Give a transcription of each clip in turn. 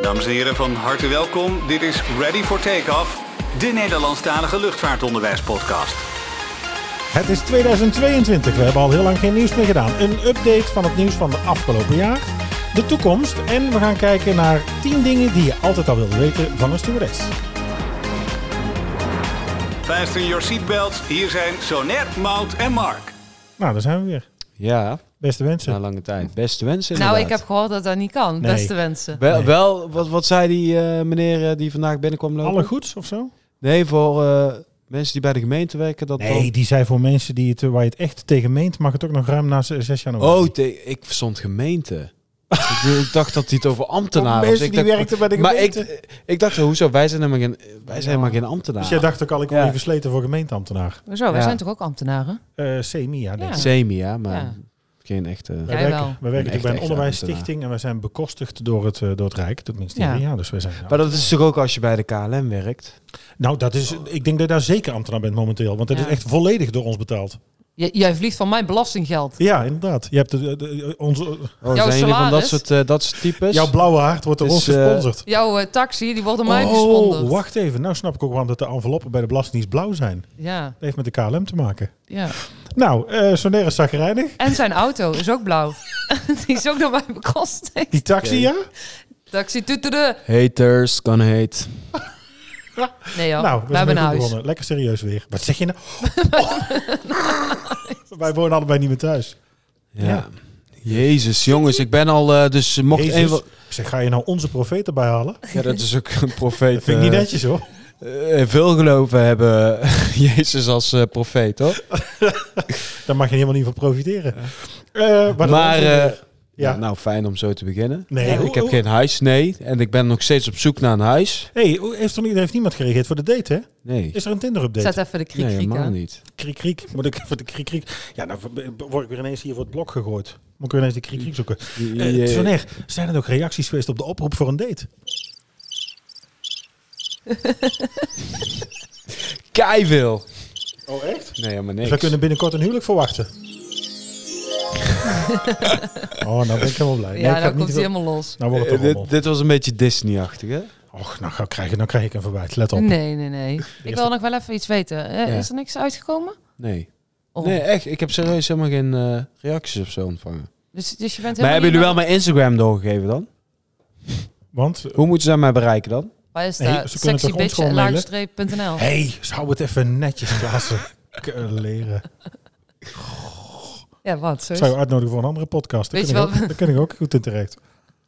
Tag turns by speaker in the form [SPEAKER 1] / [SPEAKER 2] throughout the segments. [SPEAKER 1] Dames en heren, van harte welkom. Dit is Ready for Takeoff, de Nederlandstalige luchtvaartonderwijspodcast.
[SPEAKER 2] Het is 2022. We hebben al heel lang geen nieuws meer gedaan. Een update van het nieuws van het afgelopen jaar, de toekomst en we gaan kijken naar 10 dingen die je altijd al wilde weten van een stewardess.
[SPEAKER 1] Fasten your seatbelts, hier zijn Sonet, Mout en Mark.
[SPEAKER 2] Nou, daar zijn we weer.
[SPEAKER 3] Ja,
[SPEAKER 2] Beste wensen.
[SPEAKER 3] na lange tijd. Beste wensen
[SPEAKER 4] Nou, ik
[SPEAKER 3] inderdaad.
[SPEAKER 4] heb gehoord dat dat niet kan.
[SPEAKER 2] Nee.
[SPEAKER 4] Beste wensen.
[SPEAKER 3] Wel,
[SPEAKER 2] Nee.
[SPEAKER 3] wel wat, wat zei die eh, meneer eh, die vandaag binnenkwam lopen?
[SPEAKER 2] Alle goeds of zo?
[SPEAKER 3] Nee, voor eh, mensen die bij de gemeente werken. Dat
[SPEAKER 2] Nee,
[SPEAKER 3] dan-
[SPEAKER 2] die zijn voor mensen die het, waar je het echt tegen meent, mag het ook nog ruim na 6 januari.
[SPEAKER 3] Oh, te- ik verstond gemeente. ik, ik dacht dat hij het over ambtenaren was.
[SPEAKER 2] mensen
[SPEAKER 3] Ik
[SPEAKER 2] die
[SPEAKER 3] dacht-
[SPEAKER 2] werkten bij de
[SPEAKER 3] Maar
[SPEAKER 2] gemeente.
[SPEAKER 3] ik, ik dacht, hoezo? Wij zijn helemaal geen, wij zijn helemaal geen ambtenaren.
[SPEAKER 2] dus jij dacht ook al, ik word
[SPEAKER 3] Ja.
[SPEAKER 2] hier versleten voor gemeenteambtenaar.
[SPEAKER 4] Zo, wij
[SPEAKER 3] Ja.
[SPEAKER 4] zijn toch ook ambtenaren?
[SPEAKER 2] Eh semi, ja. denk ik.
[SPEAKER 4] Ja.
[SPEAKER 3] Semi, ja, maar
[SPEAKER 4] Ja.
[SPEAKER 3] geen echte...
[SPEAKER 2] Wij
[SPEAKER 4] Jij
[SPEAKER 2] werken,
[SPEAKER 4] wel.
[SPEAKER 2] wij werken
[SPEAKER 3] Een
[SPEAKER 2] natuurlijk bij een
[SPEAKER 3] echte, echte
[SPEAKER 2] onderwijsstichting en wij zijn bekostigd door het, eh, door het Rijk, door het ministerie. Ja.
[SPEAKER 4] Ja.
[SPEAKER 2] dus wij zijn
[SPEAKER 3] Maar dat is toch ook als je bij de KLM werkt?
[SPEAKER 2] Nou, dat is, ik denk dat je daar zeker ambtenaar bent momenteel. Want dat
[SPEAKER 4] Ja.
[SPEAKER 2] is echt volledig door ons betaald.
[SPEAKER 4] J- jij vliegt van mijn belastinggeld.
[SPEAKER 2] Ja, inderdaad. Je hebt de, de- de- onze,
[SPEAKER 3] Oh,
[SPEAKER 4] Jouw
[SPEAKER 3] zijn jullie van dat
[SPEAKER 4] salaris?
[SPEAKER 3] soort, eh, dat soort types?
[SPEAKER 2] jouw blauwe haard wordt door
[SPEAKER 3] Dus,
[SPEAKER 2] ons gesponsord.
[SPEAKER 4] Jouw eh, taxi, die wordt door mij
[SPEAKER 2] oh,
[SPEAKER 4] gesponsord.
[SPEAKER 2] wacht even. Nou snap ik ook waarom dat de enveloppen bij de Belastingdienst blauw zijn. Dat
[SPEAKER 4] Ja,
[SPEAKER 2] heeft met de KLM te maken.
[SPEAKER 4] ja.
[SPEAKER 2] Nou, eh Soner is zagrijnig.
[SPEAKER 4] En zijn auto is ook blauw. die is ook door mij bekostigd.
[SPEAKER 2] Die taxi,
[SPEAKER 3] Oké.
[SPEAKER 2] ja?
[SPEAKER 4] Taxi tutede.
[SPEAKER 3] Haters, kan hate.
[SPEAKER 4] Nee joh,
[SPEAKER 2] nou,
[SPEAKER 4] we,
[SPEAKER 2] we zijn weer
[SPEAKER 4] hebben een
[SPEAKER 2] goed
[SPEAKER 4] huis.
[SPEAKER 2] begonnen. Lekker serieus weer. Wat zeg je nou? Oh. Wij wonen allebei niet meer thuis.
[SPEAKER 3] Ja.
[SPEAKER 2] Ja.
[SPEAKER 3] Jezus, jongens, ik ben al, eh, dus mocht
[SPEAKER 2] Jezus.
[SPEAKER 3] een van-
[SPEAKER 2] Ik zeg, ga je nou onze profeet erbij halen?
[SPEAKER 3] Ja, dat is ook een profeet.
[SPEAKER 2] Dat vind ik niet netjes hoor.
[SPEAKER 3] eh, eh, veel geloven hebben Jezus als eh, profeet, hoor.
[SPEAKER 2] Daar mag je helemaal niet van profiteren. Eh, wat een
[SPEAKER 3] maar,
[SPEAKER 2] onzin
[SPEAKER 3] eh,
[SPEAKER 2] weer. ja.
[SPEAKER 3] ja, nou, fijn om zo te beginnen.
[SPEAKER 2] Nee,
[SPEAKER 3] Ja,
[SPEAKER 2] hoe-
[SPEAKER 3] ik heb
[SPEAKER 2] hoe-
[SPEAKER 3] geen huis, nee. En ik ben nog steeds op zoek naar een huis.
[SPEAKER 2] Hey, hoe- heeft, er, niet- heeft niemand gereageerd voor de date, hè?
[SPEAKER 3] Nee,
[SPEAKER 2] Is er een Tinder-update?
[SPEAKER 4] Zet even de kriek
[SPEAKER 3] nee
[SPEAKER 4] kriek
[SPEAKER 3] helemaal
[SPEAKER 4] aan.
[SPEAKER 3] niet.
[SPEAKER 2] Kriek, kriek. Moet ik even de kriek, kriek. Ja, nou word ik weer ineens hier voor het blok gegooid. Moet ik weer ineens de kriek, kriek zoeken. Eh,
[SPEAKER 3] Je-
[SPEAKER 2] Soner, zijn er nog reacties geweest op de oproep voor een date?
[SPEAKER 3] Kei veel.
[SPEAKER 2] Oh, echt?
[SPEAKER 3] Nee, helemaal
[SPEAKER 2] Dus
[SPEAKER 3] niks.
[SPEAKER 2] we kunnen binnenkort een huwelijk verwachten. oh, nou ben ik helemaal blij. Nee, ik
[SPEAKER 4] Ja,
[SPEAKER 2] ga
[SPEAKER 4] dan
[SPEAKER 2] het niet
[SPEAKER 4] komt
[SPEAKER 2] te
[SPEAKER 4] hij
[SPEAKER 2] veel-
[SPEAKER 4] helemaal los.
[SPEAKER 2] Nou wordt
[SPEAKER 3] Eh,
[SPEAKER 2] het toch
[SPEAKER 3] dit,
[SPEAKER 2] allemaal.
[SPEAKER 3] dit was een beetje Disney-achtig, hè?
[SPEAKER 2] Och, nou, ga ik krijgen, nou krijg ik een verwijt. Let op.
[SPEAKER 4] Nee, nee, nee. Ik wil nog wel even iets weten. Eh,
[SPEAKER 3] Ja.
[SPEAKER 4] Is er niks uitgekomen?
[SPEAKER 3] Nee.
[SPEAKER 4] Oh.
[SPEAKER 3] Nee, echt. Ik heb serieus helemaal geen eh, reacties of zo ontvangen.
[SPEAKER 4] Dus, dus je bent
[SPEAKER 3] Maar
[SPEAKER 4] helemaal
[SPEAKER 3] hebben
[SPEAKER 4] niet
[SPEAKER 3] jullie wel
[SPEAKER 4] aan-
[SPEAKER 3] mijn Instagram doorgegeven dan?
[SPEAKER 2] Want, eh,
[SPEAKER 3] Hoe moeten ze mij bereiken dan?
[SPEAKER 4] Waar is
[SPEAKER 2] Nee,
[SPEAKER 4] dat?
[SPEAKER 2] ze kunnen toch
[SPEAKER 4] eh,
[SPEAKER 2] ons gewoon mailen?
[SPEAKER 4] Sexybitch.nl
[SPEAKER 2] hey, zou het even netjes, Klaassen, k- leren.
[SPEAKER 4] Ja, wat?
[SPEAKER 2] Ik
[SPEAKER 4] Zo is
[SPEAKER 2] zou je uitnodigen voor een andere podcast. Daar
[SPEAKER 4] Dus- Weet
[SPEAKER 2] kun
[SPEAKER 4] je
[SPEAKER 2] ik
[SPEAKER 4] wel-
[SPEAKER 2] ook- daar kun ik ook goed in terecht.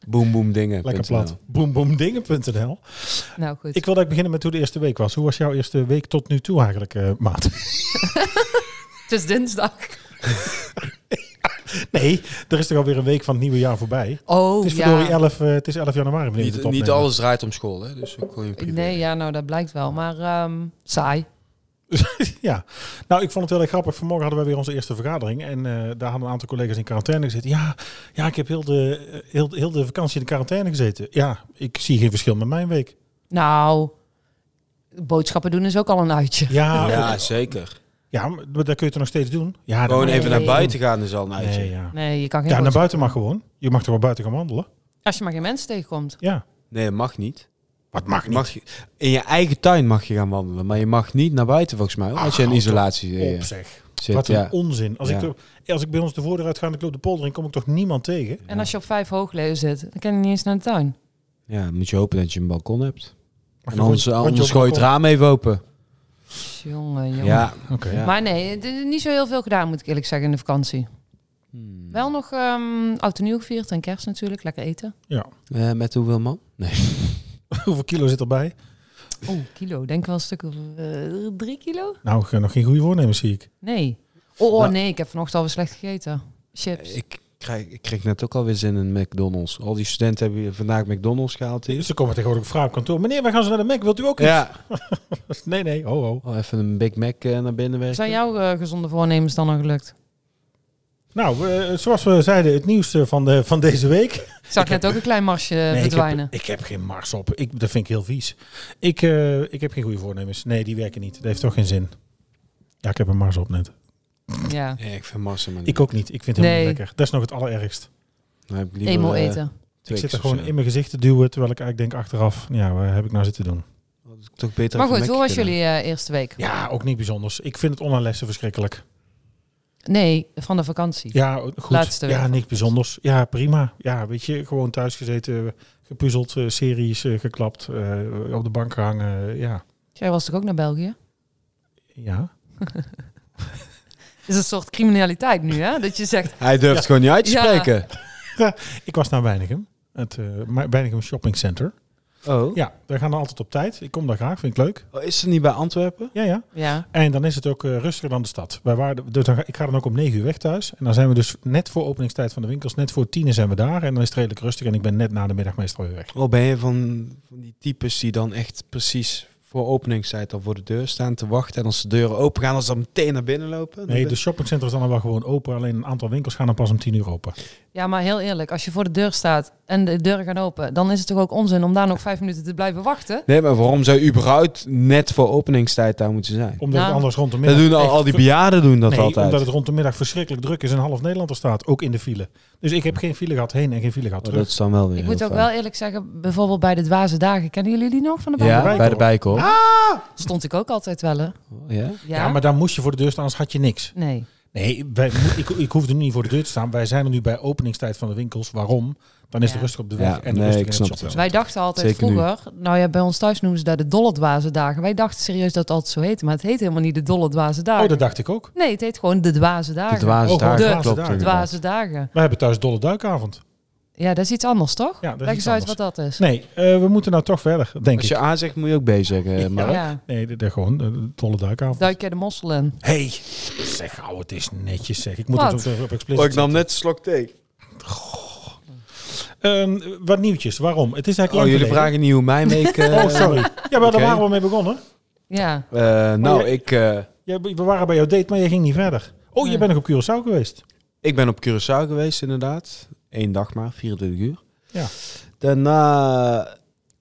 [SPEAKER 3] Boomboomdingen.
[SPEAKER 2] Lekker plat. Boomboomdingen.nl
[SPEAKER 4] het. Nou goed.
[SPEAKER 2] Ik wilde eigenlijk beginnen met hoe de eerste week was. Hoe was jouw eerste week tot nu toe eigenlijk, eh, maat?
[SPEAKER 4] Het is dinsdag.
[SPEAKER 2] Nee, er is toch alweer een week van het nieuwe jaar voorbij.
[SPEAKER 4] Oh,
[SPEAKER 2] Het is
[SPEAKER 4] ja.
[SPEAKER 2] verdorie 11, eh, het is 11 januari wanneer we dit
[SPEAKER 3] Niet, niet
[SPEAKER 2] opnemen.
[SPEAKER 3] alles draait om school, hè? Dus ik kon je privé.
[SPEAKER 4] Nee, ja, nou, dat blijkt wel. Maar ehm, saai.
[SPEAKER 2] Ja. Nou, ik vond het wel erg grappig. Vanmorgen hadden we weer onze eerste vergadering. En eh, daar hadden een aantal collega's in quarantaine gezeten. Ja, ja ik heb heel de, eh, heel, heel de vakantie in de quarantaine gezeten. Ja, ik zie geen verschil met mijn week.
[SPEAKER 4] Nou, boodschappen doen is ook al een uitje.
[SPEAKER 2] Ja,
[SPEAKER 3] Ja,
[SPEAKER 2] Ah, ja.
[SPEAKER 3] zeker.
[SPEAKER 2] maar dat kun je toch nog steeds doen? Ja, dat
[SPEAKER 3] Gewoon
[SPEAKER 2] mag-
[SPEAKER 3] even naar
[SPEAKER 4] Nee.
[SPEAKER 3] buiten gaan is al een uitje.
[SPEAKER 2] Nee,
[SPEAKER 3] Nee,
[SPEAKER 2] ja.
[SPEAKER 4] Nee, je kan geen
[SPEAKER 2] ja, naar
[SPEAKER 4] boodschappen-
[SPEAKER 2] buiten mag gewoon. Je mag toch wel buiten gaan wandelen?
[SPEAKER 4] Als je maar geen mensen tegenkomt.
[SPEAKER 2] Ja.
[SPEAKER 3] dat mag niet.
[SPEAKER 2] Wat mag niet?
[SPEAKER 3] Mag je, in je eigen tuin mag je gaan wandelen, maar je mag niet naar buiten volgens mij. hoor, Als je in
[SPEAKER 2] houd
[SPEAKER 3] isolatie eh,
[SPEAKER 2] Ah, Op zeg.
[SPEAKER 3] zit.
[SPEAKER 2] Wat een
[SPEAKER 3] ja.
[SPEAKER 2] onzin. Als,
[SPEAKER 3] Ja.
[SPEAKER 2] ik door- als ik bij ons de voordeur uit ga en ik loop de polder in, kom ik toch niemand tegen?
[SPEAKER 4] En als je op vijf hoogleeuwen zit, dan kan je niet eens naar de tuin.
[SPEAKER 3] ja, dan moet je hopen dat je een balkon hebt.
[SPEAKER 2] Maar
[SPEAKER 3] En anders,
[SPEAKER 2] rondje-
[SPEAKER 3] eh,
[SPEAKER 2] rondje
[SPEAKER 3] anders
[SPEAKER 2] op
[SPEAKER 3] gooi je het
[SPEAKER 2] balkon.
[SPEAKER 3] raam even open.
[SPEAKER 4] Jongen, jongen.
[SPEAKER 3] Ja.
[SPEAKER 2] Oké.
[SPEAKER 3] Ja.
[SPEAKER 4] Maar nee, het is niet zo heel veel gedaan, moet ik eerlijk zeggen, in de vakantie.
[SPEAKER 2] Hmm.
[SPEAKER 4] Wel nog ehm oud en nieuw gevierd en kerst natuurlijk. Lekker eten.
[SPEAKER 3] Eh, met hoeveel man? Nee.
[SPEAKER 2] Hoeveel kilo zit erbij?
[SPEAKER 4] Oh, kilo. Denk wel een stuk of eh, drie kilo?
[SPEAKER 2] Nou, ge- nog geen goede voornemens zie ik.
[SPEAKER 4] Nee. Oh,
[SPEAKER 3] Nou-
[SPEAKER 4] nee, ik heb vanochtend alweer slecht gegeten. Chips.
[SPEAKER 3] Ik kreeg, ik kreeg net ook alweer zin in McDonald's. Al die studenten hebben hier vandaag McDonald's gehaald. Hier.
[SPEAKER 2] Dus ze komen tegenwoordig vragen op kantoor. Meneer, wij gaan ze naar de Mac. Wilt u ook iets?
[SPEAKER 3] Ja.
[SPEAKER 2] Nee, nee. Ho, ho.
[SPEAKER 3] Oh, even een Big Mac eh, naar binnen werken.
[SPEAKER 4] Zijn jouw eh, gezonde voornemens dan al gelukt?
[SPEAKER 2] Nou, eh, zoals we zeiden, het nieuws eh, van, de, van deze week.
[SPEAKER 3] Eh,
[SPEAKER 4] Ik zag net ook een klein marsje eh,
[SPEAKER 2] ik,
[SPEAKER 4] verdwijnen.
[SPEAKER 2] heb, ik heb geen mars op. Ik, dat vind ik heel vies. Ik, eh, ik heb geen goede voornemens. Nee, die werken niet. Dat heeft toch geen zin. Ja, ik heb een mars op net.
[SPEAKER 4] Ja.
[SPEAKER 3] Nee, ik vind massa maar niet.
[SPEAKER 2] Ik ook niet. Ik vind het helemaal
[SPEAKER 4] Nee.
[SPEAKER 2] niet lekker. Dat is nog het allerergst.
[SPEAKER 3] Dan heb ik liever,
[SPEAKER 4] Emo
[SPEAKER 3] eh,
[SPEAKER 4] eten.
[SPEAKER 2] Ik
[SPEAKER 3] Twix
[SPEAKER 2] zit er
[SPEAKER 3] of
[SPEAKER 2] gewoon
[SPEAKER 3] zo.
[SPEAKER 2] in mijn gezicht te duwen, terwijl ik eigenlijk denk achteraf, ja, wat heb ik nou zitten doen?
[SPEAKER 3] Had ik Toch beter
[SPEAKER 4] Maar
[SPEAKER 3] even
[SPEAKER 4] goed,
[SPEAKER 3] een
[SPEAKER 4] hoe was
[SPEAKER 3] Mac'je
[SPEAKER 4] jullie eh, eerste week?
[SPEAKER 2] Ja, ook niet bijzonders. Ik vind het online lessen verschrikkelijk.
[SPEAKER 4] Nee, van de vakantie.
[SPEAKER 2] Ja, o- goed.
[SPEAKER 4] Laatste
[SPEAKER 2] ja,
[SPEAKER 4] week.
[SPEAKER 2] niks bijzonders. Ja, prima. Ja, weet je, gewoon thuis gezeten, gepuzzeld, eh, series eh, geklapt, eh, op de bank hangen. ja,
[SPEAKER 4] Jij was toch ook naar België?
[SPEAKER 2] ja.
[SPEAKER 4] Het is een soort criminaliteit nu, hè? Dat je zegt,
[SPEAKER 3] gedaan. Hij durft gewoon niet uit te
[SPEAKER 4] Ja.
[SPEAKER 3] spreken.
[SPEAKER 2] Ik was naar Weinigem, het eh, Ma- Weinigem Shopping Center.
[SPEAKER 3] Oh.
[SPEAKER 2] Ja, daar gaan we altijd op tijd. Ik kom daar graag, vind ik leuk.
[SPEAKER 3] Oh, Is ze niet bij Antwerpen?
[SPEAKER 2] Ja, ja.
[SPEAKER 4] ja,
[SPEAKER 2] En dan is het ook eh, rustiger dan de stad. Wij waren, dus dan ga, ik ga dan ook om 9 uur weg thuis. En dan zijn we dus net voor openingstijd van de winkels, net voor tien zijn we daar. En dan is het redelijk rustig en ik ben net na de middag meestal weer weg.
[SPEAKER 3] Al ben je van, van die types die dan echt precies voor openingstijd al voor de deur staan te wachten. En als de deuren open gaan, dan ze dan meteen naar binnen lopen. Dan
[SPEAKER 2] Nee,
[SPEAKER 3] ben-
[SPEAKER 2] de shoppingcentrum is dan wel gewoon open. Alleen een aantal winkels gaan dan pas om 10 uur open.
[SPEAKER 4] ja, maar heel eerlijk, als je voor de deur staat en de deuren gaan open, dan is het toch ook onzin om daar nog vijf minuten te blijven wachten?
[SPEAKER 3] Nee, maar waarom zou je überhaupt net voor openingstijd daar moeten zijn?
[SPEAKER 2] Omdat
[SPEAKER 4] Nou,
[SPEAKER 2] het anders rond de
[SPEAKER 3] Dat
[SPEAKER 2] middag...
[SPEAKER 3] doen al,
[SPEAKER 2] echt
[SPEAKER 3] al die
[SPEAKER 2] ver-
[SPEAKER 3] bejaarden doen dat
[SPEAKER 2] Nee,
[SPEAKER 3] altijd. Oh,
[SPEAKER 2] omdat het rond de middag verschrikkelijk druk is en half Nederland er staat. Ook in de file. Dus ik heb geen file gehad heen en geen file gehad
[SPEAKER 3] Maar
[SPEAKER 2] terug.
[SPEAKER 3] dat is dan wel weer
[SPEAKER 4] Ik
[SPEAKER 3] heel
[SPEAKER 4] moet ook
[SPEAKER 3] fijn.
[SPEAKER 4] wel eerlijk zeggen, bijvoorbeeld bij de dwaze dagen, kennen jullie die nog van de bank?
[SPEAKER 3] Ja,
[SPEAKER 2] Bijkorf.
[SPEAKER 3] bij de bijkorf.
[SPEAKER 4] Stond ik ook altijd wel, hè?
[SPEAKER 3] Oh, Ja?
[SPEAKER 4] Ja,
[SPEAKER 2] Ja, maar daar moest je voor de deur staan, anders had je niks.
[SPEAKER 4] Nee.
[SPEAKER 2] Nee, wij, mo- ik, ik hoefde nu niet voor de deur te staan. Wij zijn er nu bij openingstijd van de winkels. Waarom? Dan is
[SPEAKER 4] Ja.
[SPEAKER 2] het rustig op de weg
[SPEAKER 3] Ja,
[SPEAKER 2] en
[SPEAKER 3] nee,
[SPEAKER 2] rustig
[SPEAKER 3] ik
[SPEAKER 2] in
[SPEAKER 3] snap
[SPEAKER 2] het
[SPEAKER 3] het
[SPEAKER 2] shopping.
[SPEAKER 4] Wij dachten altijd
[SPEAKER 3] Zeker nu.
[SPEAKER 4] vroeger, nou ja, bij ons thuis noemen ze dat de dolle dwaze dagen. Wij dachten serieus dat het altijd zo heette, maar het heet helemaal niet de dolle dwaze dagen.
[SPEAKER 2] Oh, dat dacht ik ook.
[SPEAKER 4] Nee, het heet gewoon de dwaze dagen.
[SPEAKER 3] De dwaze
[SPEAKER 2] Oh,
[SPEAKER 3] daar
[SPEAKER 4] de
[SPEAKER 3] klopt.
[SPEAKER 2] dwaze
[SPEAKER 3] inderdaad.
[SPEAKER 4] dwaze dagen.
[SPEAKER 2] Wij hebben thuis dolle duikavond.
[SPEAKER 4] Ja, dat is iets anders, toch?
[SPEAKER 2] Ja, dat is
[SPEAKER 4] Leg
[SPEAKER 2] iets
[SPEAKER 4] eens uit
[SPEAKER 2] anders.
[SPEAKER 4] wat dat is.
[SPEAKER 2] Nee, eh, we moeten nou toch verder, denk
[SPEAKER 3] Als je
[SPEAKER 2] ik.
[SPEAKER 3] A zegt, moet je ook B zeggen.
[SPEAKER 2] Ja.
[SPEAKER 3] Mark.
[SPEAKER 4] Ja,
[SPEAKER 2] Nee, de, de- gewoon de, de dolle duikavond.
[SPEAKER 4] duik jij de mossel in.
[SPEAKER 2] Hey, zeg, oh, het is netjes zeg. Ik moet
[SPEAKER 4] Wat?
[SPEAKER 2] het op, op
[SPEAKER 3] Dus
[SPEAKER 2] explicit.
[SPEAKER 3] net een slok thee.
[SPEAKER 2] Ehm, wat nieuwtjes, waarom? Het is eigenlijk
[SPEAKER 3] Oh,
[SPEAKER 2] lang
[SPEAKER 3] jullie
[SPEAKER 2] geleden.
[SPEAKER 3] vragen niet hoe Nijmegen... eh,
[SPEAKER 2] Oh, sorry. Ja, maar daar
[SPEAKER 3] Oké.
[SPEAKER 2] waren we mee begonnen.
[SPEAKER 4] Ja,
[SPEAKER 3] eh, nou,
[SPEAKER 2] Oh, je-
[SPEAKER 3] ik, eh,
[SPEAKER 2] Ja, we we waren bij jouw date, maar je ging niet verder. Oh, je
[SPEAKER 4] Nee.
[SPEAKER 2] bent nog op Curaçao geweest.
[SPEAKER 3] ik ben op Curaçao geweest, inderdaad. Eén dag maar, 24 uur.
[SPEAKER 2] Ja.
[SPEAKER 3] Daarna... eh,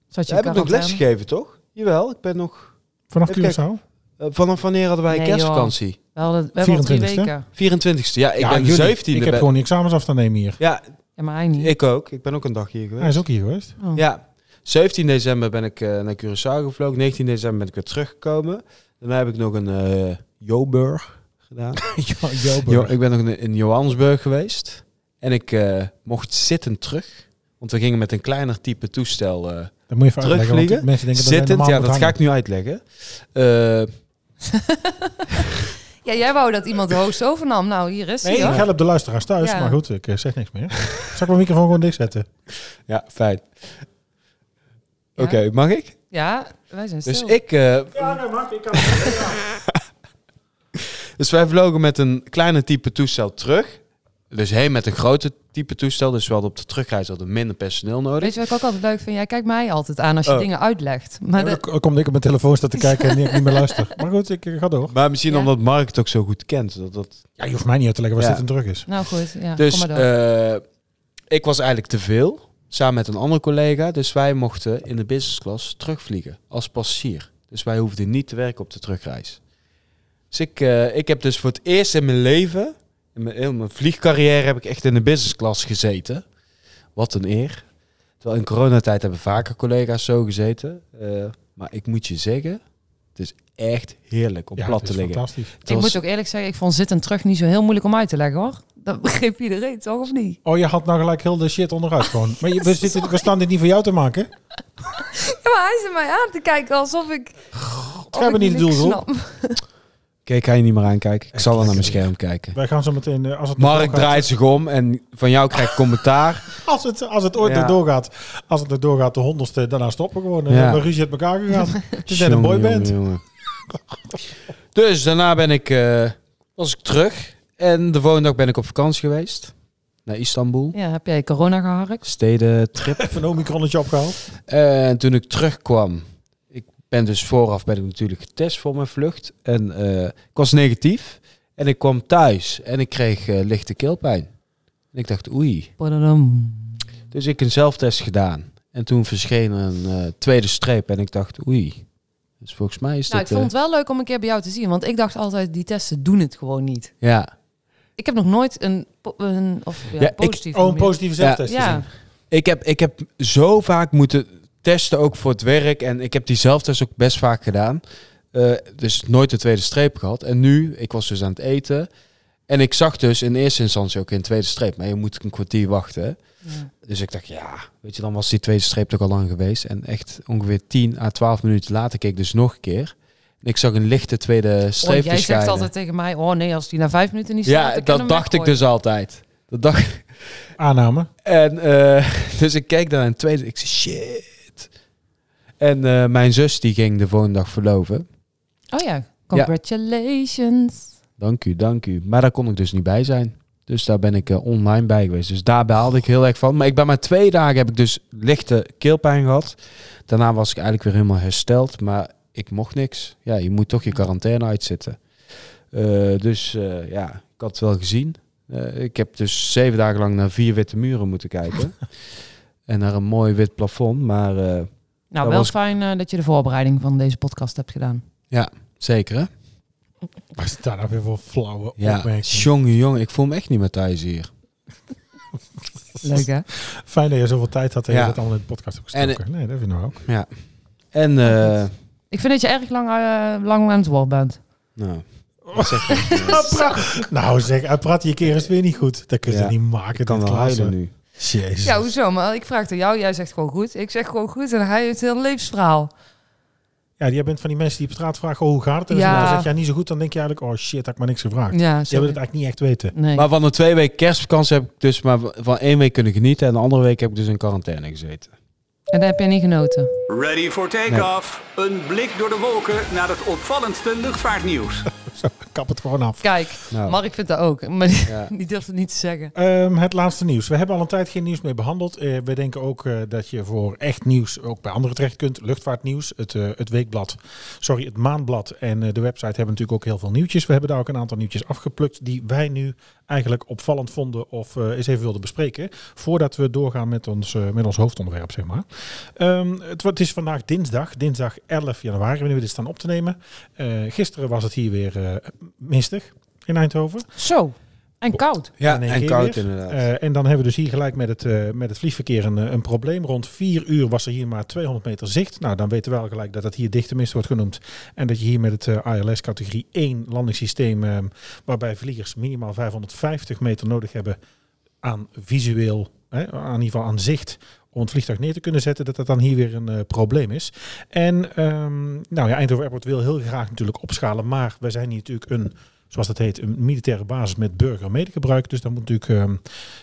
[SPEAKER 4] zat je
[SPEAKER 3] Heb ik nog
[SPEAKER 4] quarantaine.
[SPEAKER 3] lesgeven, toch? Jawel, ik ben nog...
[SPEAKER 2] Vanaf
[SPEAKER 3] Even kijken.
[SPEAKER 2] Curaçao?
[SPEAKER 3] eh, vanaf wanneer hadden wij
[SPEAKER 4] Nee,
[SPEAKER 3] kerstvakantie?
[SPEAKER 4] We hadden, we hebben al drie
[SPEAKER 2] 24e.
[SPEAKER 4] weken.
[SPEAKER 3] 24ste. Ja, ik
[SPEAKER 2] Ja,
[SPEAKER 3] ben
[SPEAKER 2] jullie.
[SPEAKER 3] 17
[SPEAKER 2] Ik heb gewoon die examens af te nemen hier.
[SPEAKER 3] Ja,
[SPEAKER 4] Ja, maar hij niet.
[SPEAKER 3] ik ook. Ik ben ook een dag hier geweest.
[SPEAKER 2] Hij is ook hier geweest.
[SPEAKER 4] Oh.
[SPEAKER 3] Ja, 17 december ben ik eh, naar Curaçao gevlogen. 19 december ben ik weer teruggekomen. Daarna heb ik nog een eh Joburg gedaan.
[SPEAKER 2] Jo- Joburg.
[SPEAKER 3] Jo- ik ben nog in, in Johannesburg geweest. En ik eh, mocht zittend terug. Want we gingen met een kleiner type toestel eh,
[SPEAKER 2] Dan moet je even uitleggen, want
[SPEAKER 3] Terugvliegen?
[SPEAKER 2] die mensen denken dat wij
[SPEAKER 3] zittend.
[SPEAKER 2] normaal
[SPEAKER 3] Ja,
[SPEAKER 2] met
[SPEAKER 3] dat ga
[SPEAKER 2] hangen.
[SPEAKER 3] ik nu uitleggen. Eh,
[SPEAKER 4] Ja, jij wou dat iemand de hoogste overnam. Nou, hier is hij.
[SPEAKER 2] Nee,
[SPEAKER 4] hoor.
[SPEAKER 2] ik help de luisteraars thuis,
[SPEAKER 4] Ja.
[SPEAKER 2] maar goed, ik eh, zeg niks meer. Zal ik mijn microfoon gewoon dicht zetten?
[SPEAKER 3] ja, fijn.
[SPEAKER 4] Ja.
[SPEAKER 3] Oké, mag ik?
[SPEAKER 4] Ja, wij zijn stil.
[SPEAKER 3] Dus ik eh,
[SPEAKER 2] Ja, nee, mag. Ik kan
[SPEAKER 3] Dus wij vlogen met een kleine type toestel terug. Dus heen met een grote type toestel. Dus we hadden op de terugreis hadden minder personeel nodig.
[SPEAKER 4] Weet je wat ik ook altijd leuk vind? Jij kijkt mij altijd aan als je
[SPEAKER 3] Oh.
[SPEAKER 4] dingen uitlegt. Maar de-
[SPEAKER 2] Dan kom ik op mijn telefoon staan te kijken en niet- niet meer luister. Maar goed, ik eh, ga door.
[SPEAKER 3] Maar misschien
[SPEAKER 4] Ja.
[SPEAKER 3] omdat Mark het ook zo goed kent. Dat, dat...
[SPEAKER 2] Ja, je hoeft mij niet uit te leggen waar
[SPEAKER 3] Ja.
[SPEAKER 2] zitten druk is.
[SPEAKER 4] Nou goed, ja, kom
[SPEAKER 3] Dus
[SPEAKER 4] maar door.
[SPEAKER 3] eh, ik was eigenlijk te veel. Samen met een andere collega. Dus wij mochten in de business class terugvliegen. Als passagier. Dus wij hoefden niet te werken op de terugreis. Dus ik, eh, ik heb dus voor het eerst in mijn leven. In mijn, heel mijn vliegcarrière heb ik echt in de business class gezeten. Wat een eer. Terwijl in coronatijd hebben vaker collega's zo gezeten. Eh, maar ik moet je zeggen, het is echt heerlijk om
[SPEAKER 2] Ja,
[SPEAKER 3] plat
[SPEAKER 2] het
[SPEAKER 3] te
[SPEAKER 2] is
[SPEAKER 3] liggen.
[SPEAKER 2] fantastisch.
[SPEAKER 3] Het
[SPEAKER 4] ik
[SPEAKER 3] was-
[SPEAKER 4] moet ook eerlijk zeggen, ik vond zitten en terug niet zo heel moeilijk om uit te leggen hoor. Dat begreep iedereen toch, of niet?
[SPEAKER 2] Oh, je had nou gelijk heel de shit onderuit gewoon. Maar je, we, zitten, we staan dit niet voor jou te maken.
[SPEAKER 4] Oh, Ja, maar hij zit mij aan te kijken alsof ik... God,
[SPEAKER 2] hebben niet de doelgroep.
[SPEAKER 3] Kijk, ga je niet meer aankijken. Ik zal wel naar mijn scherm kijken.
[SPEAKER 2] Wij gaan zo meteen, eh, als het nog
[SPEAKER 3] Mark
[SPEAKER 2] doorgaat-
[SPEAKER 3] draait zich om en van jou krijg ik commentaar.
[SPEAKER 2] Als het, als het ooit
[SPEAKER 3] Ja.
[SPEAKER 2] nog doorgaat, als het nog doorgaat, de honderdste, daarna stoppen we gewoon. Dan
[SPEAKER 3] Ja.
[SPEAKER 2] hebben we ruzie uit elkaar gegaan. Het is net een
[SPEAKER 3] Jongen,
[SPEAKER 2] boyband.
[SPEAKER 3] jongen, jongen. Dus daarna ben ik, eh, was ik terug. En de volgende dag ben ik op vakantie geweest. Naar Istanbul.
[SPEAKER 4] Ja, heb jij corona geharkt?
[SPEAKER 3] Stedentrip.
[SPEAKER 2] Even een omicronnetje opgehaald.
[SPEAKER 3] Eh, En toen ik terugkwam, ik ben dus vooraf ben ik natuurlijk getest voor mijn vlucht. En eh, ik was negatief. En ik kwam thuis en ik kreeg eh, lichte keelpijn. En ik dacht, oei.
[SPEAKER 4] Padadam.
[SPEAKER 3] Dus ik een zelftest gedaan. En toen verscheen een eh, tweede streep. En ik dacht, oei. Dus volgens mij is
[SPEAKER 4] Nou, ik
[SPEAKER 3] dit... eh,
[SPEAKER 4] vond het wel leuk om een keer bij jou te zien. Want ik dacht altijd, die testen doen het gewoon niet.
[SPEAKER 3] eh, ja.
[SPEAKER 4] Ik heb nog nooit een, po- een, of, ja,
[SPEAKER 3] Ja, ik- oh,
[SPEAKER 4] positief...
[SPEAKER 2] Oh, een positieve zelftest.
[SPEAKER 4] Ja,
[SPEAKER 2] gezien.
[SPEAKER 3] Ik heb, ik heb zo vaak moeten testen, ook voor het werk. En ik heb die zelftest ook best vaak gedaan. Eh, dus nooit de tweede streep gehad. En nu, ik was dus aan het eten. En ik zag dus in eerste instantie ook geen tweede streep. Maar je moet een kwartier wachten.
[SPEAKER 4] Ja.
[SPEAKER 3] Dus ik dacht, ja, weet je, dan was die tweede streep toch al lang geweest. En echt ongeveer 10 à 12 minuten later keek ik dus nog een keer. En ik zag een lichte tweede
[SPEAKER 4] Oh,
[SPEAKER 3] streep
[SPEAKER 4] jij zegt
[SPEAKER 3] verschijnen.
[SPEAKER 4] altijd tegen mij, oh nee, als die na vijf minuten niet staat,
[SPEAKER 3] ja, dat dacht ik dus altijd. Dat dacht
[SPEAKER 2] Aanname.
[SPEAKER 3] En eh, dus ik keek naar een tweede. Ik zei, shit. En eh, mijn zus die ging de volgende dag verloven. dus.
[SPEAKER 4] Oh ja, congratulations.
[SPEAKER 3] Dank u, dank u. Maar daar kon ik dus niet bij zijn. Dus daar ben ik eh, online bij geweest. Dus daar behaalde ik heel erg van. Maar ik ben maar twee dagen heb ik dus lichte keelpijn gehad. Daarna was ik eigenlijk weer helemaal hersteld. Maar ik mocht niks. Ja, je moet toch je quarantaine uitzitten. Eh, dus eh, ja, ik had het wel gezien. Eh, ik heb dus zeven dagen lang naar vier witte muren moeten kijken. en naar een mooi wit plafond. Maar eh,
[SPEAKER 4] Nou,
[SPEAKER 3] Dat
[SPEAKER 4] wel
[SPEAKER 3] was-
[SPEAKER 4] fijn eh, dat je de voorbereiding van deze podcast hebt gedaan.
[SPEAKER 3] zeker hè?
[SPEAKER 2] Wat is daar nou weer voor flauwe
[SPEAKER 3] Ja,
[SPEAKER 2] opmerking?
[SPEAKER 3] jongen, jongen. Ik voel me echt niet meer thuis hier.
[SPEAKER 4] Leuk hè?
[SPEAKER 2] Fijn dat je zoveel tijd had en
[SPEAKER 3] Ja.
[SPEAKER 2] je dat allemaal in de podcast hebt
[SPEAKER 3] En-
[SPEAKER 2] gestoken. nee, dat vind ik nou ook.
[SPEAKER 3] En eh,
[SPEAKER 4] Ik vind dat je erg lang, eh, lang aan het woord bent.
[SPEAKER 3] nou... dat zeg ik niet meer.
[SPEAKER 2] Nou zeg, hij praat je keer eens weer niet goed. Dat kun je
[SPEAKER 3] Ja.
[SPEAKER 2] niet maken.
[SPEAKER 3] Ik kan
[SPEAKER 2] dit
[SPEAKER 3] wel
[SPEAKER 2] Klaassen.
[SPEAKER 3] huilen nu.
[SPEAKER 2] Jezus.
[SPEAKER 4] Ja, hoezo? Maar ik vraag het aan jou, jij zegt gewoon goed. Ik zeg gewoon goed en hij heeft heel levensverhaal.
[SPEAKER 2] Ja, jij bent van die mensen die op straat vragen oh, hoe gaat het? En
[SPEAKER 4] Ja.
[SPEAKER 2] dan zeg jij niet zo goed, dan denk je eigenlijk, oh shit, had ik maar niks gevraagd.
[SPEAKER 4] Ja,
[SPEAKER 2] Jij
[SPEAKER 4] sorry.
[SPEAKER 2] wil het eigenlijk niet echt weten.
[SPEAKER 4] Nee.
[SPEAKER 3] Maar van de twee weken kerstvakantie heb ik dus maar van één week kunnen genieten. En de andere week heb ik dus in quarantaine gezeten.
[SPEAKER 4] En daar heb je niet genoten.
[SPEAKER 1] Ready for takeoff. Een blik door de wolken naar het opvallendste luchtvaartnieuws.
[SPEAKER 2] Zo, kap het gewoon af.
[SPEAKER 4] Kijk,
[SPEAKER 3] Nou,
[SPEAKER 4] Mark vindt dat ook, maar die,
[SPEAKER 3] Ja.
[SPEAKER 4] die durft het niet te zeggen.
[SPEAKER 2] Ehm, het laatste nieuws. We hebben al een tijd geen nieuws meer behandeld. Eh, we denken ook eh, dat je voor echt nieuws ook bij anderen terecht kunt. Luchtvaartnieuws, het, eh, het weekblad, sorry, het maandblad en eh, de website hebben natuurlijk ook heel veel nieuwtjes. We hebben daar ook een aantal nieuwtjes afgeplukt die wij nu eigenlijk opvallend vonden of eh, eens even wilden bespreken. Voordat we doorgaan met ons, eh, met ons hoofdonderwerp, zeg maar. Ehm, het, wa- het is vandaag dinsdag, dinsdag 11 januari, wanneer we dit staan op te nemen. Eh, gisteren was het hier weer eh, mistig in Eindhoven.
[SPEAKER 4] Zo, en koud.
[SPEAKER 3] ja,
[SPEAKER 2] in één
[SPEAKER 3] en
[SPEAKER 2] keer
[SPEAKER 3] koud
[SPEAKER 2] weer.
[SPEAKER 3] inderdaad.
[SPEAKER 2] Eh, en dan hebben we dus hier gelijk met het, eh, met het vliegverkeer een, eh, een probleem. Rond vier uur was er hier maar 200 meter zicht. Nou, dan weten we al gelijk dat dat hier dichte mist wordt genoemd. En dat je hier met het eh, ALS categorie 1 landingssysteem, eh, waarbij vliegers minimaal 550 meter nodig hebben aan visueel, hè, aan ieder geval aan zicht, om het vliegtuig neer te kunnen zetten, dat dat dan hier weer een eh, probleem is. En ehm, nou ja, Eindhoven Airport wil heel graag natuurlijk opschalen, maar wij zijn hier natuurlijk een, zoals dat heet, een militaire basis met burger- en medegebruik. Dus daar moet natuurlijk ehm,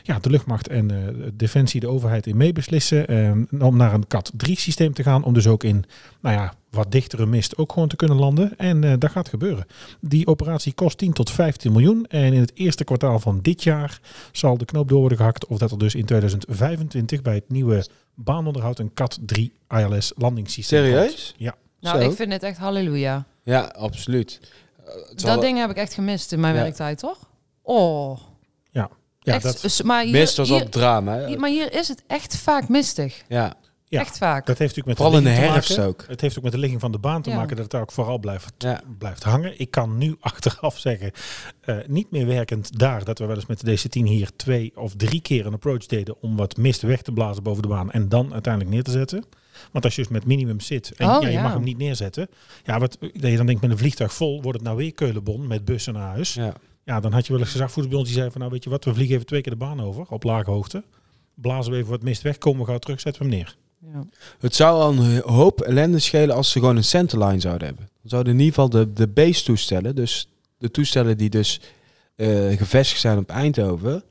[SPEAKER 2] ja, de luchtmacht en eh, Defensie, de overheid in meebeslissen. ehm, om naar een CAT 3 systeem te gaan, om dus ook in, nou ja, wat dichtere mist ook gewoon te kunnen landen. En eh, dat gaat gebeuren. Die operatie kost 10 tot 15 miljoen. En in het eerste kwartaal van dit jaar zal de knoop door worden gehakt. Of dat er dus in 2025 bij het nieuwe baanonderhoud een CAT 3 ILS landingssysteem komt.
[SPEAKER 3] Serieus?
[SPEAKER 4] Nou,
[SPEAKER 3] Zo.
[SPEAKER 4] ik vind het echt halleluja.
[SPEAKER 3] Ja, absoluut. Eh, het zal
[SPEAKER 4] Dat
[SPEAKER 3] wel-
[SPEAKER 4] ding heb ik echt gemist in mijn
[SPEAKER 3] Ja.
[SPEAKER 4] werktijd, toch? Oh,
[SPEAKER 2] Ja,
[SPEAKER 4] echt,
[SPEAKER 2] dat,
[SPEAKER 4] s- maar hier,
[SPEAKER 3] Mist was
[SPEAKER 4] hier-
[SPEAKER 3] op drama. hè?
[SPEAKER 4] hier- maar hier is het echt vaak mistig.
[SPEAKER 3] Ja,
[SPEAKER 2] Ja.
[SPEAKER 4] Echt vaak.
[SPEAKER 2] dat heeft natuurlijk met
[SPEAKER 3] vooral in de
[SPEAKER 2] ligging te
[SPEAKER 3] herfst
[SPEAKER 2] maken.
[SPEAKER 3] ook.
[SPEAKER 2] Het heeft ook met de ligging van de baan te
[SPEAKER 4] Ja.
[SPEAKER 2] maken dat het daar ook vooral blijft,
[SPEAKER 3] Ja.
[SPEAKER 2] blijft hangen. Ik kan nu achteraf zeggen, eh, niet meer werkend daar, dat we wel eens met de DC-10 hier twee of drie keer een approach deden om wat mist weg te blazen boven de baan en dan uiteindelijk neer te zetten. Want als je dus met minimum zit en
[SPEAKER 4] Oh,
[SPEAKER 2] ja, je
[SPEAKER 4] ja.
[SPEAKER 2] mag hem niet neerzetten, ja, wat, dat je dan denkt met een vliegtuig vol, wordt het nou weer Keulenbon met bussen naar huis.
[SPEAKER 3] Ja.
[SPEAKER 2] Ja, dan had je wel eens gezegd, voetbal die zei van nou weet je wat, we vliegen even twee keer de baan over op lage hoogte. Blazen we even wat mist weg, komen we gauw terug, zetten we hem neer.
[SPEAKER 4] Ja.
[SPEAKER 3] Het zou al een hoop ellende schelen als ze gewoon een centerline zouden hebben. Dan zouden in ieder geval de, de base toestellen, dus de toestellen die dus eh, gevestigd zijn op Eindhoven,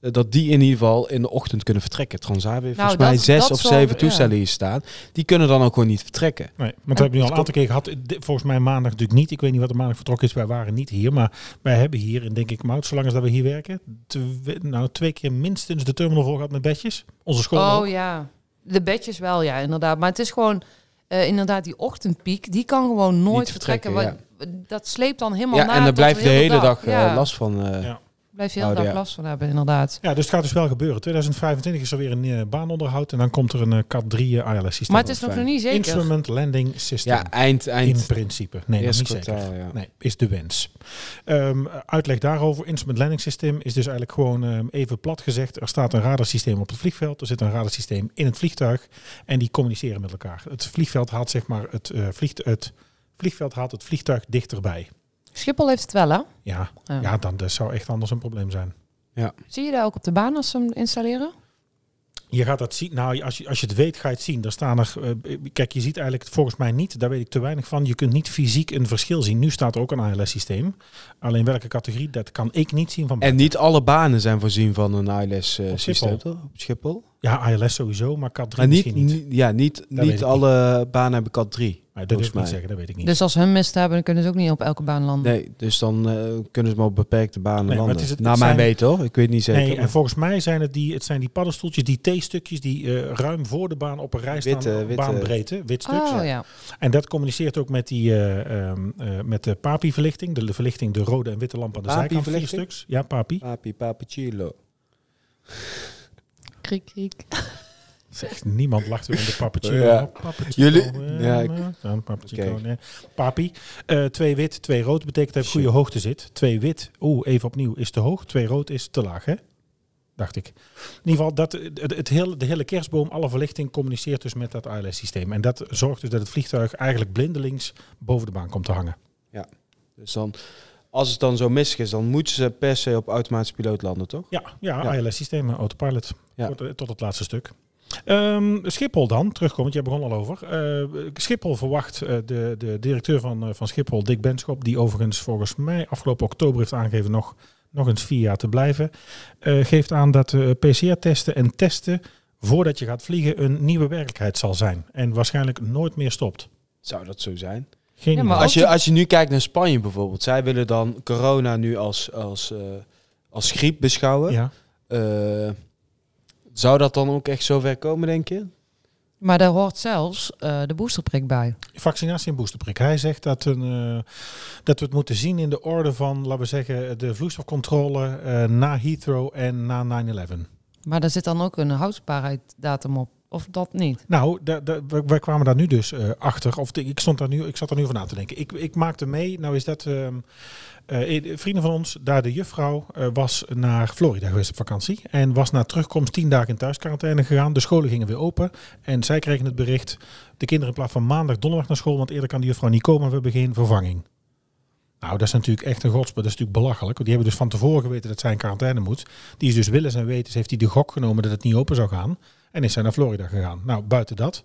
[SPEAKER 3] eh, dat die in ieder geval in de ochtend kunnen vertrekken. Transavia heeft volgens mij
[SPEAKER 4] Nou, dat-
[SPEAKER 3] zes
[SPEAKER 4] dat
[SPEAKER 3] of
[SPEAKER 4] zal-
[SPEAKER 3] zeven
[SPEAKER 4] ja.
[SPEAKER 3] toestellen hier staan. Die kunnen dan ook gewoon niet vertrekken.
[SPEAKER 2] Nee, want we hebben nu al een aantal keer gehad. Dit- Volgens mij maandag natuurlijk niet. Ik weet niet wat er maandag vertrokken is. Wij waren niet hier. Maar wij hebben hier, en denk ik, Mout, zolang als dat we hier werken, twe- nou, twee keer minstens de terminal vol gehad met bedjes. Onze school. ook.
[SPEAKER 4] Oh ja, de bedjes wel, ja, inderdaad. Maar het is gewoon, eh, inderdaad, die ochtendpiek, die kan gewoon nooit
[SPEAKER 3] vertrekken,
[SPEAKER 4] vertrekken. want Dat sleept dan helemaal
[SPEAKER 3] Ja,
[SPEAKER 4] na
[SPEAKER 3] en daar
[SPEAKER 4] tot
[SPEAKER 3] blijft de hele dag, eh,
[SPEAKER 4] Ja.
[SPEAKER 3] last van. eh.
[SPEAKER 2] Ja.
[SPEAKER 4] blijf je heel
[SPEAKER 3] Oh,
[SPEAKER 4] dag
[SPEAKER 3] ja.
[SPEAKER 4] last van hebben, inderdaad.
[SPEAKER 2] Ja, dus het gaat dus wel gebeuren. 2025 is er weer een eh, baanonderhoud en dan komt er een eh, CAT 3 ILS systeem.
[SPEAKER 4] Maar het is nog
[SPEAKER 3] fijn.
[SPEAKER 4] niet zeker.
[SPEAKER 2] Instrument Landing System.
[SPEAKER 3] Ja, eind,
[SPEAKER 2] in
[SPEAKER 3] eind.
[SPEAKER 2] principe. Nee, dat is
[SPEAKER 3] eerste
[SPEAKER 2] niet zeker.
[SPEAKER 3] kwartaal, ja. eh,
[SPEAKER 2] Nee, is de wens. Ehm, uitleg daarover. Instrument Landing System is dus eigenlijk gewoon ehm, even plat gezegd. Er staat een radarsysteem op het vliegveld. Er zit een radarsysteem in het vliegtuig. En die communiceren met elkaar. Het vliegveld haalt zeg maar het, eh, vliegt, het vliegveld haalt het vliegtuig dichterbij.
[SPEAKER 4] Schiphol heeft het wel, hè?
[SPEAKER 2] Ja,
[SPEAKER 4] Ja.
[SPEAKER 2] ja dan dat zou echt anders een probleem zijn.
[SPEAKER 4] Zie je dat ook op de baan als ze hem installeren?
[SPEAKER 2] Je gaat dat zien. Nou, als je, als je het weet, ga je het zien. Daar staan er. eh, kijk, je ziet eigenlijk volgens mij niet. Daar weet ik te weinig van. Je kunt niet fysiek een verschil zien. Nu staat er ook een ALS-systeem. Alleen welke categorie, dat kan ik niet zien van.
[SPEAKER 3] En niet alle banen zijn voorzien van een
[SPEAKER 2] Op
[SPEAKER 3] ALS-systeem,
[SPEAKER 2] Schiphol.
[SPEAKER 3] toch? Op Schiphol.
[SPEAKER 2] Ja, ALS sowieso, maar CAT 3
[SPEAKER 3] Maar niet,
[SPEAKER 2] misschien niet.
[SPEAKER 3] niet- ja, niet,
[SPEAKER 2] weet ik
[SPEAKER 3] niet
[SPEAKER 2] niet.
[SPEAKER 3] alle banen hebben kat 3.
[SPEAKER 2] Maar dat
[SPEAKER 3] volgens
[SPEAKER 2] is niet
[SPEAKER 3] mij.
[SPEAKER 2] zeggen, dat weet ik niet.
[SPEAKER 4] Dus als ze hem mist hebben, dan kunnen ze ook niet op elke baan landen.
[SPEAKER 3] Nee, dus dan eh, kunnen ze maar op beperkte banen
[SPEAKER 2] Mhm. maar
[SPEAKER 3] landen.
[SPEAKER 2] het is het-
[SPEAKER 3] Naar
[SPEAKER 2] het
[SPEAKER 3] mijn
[SPEAKER 2] zijn-
[SPEAKER 3] weten, hoor. Ik weet niet zeker.
[SPEAKER 2] nee,
[SPEAKER 3] maar-
[SPEAKER 2] en volgens mij zijn het die, het zijn die paddenstoeltjes, die T-stukjes, die eh, ruim voor de baan op een rij staan,
[SPEAKER 3] Witte-
[SPEAKER 2] op
[SPEAKER 3] witte-
[SPEAKER 2] baanbreedte, wit stuk.
[SPEAKER 4] Oh ja.
[SPEAKER 2] En dat communiceert ook met, die, eh, ehm, eh, met de papi-verlichting, de verlichting, de rode en witte lamp aan de zijkant, vier
[SPEAKER 3] Papi-verlichting?
[SPEAKER 2] stuks. Ja, papi.
[SPEAKER 3] Papi, papicillo.
[SPEAKER 4] Kriek, kriek.
[SPEAKER 2] Zegt niemand lacht weer in de pappertje. Nou,
[SPEAKER 3] Ja. Jullie- ja, ik-
[SPEAKER 2] pappertje.
[SPEAKER 3] Oké.
[SPEAKER 2] Papi. Eh, twee wit, twee rood betekent dat je op goede hoogte zit. Twee wit, oeh, even opnieuw, is te hoog. Twee rood is te laag, hè? Dacht ik. In ieder geval, dat, eh, het, het hele, de hele kerstboom, alle verlichting communiceert dus met dat ALS-systeem. En dat zorgt dus dat het vliegtuig eigenlijk blindelings boven de baan komt te hangen.
[SPEAKER 3] Dus dan, als het dan zo mis is, dan moeten ze per se op automatisch piloot landen, toch?
[SPEAKER 2] Ja, ja,
[SPEAKER 3] Ja.
[SPEAKER 2] ALS-systeem, autopilot.
[SPEAKER 3] Ja.
[SPEAKER 2] Tot, eh, tot het laatste stuk. Ehm, Schiphol dan, terugkomend, jij begon al over. Eh, Schiphol verwacht, eh, de, de directeur van, eh, van Schiphol, Dick Benschop, die overigens volgens mij afgelopen oktober heeft aangegeven nog, nog eens vier jaar te blijven, eh, geeft aan dat eh, PCR-testen en testen voordat je gaat vliegen een nieuwe werkelijkheid zal zijn. En waarschijnlijk nooit meer stopt.
[SPEAKER 3] Zou dat zo zijn?
[SPEAKER 2] Geen
[SPEAKER 4] Ja, maar
[SPEAKER 2] idee.
[SPEAKER 3] Als je, als je nu kijkt naar Spanje bijvoorbeeld. Zij willen dan corona nu als, als, eh, als griep beschouwen.
[SPEAKER 2] ja.
[SPEAKER 3] Eh, zou dat dan ook echt zo ver komen, denk je?
[SPEAKER 4] Maar daar hoort zelfs eh, de boosterprik bij.
[SPEAKER 2] Vaccinatie en boosterprik. Hij zegt dat, een, eh, dat we het moeten zien in de orde van, laten we zeggen, de vloeistofcontrole eh, na Heathrow en na 9-11.
[SPEAKER 4] Maar daar zit dan ook een houdbaarheidsdatum op. Of dat niet?
[SPEAKER 2] Nou, da- da- wij- wij kwamen daar nu dus eh, achter. Of de- ik, stond daar nu, ik zat daar nu van na te denken. Ik, ik maakte mee, nou is dat... ehm, eh, eh, vrienden van ons, daar de juffrouw, eh, was naar Florida geweest op vakantie. En was na terugkomst tien dagen in thuisquarantaine gegaan. De scholen gingen weer open. En zij kregen het bericht, de kinderen in plaats van maandag donderdag naar school. Want eerder kan de juffrouw niet komen, we hebben geen vervanging. Nou, dat is natuurlijk echt een godsbe. Dat is natuurlijk belachelijk. Want die hebben dus van tevoren geweten dat zij in quarantaine moet. Die is dus willens en wetens, heeft hij de gok genomen dat het niet open zou gaan. En is zij naar Florida gegaan. Nou, buiten dat.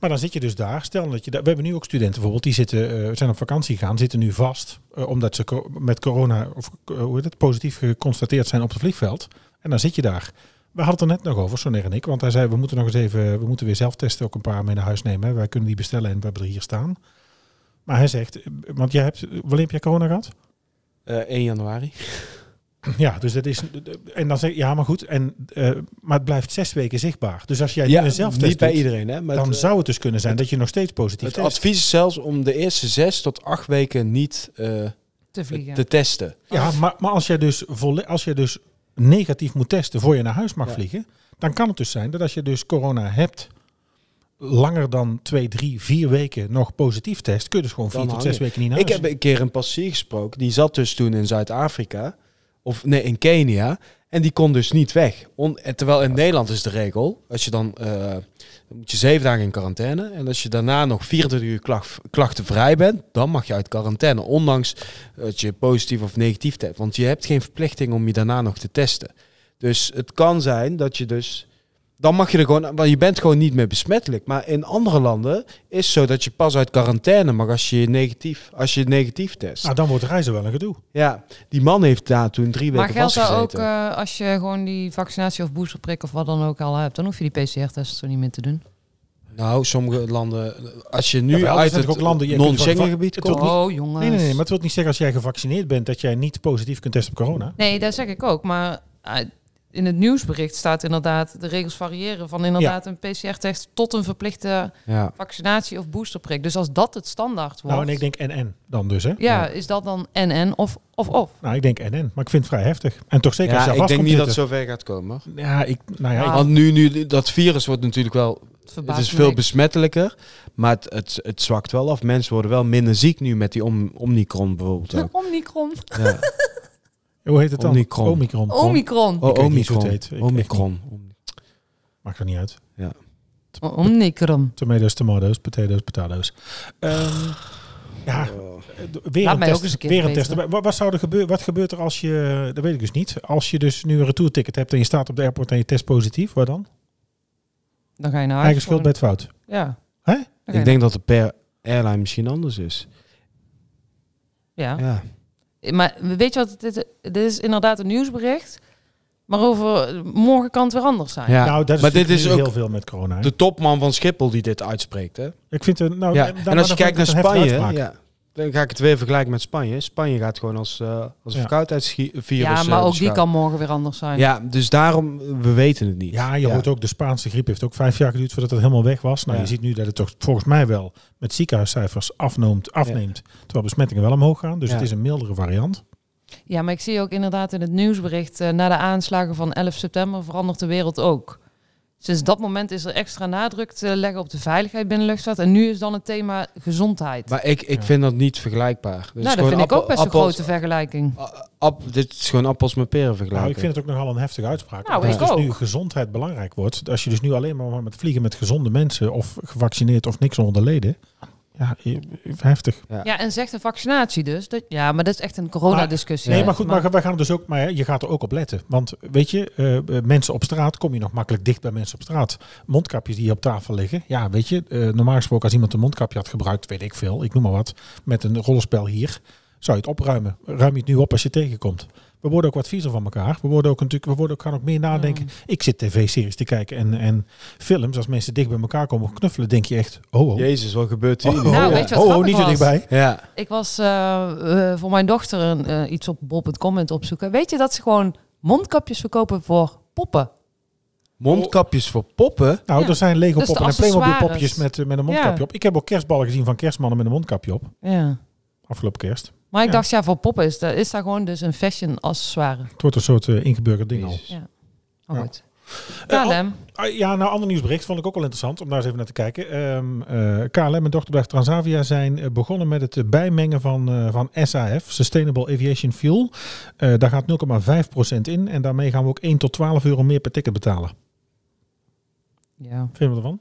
[SPEAKER 2] Maar dan zit je dus daar. Stel dat je daar. We hebben nu ook studenten bijvoorbeeld. Die zitten, eh, zijn op vakantie gegaan. Zitten nu vast. eh, omdat ze co- met corona. Of eh, hoe heet het? Positief geconstateerd zijn op het vliegveld. En dan zit je daar. We hadden het er net nog over, Sonner en ik. Want hij zei: we moeten nog eens even. We moeten weer zelf testen. Ook een paar mee naar huis nemen. hè. Wij kunnen die bestellen. En we hebben er hier staan. Maar hij zegt. eh, Want jij hebt. Wanneer heb jij corona gehad?
[SPEAKER 3] Eh 1 januari.
[SPEAKER 2] Ja, dus dat is. En dan zeg je. Ja, maar goed. En, eh, maar het blijft zes weken zichtbaar. Dus als jij nu een zelftest
[SPEAKER 3] niet bij
[SPEAKER 2] doet,
[SPEAKER 3] iedereen, hè? Maar
[SPEAKER 2] dan
[SPEAKER 3] het, eh,
[SPEAKER 2] zou het dus kunnen zijn
[SPEAKER 3] het-
[SPEAKER 2] dat je nog steeds positief
[SPEAKER 3] het
[SPEAKER 2] test.
[SPEAKER 3] advies is zelfs om de eerste zes tot acht weken niet eh,
[SPEAKER 4] Te vliegen.
[SPEAKER 3] te testen.
[SPEAKER 2] Ja, maar, maar als, jij dus volle- als jij dus negatief moet testen voor je naar huis mag
[SPEAKER 3] Ja.
[SPEAKER 2] vliegen, dan kan het dus zijn dat als je dus corona hebt, langer dan twee, drie, vier weken nog positief test, kun je dus gewoon
[SPEAKER 3] Dan
[SPEAKER 2] vier tot
[SPEAKER 3] hang
[SPEAKER 2] zes
[SPEAKER 3] je.
[SPEAKER 2] weken niet naar
[SPEAKER 3] Ik
[SPEAKER 2] huis.
[SPEAKER 3] heb een keer een passier gesproken. Die zat dus toen in Zuid-Afrika. Of nee, in Kenia. En die kon dus niet weg. On- en terwijl in Nederland is de regel. Als je dan, eh, dan moet je zeven dagen in quarantaine. En als je daarna nog 24 uur klacht, klachtenvrij bent. Dan mag je uit quarantaine. Ondanks dat je positief of negatief hebt. Want je hebt geen verplichting om je daarna nog te testen. Dus het kan zijn dat je dus... Dan mag je er gewoon... Want je bent gewoon niet meer besmettelijk. Maar in andere landen is zo dat je pas uit quarantaine mag als je je negatief, als je negatief test.
[SPEAKER 2] Nou, dan wordt reizen wel een gedoe.
[SPEAKER 3] Ja, die man heeft daar toen drie
[SPEAKER 4] maar
[SPEAKER 3] weken
[SPEAKER 4] geldt dat ook
[SPEAKER 3] vastgezeten.
[SPEAKER 4] eh, als je gewoon die vaccinatie of boosterprik of wat dan ook al hebt? Dan hoef je die PCR-test zo niet meer te doen. eh,
[SPEAKER 3] Nou, sommige landen... Als je nu
[SPEAKER 2] Jawel, er
[SPEAKER 3] uit
[SPEAKER 2] zijn
[SPEAKER 3] het
[SPEAKER 2] natuurlijk ook landen, je kunt
[SPEAKER 3] non-Schengen
[SPEAKER 2] gewoon-
[SPEAKER 3] gebied
[SPEAKER 2] het
[SPEAKER 3] komt...
[SPEAKER 2] wil niet-
[SPEAKER 4] Oh, jongens.
[SPEAKER 2] Nee, nee, nee, maar het wil niet zeggen als jij gevaccineerd bent dat jij niet positief kunt testen op corona.
[SPEAKER 4] Nee, dat zeg ik ook. Maar eh, in het nieuwsbericht staat inderdaad, de regels variëren van inderdaad een PCR-test tot een verplichte
[SPEAKER 3] Ja.
[SPEAKER 4] vaccinatie of boosterprik. Dus als dat het standaard wordt,
[SPEAKER 2] Nou, en ik denk en-en dan dus, hè?
[SPEAKER 4] ja, is dat dan en-en of of? of?
[SPEAKER 2] Nou, ik denk en-en, maar ik vind het vrij heftig. En toch zeker als
[SPEAKER 3] ja,
[SPEAKER 2] je
[SPEAKER 3] ik
[SPEAKER 2] vast
[SPEAKER 3] denk
[SPEAKER 2] komt
[SPEAKER 3] niet dat het
[SPEAKER 2] zitten.
[SPEAKER 3] zover gaat komen.
[SPEAKER 2] Ja, ik, nou ja, ik-
[SPEAKER 4] Ah.
[SPEAKER 3] Want nu, nu, dat virus wordt natuurlijk wel
[SPEAKER 4] Het,
[SPEAKER 3] Het
[SPEAKER 4] verbaast
[SPEAKER 3] is
[SPEAKER 4] me
[SPEAKER 3] veel
[SPEAKER 4] niks.
[SPEAKER 3] besmettelijker, maar het, het, het zwakt wel af. Mensen worden wel minder ziek nu met die om, Omicron bijvoorbeeld ook.
[SPEAKER 4] Omicron.
[SPEAKER 3] Ja.
[SPEAKER 2] hoe heet het dan?
[SPEAKER 3] Omicron.
[SPEAKER 2] Omicron.
[SPEAKER 4] Omicron.
[SPEAKER 3] Oh,
[SPEAKER 2] Ik weet niet hoe het
[SPEAKER 3] Omicron.
[SPEAKER 2] heet. Ik-
[SPEAKER 3] Omicron.
[SPEAKER 2] Maakt er niet uit.
[SPEAKER 4] Omicron.
[SPEAKER 2] Tomatoes, tomatoes, potatoes, potatoes. Ehm, ja,
[SPEAKER 3] Oh.
[SPEAKER 2] weer
[SPEAKER 4] Laat
[SPEAKER 2] een
[SPEAKER 4] mij
[SPEAKER 2] test.
[SPEAKER 4] ook eens een keer
[SPEAKER 2] weer een
[SPEAKER 4] verbeteren.
[SPEAKER 2] test. erbij. Wat, wat zou er gebeuren? Wat gebeurt er als je, dat weet ik dus niet, als je dus nu een retourticket hebt en je staat op de airport en je test positief, waar dan?
[SPEAKER 4] Dan ga je naar huis.
[SPEAKER 2] Eigen schuld bij het fout.
[SPEAKER 4] gewoon. Ja.
[SPEAKER 2] Hè?
[SPEAKER 4] Dan ga je
[SPEAKER 3] Ik denk dat het per airline misschien anders is.
[SPEAKER 4] naar- ja.
[SPEAKER 3] Ja.
[SPEAKER 4] Maar weet je wat, dit, dit is inderdaad een nieuwsbericht. Maar over morgen kan het weer anders zijn.
[SPEAKER 3] Ja.
[SPEAKER 2] nou, dat is
[SPEAKER 3] maar dit
[SPEAKER 2] natuurlijk
[SPEAKER 3] is
[SPEAKER 2] nu
[SPEAKER 3] ook
[SPEAKER 2] heel veel met corona. hè?
[SPEAKER 3] de topman van Schiphol die dit uitspreekt. Hè?
[SPEAKER 2] Ik vind het, nou,
[SPEAKER 3] ja.
[SPEAKER 2] dan-
[SPEAKER 3] En
[SPEAKER 2] dan
[SPEAKER 3] als je
[SPEAKER 2] vond
[SPEAKER 3] kijkt
[SPEAKER 2] ik
[SPEAKER 3] naar
[SPEAKER 2] het een heftige
[SPEAKER 3] Spanje,
[SPEAKER 2] uitspraak.
[SPEAKER 3] ja, dan ga ik het weer vergelijken met Spanje. Spanje gaat gewoon als, eh als een
[SPEAKER 2] Ja.
[SPEAKER 3] verkoudheidsvirus.
[SPEAKER 4] Ja,
[SPEAKER 3] eh,
[SPEAKER 4] maar ook die
[SPEAKER 3] beschouwd.
[SPEAKER 4] kan morgen weer anders zijn.
[SPEAKER 3] Ja, dus daarom, eh, we weten het niet.
[SPEAKER 2] Ja, je hoort ook, de Spaanse griep heeft ook vijf jaar geduurd voordat het helemaal weg was. Nou,
[SPEAKER 3] Ja.
[SPEAKER 2] je ziet nu dat het toch volgens mij wel met ziekenhuiscijfers afneemt, afneemt terwijl besmettingen wel omhoog gaan. Dus
[SPEAKER 3] Ja.
[SPEAKER 2] het is een mildere variant.
[SPEAKER 4] Ja, maar ik zie ook inderdaad in het nieuwsbericht... eh, na de aanslagen van 11 september verandert de wereld ook. Sinds dat moment is er extra nadruk te leggen op de veiligheid binnen de luchtvaart. En nu is dan het thema gezondheid.
[SPEAKER 3] Maar ik, ik
[SPEAKER 2] Ja.
[SPEAKER 3] vind dat niet vergelijkbaar. Dus
[SPEAKER 4] nou, dat
[SPEAKER 3] gewoon
[SPEAKER 4] vind ik
[SPEAKER 3] appel-
[SPEAKER 4] ook best een
[SPEAKER 3] appels-
[SPEAKER 4] grote vergelijking.
[SPEAKER 3] A- App, dit is gewoon appels met peren
[SPEAKER 2] Nou,
[SPEAKER 3] vergelijken.
[SPEAKER 2] ik vind het ook nogal een heftige uitspraak.
[SPEAKER 4] Nou,
[SPEAKER 2] Want
[SPEAKER 4] ik
[SPEAKER 2] als
[SPEAKER 4] ook.
[SPEAKER 2] dus nu gezondheid belangrijk wordt, als je dus nu alleen maar met vliegen met gezonde mensen of gevaccineerd of niks onder de leden, ja, je- heftig.
[SPEAKER 4] Ja, en zegt een vaccinatie dus. Dat, ja, maar dat is echt een coronadiscussie.
[SPEAKER 2] Nee,
[SPEAKER 4] hè.
[SPEAKER 2] maar goed, maar wij gaan er dus ook, maar ja, je gaat er ook op letten. Want weet je, eh, eh, mensen op straat kom je nog makkelijk dicht bij mensen op straat. Mondkapjes die hier op tafel liggen. Ja, weet je, eh, normaal gesproken als iemand een mondkapje had gebruikt, weet ik veel, ik noem maar wat, met een rollenspel hier, zou je het opruimen. Ruim je het nu op als je tegenkomt. We worden ook wat viezer van elkaar. We worden ook natuurlijk, we worden ook, gaan ook meer nadenken. Ik zit tv-series te kijken en, en films. Als mensen dicht bij elkaar komen knuffelen, denk je echt, oh, oh.
[SPEAKER 3] Jezus, wat gebeurt hier?
[SPEAKER 2] Oh,
[SPEAKER 3] nu?
[SPEAKER 2] oh,
[SPEAKER 4] Nou,
[SPEAKER 2] oh,
[SPEAKER 4] weet je wat
[SPEAKER 2] oh, oh,
[SPEAKER 4] grappig
[SPEAKER 2] niet zo
[SPEAKER 4] was?
[SPEAKER 2] dichtbij.
[SPEAKER 3] Ja.
[SPEAKER 4] Ik was eh, eh, voor mijn dochter een, eh, iets op bol.com aan het opzoeken. Weet je dat ze gewoon mondkapjes verkopen voor poppen?
[SPEAKER 3] Mondkapjes voor poppen?
[SPEAKER 2] Nou,
[SPEAKER 4] Ja.
[SPEAKER 2] er zijn Lego
[SPEAKER 4] Dat is de
[SPEAKER 2] poppen en Playmobil
[SPEAKER 4] accessoires.
[SPEAKER 2] popjes met, eh, met een mondkapje
[SPEAKER 4] Ja.
[SPEAKER 2] op. Ik heb ook kerstballen gezien van kerstmannen met een mondkapje op.
[SPEAKER 4] Ja.
[SPEAKER 2] Afgelopen kerst.
[SPEAKER 4] Maar ik
[SPEAKER 2] Ja.
[SPEAKER 4] dacht, ja, voor poppen is dat, is dat gewoon dus een fashion accessoire.
[SPEAKER 2] Het wordt een soort eh, ingeburgerd ding al.
[SPEAKER 3] Jezus.
[SPEAKER 4] Ja. Oh,
[SPEAKER 2] Ja.
[SPEAKER 4] goed.
[SPEAKER 2] Eh, al-
[SPEAKER 4] KLM.
[SPEAKER 2] Ah, ja, nou, ander nieuwsbericht vond ik ook wel interessant om daar eens even naar te kijken. Ehm eh KLM en dochterbedrijf Transavia zijn eh, begonnen met het eh, bijmengen van, eh, van SAF, Sustainable Aviation Fuel. Eh, daar gaat 0,5% in en daarmee gaan we ook 1 tot 12 euro meer per ticket betalen.
[SPEAKER 4] Ja,
[SPEAKER 2] Vinden we ervan?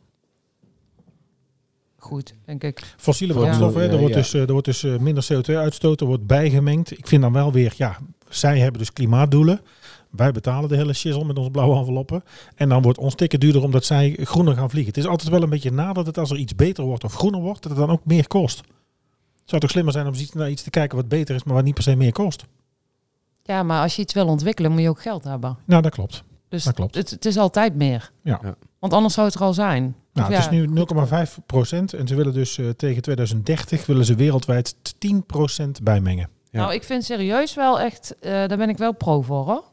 [SPEAKER 4] goed, denk ik.
[SPEAKER 2] Fossiele
[SPEAKER 4] Ja.
[SPEAKER 2] brandstoffen, hè.
[SPEAKER 3] Ja,
[SPEAKER 2] er wordt
[SPEAKER 3] ja.
[SPEAKER 2] dus, eh, er wordt dus eh, minder CO2-uitstoot, er wordt bijgemengd. Ik vind dan wel weer, ja, zij hebben dus klimaatdoelen. Wij betalen de hele shizzle met onze blauwe enveloppen. En dan wordt ons ticket duurder omdat zij groener gaan vliegen. Het is altijd wel een beetje nadat het als er iets beter wordt of groener wordt, dat het dan ook meer kost. Het zou toch slimmer zijn om iets, naar iets te kijken wat beter is, maar wat niet per se meer kost.
[SPEAKER 4] Ja, maar als je iets wil ontwikkelen, moet je ook geld hebben.
[SPEAKER 2] Nou, dat klopt.
[SPEAKER 4] Dus
[SPEAKER 2] Dat klopt.
[SPEAKER 4] Het, het is altijd meer.
[SPEAKER 2] Ja.
[SPEAKER 3] Ja.
[SPEAKER 4] Want anders zou het er al zijn.
[SPEAKER 2] Nou,
[SPEAKER 4] Ja,
[SPEAKER 2] het is nu 0,5 procent. En ze willen dus eh, tegen 2030 willen ze wereldwijd 10 procent bijmengen.
[SPEAKER 3] Ja.
[SPEAKER 4] Nou, ik vind serieus wel echt, eh, daar ben ik wel pro voor hoor.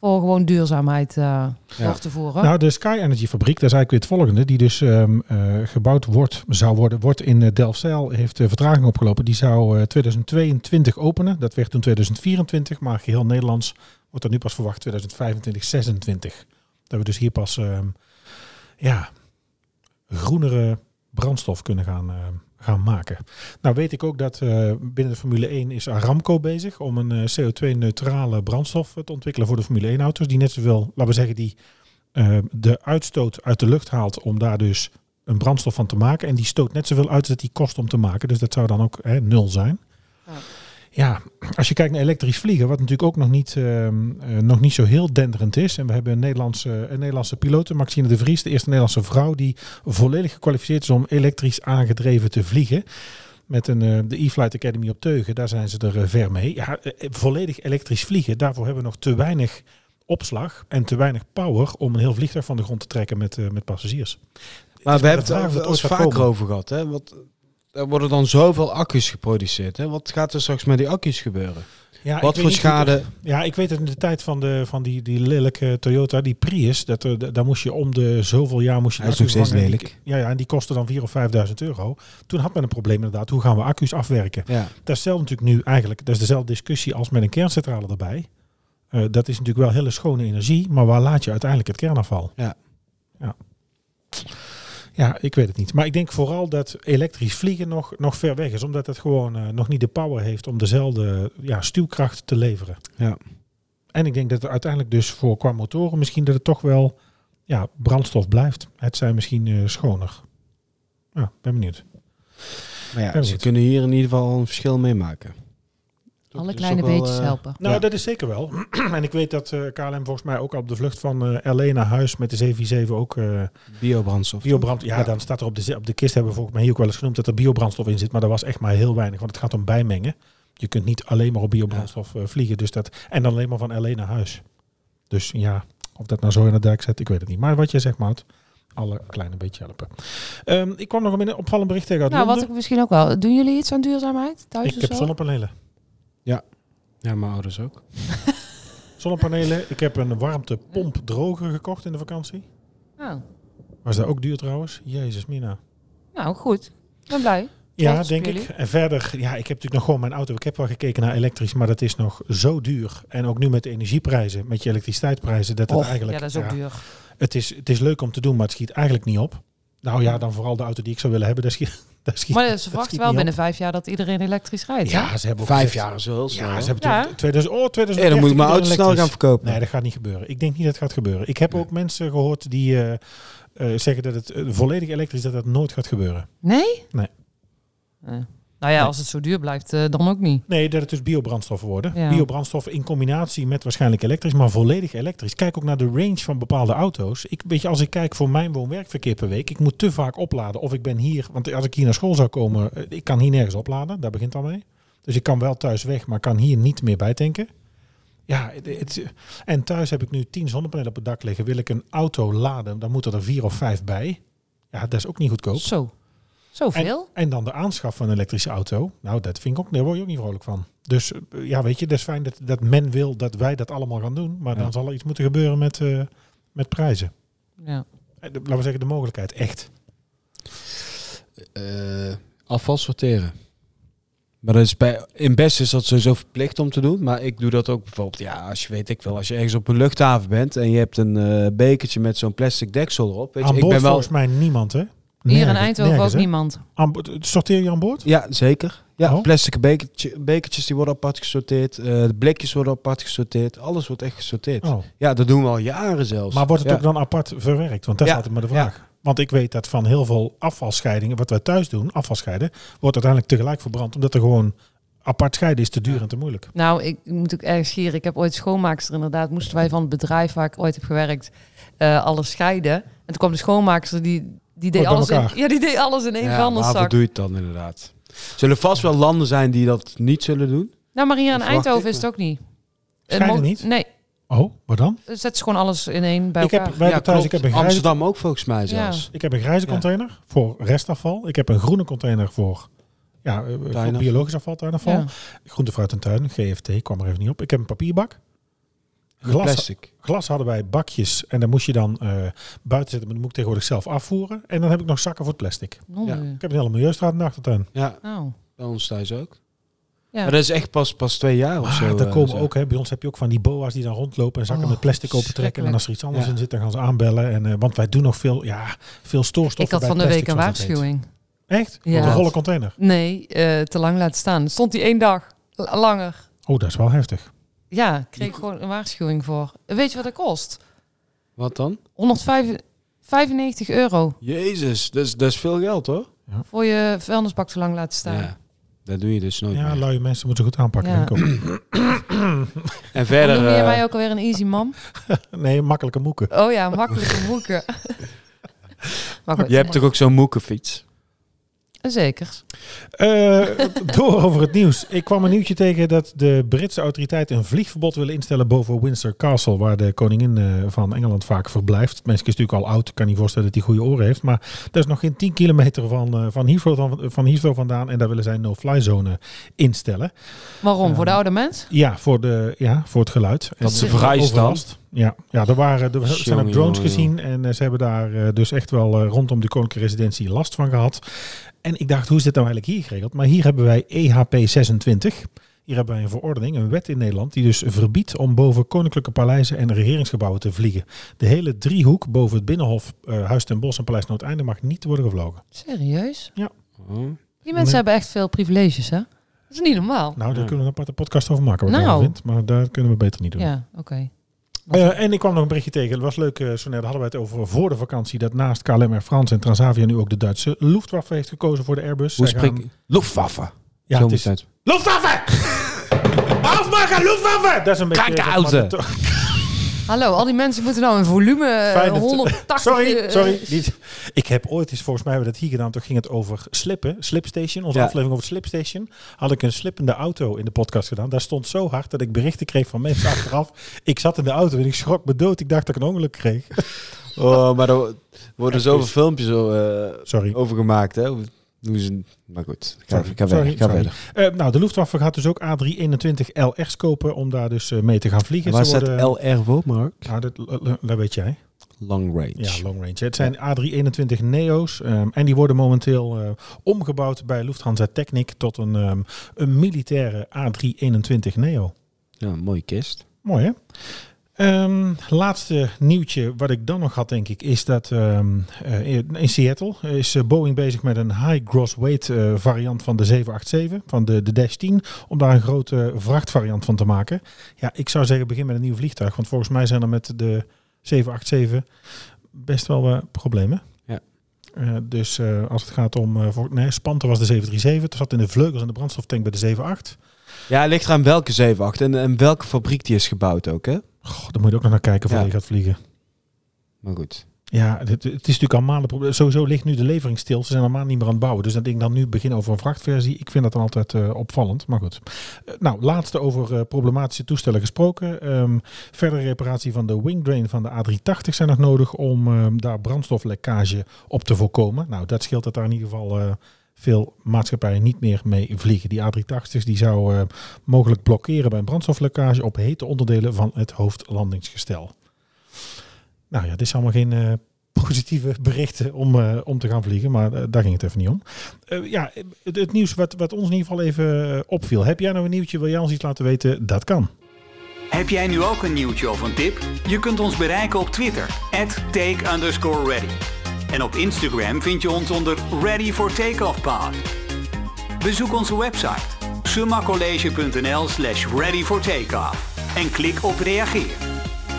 [SPEAKER 4] Voor gewoon duurzaamheid eh
[SPEAKER 3] Ja.
[SPEAKER 4] door te voeren.
[SPEAKER 2] Nou, de Sky Energy fabriek, dat is eigenlijk weer het volgende, die dus ehm, eh, gebouwd wordt, zou worden, wordt in eh, Delfzijl, heeft eh, vertraging opgelopen. Die zou eh, 2022 openen, dat werd toen 2024, maar geheel Nederlands wordt er nu pas verwacht 2025, 26. Dat we dus hier pas, ehm, ja, groenere brandstof kunnen gaan, eh, gaan maken. Nou weet ik ook dat eh, binnen de Formule 1 is Aramco bezig om een eh, CO2-neutrale brandstof eh, te ontwikkelen voor de Formule 1-auto's. Die net zoveel, laten we zeggen, die eh, de uitstoot uit de lucht haalt om daar dus een brandstof van te maken. En die stoot net zoveel uit als het die kost om te maken. Dus dat zou dan ook hè, nul zijn.
[SPEAKER 4] Ja.
[SPEAKER 2] Ja. als je kijkt naar elektrisch vliegen, wat natuurlijk ook nog niet, ehm, eh, nog niet zo heel denderend is. En we hebben een Nederlandse, een Nederlandse pilote, Maxine de Vries, de eerste Nederlandse vrouw die volledig gekwalificeerd is om elektrisch aangedreven te vliegen. Met een, eh, de E-Flight Academy op Teugen, daar zijn ze er eh, ver mee. Ja, eh, eh, volledig elektrisch vliegen, daarvoor hebben we nog te weinig opslag en te weinig power om een heel vliegtuig van de grond te trekken met, eh, met passagiers.
[SPEAKER 3] Maar we
[SPEAKER 2] maar de
[SPEAKER 3] hebben
[SPEAKER 2] vraag
[SPEAKER 3] het
[SPEAKER 2] of
[SPEAKER 3] er
[SPEAKER 2] het
[SPEAKER 3] ons
[SPEAKER 2] ooit gaat
[SPEAKER 3] vaker
[SPEAKER 2] komen.
[SPEAKER 3] over gehad. Hè? Want Er worden dan zoveel accu's geproduceerd. Hè? Wat gaat er straks met die accu's gebeuren?
[SPEAKER 2] Ja, ik
[SPEAKER 3] Wat
[SPEAKER 2] weet
[SPEAKER 3] voor
[SPEAKER 2] niet-
[SPEAKER 3] schade?
[SPEAKER 2] Ja, ik weet het in de tijd van, de, van die, die lelijke Toyota, die Prius, dat, er- daar moest je om de zoveel jaar moest je
[SPEAKER 3] Hij is
[SPEAKER 2] de
[SPEAKER 3] nog steeds
[SPEAKER 2] vervangen. En
[SPEAKER 3] lelijk.
[SPEAKER 2] Die, ja, ja, en die kostte dan 4.000 of 5.000 euro. Toen had men een probleem inderdaad, hoe gaan we accu's afwerken?
[SPEAKER 3] Ja.
[SPEAKER 2] Dat stelt natuurlijk nu eigenlijk, dat is dezelfde discussie als met een kerncentrale erbij. Eh, dat is natuurlijk wel hele schone energie, maar waar laat je uiteindelijk het kernafval?
[SPEAKER 3] Ja.
[SPEAKER 2] ja. Ja, ik weet het niet. Maar ik denk vooral dat elektrisch vliegen nog, nog ver weg is. Omdat het gewoon eh, nog niet de power heeft om dezelfde ja, stuwkracht te leveren.
[SPEAKER 3] Ja.
[SPEAKER 2] En ik denk dat het uiteindelijk dus voor qua motoren misschien dat het toch wel ja, brandstof blijft. Het zijn misschien eh, schoner. Ja, ben benieuwd.
[SPEAKER 3] Maar ja,
[SPEAKER 2] Ja,
[SPEAKER 3] ze
[SPEAKER 2] goed.
[SPEAKER 3] kunnen hier in ieder geval een verschil mee maken.
[SPEAKER 4] Alle
[SPEAKER 3] Dus
[SPEAKER 4] kleine
[SPEAKER 3] ook wel,
[SPEAKER 4] beetjes
[SPEAKER 3] eh,
[SPEAKER 4] helpen.
[SPEAKER 2] Nou,
[SPEAKER 3] Ja.
[SPEAKER 2] dat is zeker wel. en ik weet dat eh, KLM volgens mij ook al op de vlucht van eh, LA naar huis met de 747 ook eh,
[SPEAKER 3] Biobrandstof.
[SPEAKER 2] Biobrand, ja,
[SPEAKER 3] Ja.
[SPEAKER 2] dan staat er op de, ze- op de kist, hebben we volgens mij hier ook wel eens genoemd, dat er biobrandstof in zit. Maar dat was echt maar heel weinig, want het gaat om bijmengen. Je kunt niet alleen maar op biobrandstof eh, vliegen. Dus dat, en dan alleen maar van LA naar huis. Dus ja, of dat nou zo in de dijk zet, ik weet het niet. Maar wat jij zegt, Maat, alle kleine beetje helpen. Ehm, ik kwam nog een binnen- opvallend bericht tegen uit
[SPEAKER 4] Nou, wat
[SPEAKER 2] Londen.
[SPEAKER 4] ik misschien ook wel. Doen jullie iets aan duurzaamheid thuis
[SPEAKER 2] Ik
[SPEAKER 4] of
[SPEAKER 2] heb
[SPEAKER 4] zo?
[SPEAKER 2] zonnepanelen.
[SPEAKER 3] Ja, mijn ouders ook.
[SPEAKER 2] Zonnepanelen. Ik heb een warmtepomp droger gekocht in de vakantie.
[SPEAKER 4] Nou,
[SPEAKER 2] Was dat ook duur trouwens? Jezus, Mina.
[SPEAKER 4] nou, goed. Ik ben blij.
[SPEAKER 2] Ja,
[SPEAKER 4] Trots op
[SPEAKER 2] denk ik.
[SPEAKER 4] jullie.
[SPEAKER 2] En verder, ja, ik heb natuurlijk nog gewoon mijn auto. Ik heb wel gekeken naar elektrisch, maar dat is nog zo duur. En ook nu met de energieprijzen, met je elektriciteitsprijzen, dat het
[SPEAKER 4] Och,
[SPEAKER 2] eigenlijk.
[SPEAKER 4] ja, dat is ook
[SPEAKER 2] ja,
[SPEAKER 4] duur.
[SPEAKER 2] Het is, het is leuk om te doen, maar het schiet eigenlijk niet op. Nou ja, dan vooral de auto die ik zou willen hebben, daar schiet. Daar schiet
[SPEAKER 4] Maar ze
[SPEAKER 2] dat
[SPEAKER 4] verwachten
[SPEAKER 2] schiet
[SPEAKER 4] wel
[SPEAKER 2] niet op.
[SPEAKER 4] binnen vijf jaar dat iedereen elektrisch rijdt. hè?
[SPEAKER 2] Ja, ze hebben ook
[SPEAKER 3] Vijf
[SPEAKER 2] gezegd-
[SPEAKER 3] jaar is wel heel snel.
[SPEAKER 2] Ja, ze
[SPEAKER 3] hoor.
[SPEAKER 2] hebben
[SPEAKER 4] Ja.
[SPEAKER 2] toen 2000, oh, 2000.
[SPEAKER 3] Hey, dan moet ik mijn auto snel gaan verkopen.
[SPEAKER 2] Nee, dat gaat niet gebeuren. Ik denk niet dat het gaat gebeuren. Ik heb ook mensen gehoord die eh, eh, zeggen dat het eh, volledig elektrisch dat dat nooit gaat gebeuren.
[SPEAKER 4] Nee?
[SPEAKER 2] Nee.
[SPEAKER 4] Eh, Nou ja, als het zo duur blijft, eh, dan ook niet.
[SPEAKER 2] Nee, dat het dus biobrandstoffen worden.
[SPEAKER 4] Ja.
[SPEAKER 2] Biobrandstoffen in combinatie met waarschijnlijk elektrisch, maar volledig elektrisch. Kijk ook naar de range van bepaalde auto's. Ik weet je, als ik kijk voor mijn woon-werkverkeer per week, ik moet te vaak opladen. Of ik ben hier, want als ik hier naar school zou komen, eh, ik kan hier nergens opladen. Daar begint al mee. Dus ik kan wel thuis weg, maar kan hier niet meer bijtanken. Ja, het, het- en thuis heb ik nu 10 zonnepanelen op het dak liggen. Wil ik een auto laden, dan moeten er vier of vijf bij. Ja, dat is ook niet goedkoop.
[SPEAKER 4] Zo. Zoveel?
[SPEAKER 2] En dan de aanschaf van een elektrische auto. Nou, dat vind ik ook, daar word je ook niet vrolijk van. Dus eh, ja, weet je, dat is fijn dat, dat men wil dat wij dat allemaal gaan doen. Maar
[SPEAKER 3] Ja.
[SPEAKER 2] dan zal er iets moeten gebeuren met, eh, met prijzen.
[SPEAKER 4] Ja.
[SPEAKER 2] Eh, de- Laten we zeggen, de mogelijkheid, echt.
[SPEAKER 3] Eh, afval sorteren. Maar dat is bij, in best is dat sowieso verplicht om te doen. Maar ik doe dat ook bijvoorbeeld, ja, als je weet ik wel, als je ergens op een luchthaven bent en je hebt een eh, bekertje met zo'n plastic deksel erop. Weet je,
[SPEAKER 2] aan
[SPEAKER 3] ik
[SPEAKER 2] boord
[SPEAKER 3] ben wel.
[SPEAKER 2] volgens mij niemand, hè?
[SPEAKER 4] Hier in
[SPEAKER 2] Nergens-
[SPEAKER 4] Eindhoven
[SPEAKER 2] nergens,
[SPEAKER 4] ook
[SPEAKER 2] hè?
[SPEAKER 4] niemand.
[SPEAKER 2] Aan boord- sorteer je aan boord?
[SPEAKER 3] Ja, zeker. Ja,
[SPEAKER 2] Oh.
[SPEAKER 3] plastic bekertje, bekertjes die worden apart gesorteerd. eh, de blikjes worden apart gesorteerd. Alles wordt echt gesorteerd.
[SPEAKER 2] Oh.
[SPEAKER 3] Ja, dat doen we al jaren zelfs.
[SPEAKER 2] Maar wordt het
[SPEAKER 3] Ja.
[SPEAKER 2] ook dan apart verwerkt? Want dat
[SPEAKER 3] Ja,
[SPEAKER 2] is altijd maar de vraag. Want ik weet dat van heel veel afvalscheidingen, wat wij thuis doen, afvalscheiden, wordt uiteindelijk tegelijk verbrand. Omdat er gewoon apart scheiden is te duur en te moeilijk.
[SPEAKER 4] Nou, ik moet ook erg schieren. Ik heb ooit schoonmaakster inderdaad. Moesten wij van het bedrijf waar ik ooit heb gewerkt eh, alles scheiden. En toen kwam de schoonmaakster die, die deed
[SPEAKER 2] Ook bij
[SPEAKER 4] alles in.
[SPEAKER 2] elkaar.
[SPEAKER 4] Ja, die deed alles in één
[SPEAKER 3] Ja, waarvoor
[SPEAKER 4] vuilniszak.
[SPEAKER 3] doe je het dan inderdaad? Zullen vast wel landen zijn die dat niet zullen doen?
[SPEAKER 4] Nou, maar hier in
[SPEAKER 3] Dat verwacht
[SPEAKER 4] Eindhoven
[SPEAKER 3] ik,
[SPEAKER 4] is het ook niet. Eh,
[SPEAKER 2] Scheiden
[SPEAKER 4] mo-
[SPEAKER 2] niet?
[SPEAKER 4] Nee,
[SPEAKER 2] Oh, wat dan?
[SPEAKER 4] zet ze gewoon alles in één bij
[SPEAKER 2] Ik heb,
[SPEAKER 4] elkaar.
[SPEAKER 2] wij
[SPEAKER 3] ja,
[SPEAKER 2] hebben thuis, ik heb
[SPEAKER 3] klopt.
[SPEAKER 2] een grijze
[SPEAKER 3] Amsterdam ook volgens mij zelfs.
[SPEAKER 2] Ik heb een grijze
[SPEAKER 3] Ja.
[SPEAKER 2] container voor restafval. Ik heb een groene container voor ja, eh,
[SPEAKER 3] Tuinafval.
[SPEAKER 2] biologisch afval, tuinafval.
[SPEAKER 4] Ja.
[SPEAKER 2] Groente, fruit en tuin, GFT, kwam er even niet op. Ik heb een papierbak.
[SPEAKER 3] Met
[SPEAKER 2] Glas,
[SPEAKER 3] Plastic.
[SPEAKER 2] glas hadden wij bakjes en daar moest je dan eh, buiten zetten. Maar dat moet ik tegenwoordig zelf afvoeren. En dan heb ik nog zakken voor het plastic.
[SPEAKER 4] Nonde.
[SPEAKER 2] Ik heb een hele milieustraat in de achtertuin.
[SPEAKER 3] Ja,
[SPEAKER 4] Nou,
[SPEAKER 3] bij ons thuis ook.
[SPEAKER 4] ja.
[SPEAKER 3] Maar dat is echt pas, pas twee jaar of
[SPEAKER 2] Ah,
[SPEAKER 3] zo.
[SPEAKER 2] daar
[SPEAKER 3] eh,
[SPEAKER 2] komen
[SPEAKER 3] zo.
[SPEAKER 2] ook, hè, bij ons heb je ook van die boa's die dan rondlopen en zakken
[SPEAKER 4] Oh,
[SPEAKER 2] met plastic open trekken. En
[SPEAKER 4] schrikkelijk.
[SPEAKER 2] als er iets anders
[SPEAKER 3] Ja.
[SPEAKER 2] in zit, dan gaan ze aanbellen. En, eh, want wij doen nog veel, ja, veel stoorstoffen
[SPEAKER 4] ik had
[SPEAKER 2] bij
[SPEAKER 4] van de
[SPEAKER 2] plastic,
[SPEAKER 4] week een
[SPEAKER 2] zoals dat heet.
[SPEAKER 4] waarschuwing.
[SPEAKER 2] Echt?
[SPEAKER 4] Ja.
[SPEAKER 2] Op een volle container?
[SPEAKER 4] Nee, eh, te lang laten staan. Stond die één dag L- langer.
[SPEAKER 2] Oh, dat is wel heftig.
[SPEAKER 4] Ja, kreeg ik gewoon een waarschuwing voor. Weet je wat dat kost?
[SPEAKER 3] Wat dan?
[SPEAKER 4] 195 euro
[SPEAKER 3] Jezus, dat is, dat is veel geld hoor.
[SPEAKER 4] voor je vuilnisbak te lang laten staan.
[SPEAKER 3] Ja, dat doe je dus nooit
[SPEAKER 2] Ja,
[SPEAKER 3] meer.
[SPEAKER 2] luie mensen moeten goed aanpakken.
[SPEAKER 4] Ja.
[SPEAKER 2] denk ik
[SPEAKER 3] En
[SPEAKER 4] Hoe
[SPEAKER 3] verder...
[SPEAKER 4] noem je
[SPEAKER 3] eh,
[SPEAKER 4] mij ook alweer een easy mom?
[SPEAKER 2] ook. nee, makkelijke moeken.
[SPEAKER 4] Oh ja, makkelijke boeken. maar goed.
[SPEAKER 3] je hebt toch ook zo'n moekenfiets?
[SPEAKER 4] Zekers.
[SPEAKER 2] Eh, door over het nieuws. Ik kwam een nieuwtje tegen dat de Britse autoriteiten een vliegverbod willen instellen boven Windsor Castle, waar de koningin eh, van Engeland vaak verblijft. Het mensje is natuurlijk al oud, kan niet voorstellen dat hij goede oren heeft. Maar dat is nog geen 10 kilometer van, eh, van, Heathrow, dan- van Heathrow vandaan en daar willen zij een no-fly zone instellen.
[SPEAKER 4] Waarom?
[SPEAKER 2] Ja.
[SPEAKER 4] Voor de oude mens?
[SPEAKER 2] Ja, voor, de, ja, voor het geluid. En
[SPEAKER 3] Dat
[SPEAKER 4] ze
[SPEAKER 2] de
[SPEAKER 3] verhuisd dan?
[SPEAKER 2] overlast. Ja, ja er, waren, er zijn ook
[SPEAKER 3] Jongen,
[SPEAKER 2] drones
[SPEAKER 3] jongen,
[SPEAKER 2] gezien en eh, ze hebben daar eh, dus echt wel eh, rondom de koninklijke residentie last van gehad. En ik dacht, hoe is dit nou eigenlijk hier geregeld? Maar hier hebben wij E EHP 26. Hier hebben wij een verordening, een wet in Nederland, die dus verbiedt om boven koninklijke paleizen en regeringsgebouwen te vliegen. De hele driehoek boven het Binnenhof, eh, Huis ten Bosch en Paleis Noordeinde mag niet worden gevlogen.
[SPEAKER 4] Serieus?
[SPEAKER 2] Oh.
[SPEAKER 3] Hm?
[SPEAKER 4] Die mensen
[SPEAKER 2] Nee.
[SPEAKER 4] hebben echt veel privileges, hè? Dat is niet normaal.
[SPEAKER 2] Nou, daar
[SPEAKER 3] Ja.
[SPEAKER 2] kunnen we een aparte podcast over maken, wat ik
[SPEAKER 4] Nou.
[SPEAKER 2] ervan vind. Maar daar kunnen we beter niet doen.
[SPEAKER 4] Ja, oké.
[SPEAKER 2] Eh, en ik kwam nog een berichtje tegen. Het was leuk, eh zo net hadden we het over voor de vakantie. Dat naast KLM Air France en Transavia nu ook de Duitse Luftwaffe heeft gekozen voor de Airbus.
[SPEAKER 3] Hoe
[SPEAKER 2] Zij
[SPEAKER 3] spreek
[SPEAKER 2] gaan-
[SPEAKER 3] Luftwaffe.
[SPEAKER 2] ehm, Ja, het
[SPEAKER 3] Zo moet
[SPEAKER 2] is...
[SPEAKER 3] het uit.
[SPEAKER 2] Luftwaffe! Afmaken, Luftwaffe! Dat is een beetje...
[SPEAKER 3] Krankhouden.
[SPEAKER 2] zeg maar, de to-
[SPEAKER 4] Hallo, al die mensen moeten nou in volume eh,
[SPEAKER 2] Fijn dat-
[SPEAKER 4] 180...
[SPEAKER 2] Sorry,
[SPEAKER 4] eh,
[SPEAKER 2] sorry. Niet. Ik heb ooit eens, volgens mij hebben we dat hier gedaan, toen ging het over slippen. Slipstation, onze
[SPEAKER 3] Ja.
[SPEAKER 2] aflevering over Slipstation. Had ik een slippende auto in de podcast gedaan. Daar stond zo hard dat ik berichten kreeg van mensen achteraf. Ik zat in de auto en ik schrok me dood. Ik dacht dat ik een ongeluk kreeg.
[SPEAKER 3] Oh, maar er worden zoveel filmpjes eh,
[SPEAKER 2] Sorry.
[SPEAKER 3] over gemaakt, hè? Hoe- Hoe ze... Maar goed, ik ga,
[SPEAKER 2] Sorry,
[SPEAKER 3] ik ga
[SPEAKER 2] sorry,
[SPEAKER 3] verder. ik ga
[SPEAKER 2] sorry.
[SPEAKER 3] verder.
[SPEAKER 2] Eh, nou, de Luftwaffe gaat dus ook A321LR's kopen om daar dus eh, mee te gaan vliegen.
[SPEAKER 3] Waar
[SPEAKER 2] Ze
[SPEAKER 3] staat
[SPEAKER 2] worden-
[SPEAKER 3] LR voor, Mark?
[SPEAKER 2] Ah, dat, dat weet jij.
[SPEAKER 3] Long range.
[SPEAKER 2] Ja, long range. Het zijn A321 Neo's ehm, en die worden momenteel eh, omgebouwd bij Lufthansa Technic tot een, ehm, een militaire A321 Neo.
[SPEAKER 3] Ja, mooie kist.
[SPEAKER 2] Mooi hè? Ehm, laatste nieuwtje wat ik dan nog had, denk ik, is dat ehm, eh, in in Seattle is eh, Boeing bezig met een high gross weight eh, variant van de 787, van de, de Dash 10, om daar een grote vrachtvariant van te maken. Ja, ik zou zeggen begin met een nieuw vliegtuig, want volgens mij zijn er met de 787 best wel eh, problemen.
[SPEAKER 3] Ja.
[SPEAKER 2] Eh, dus eh, als het gaat om... eh, voor, nee, Spanter was de 737, het zat in de vleugels en de brandstoftank bij de 78.
[SPEAKER 3] Ja, het ligt eraan welke 78 en, en welke fabriek die is gebouwd ook, hè?
[SPEAKER 2] Goh, daar moet je ook nog naar kijken voordat
[SPEAKER 3] Ja.
[SPEAKER 2] je gaat vliegen.
[SPEAKER 3] Maar goed.
[SPEAKER 2] Ja, het, het is natuurlijk al maanden. probleem. Sowieso ligt nu de levering stil. Ze zijn al maanden niet meer aan het bouwen. Dus dat ik dan nu begin over een vrachtversie. Ik vind dat dan altijd eh, opvallend. Maar goed. Eh, nou, laatste over eh, problematische toestellen gesproken. Ehm verdere reparatie van de wingdrain van de A380 zijn nog nodig om ehm, daar brandstoflekkage op te voorkomen. Nou, dat scheelt dat daar in ieder geval. eh, veel maatschappijen niet meer mee vliegen. Die A380 die zou eh, mogelijk blokkeren bij een brandstoflekkage op hete onderdelen van het hoofdlandingsgestel. Nou ja, dit is allemaal geen eh, positieve berichten om, eh, om te gaan vliegen, maar eh, daar ging het even niet om. Eh, ja, het, het nieuws wat, wat ons in ieder geval even eh, opviel. Heb jij nou een nieuwtje, wil jij ons iets laten weten? Dat kan.
[SPEAKER 1] Heb jij nu ook een nieuwtje of een tip? Je kunt ons bereiken op Twitter, take underscore ready. En op Instagram vind je ons onder Ready for Takeoff Pod. Bezoek onze website summacollege.nl slash ready for takeoff en klik op reageer.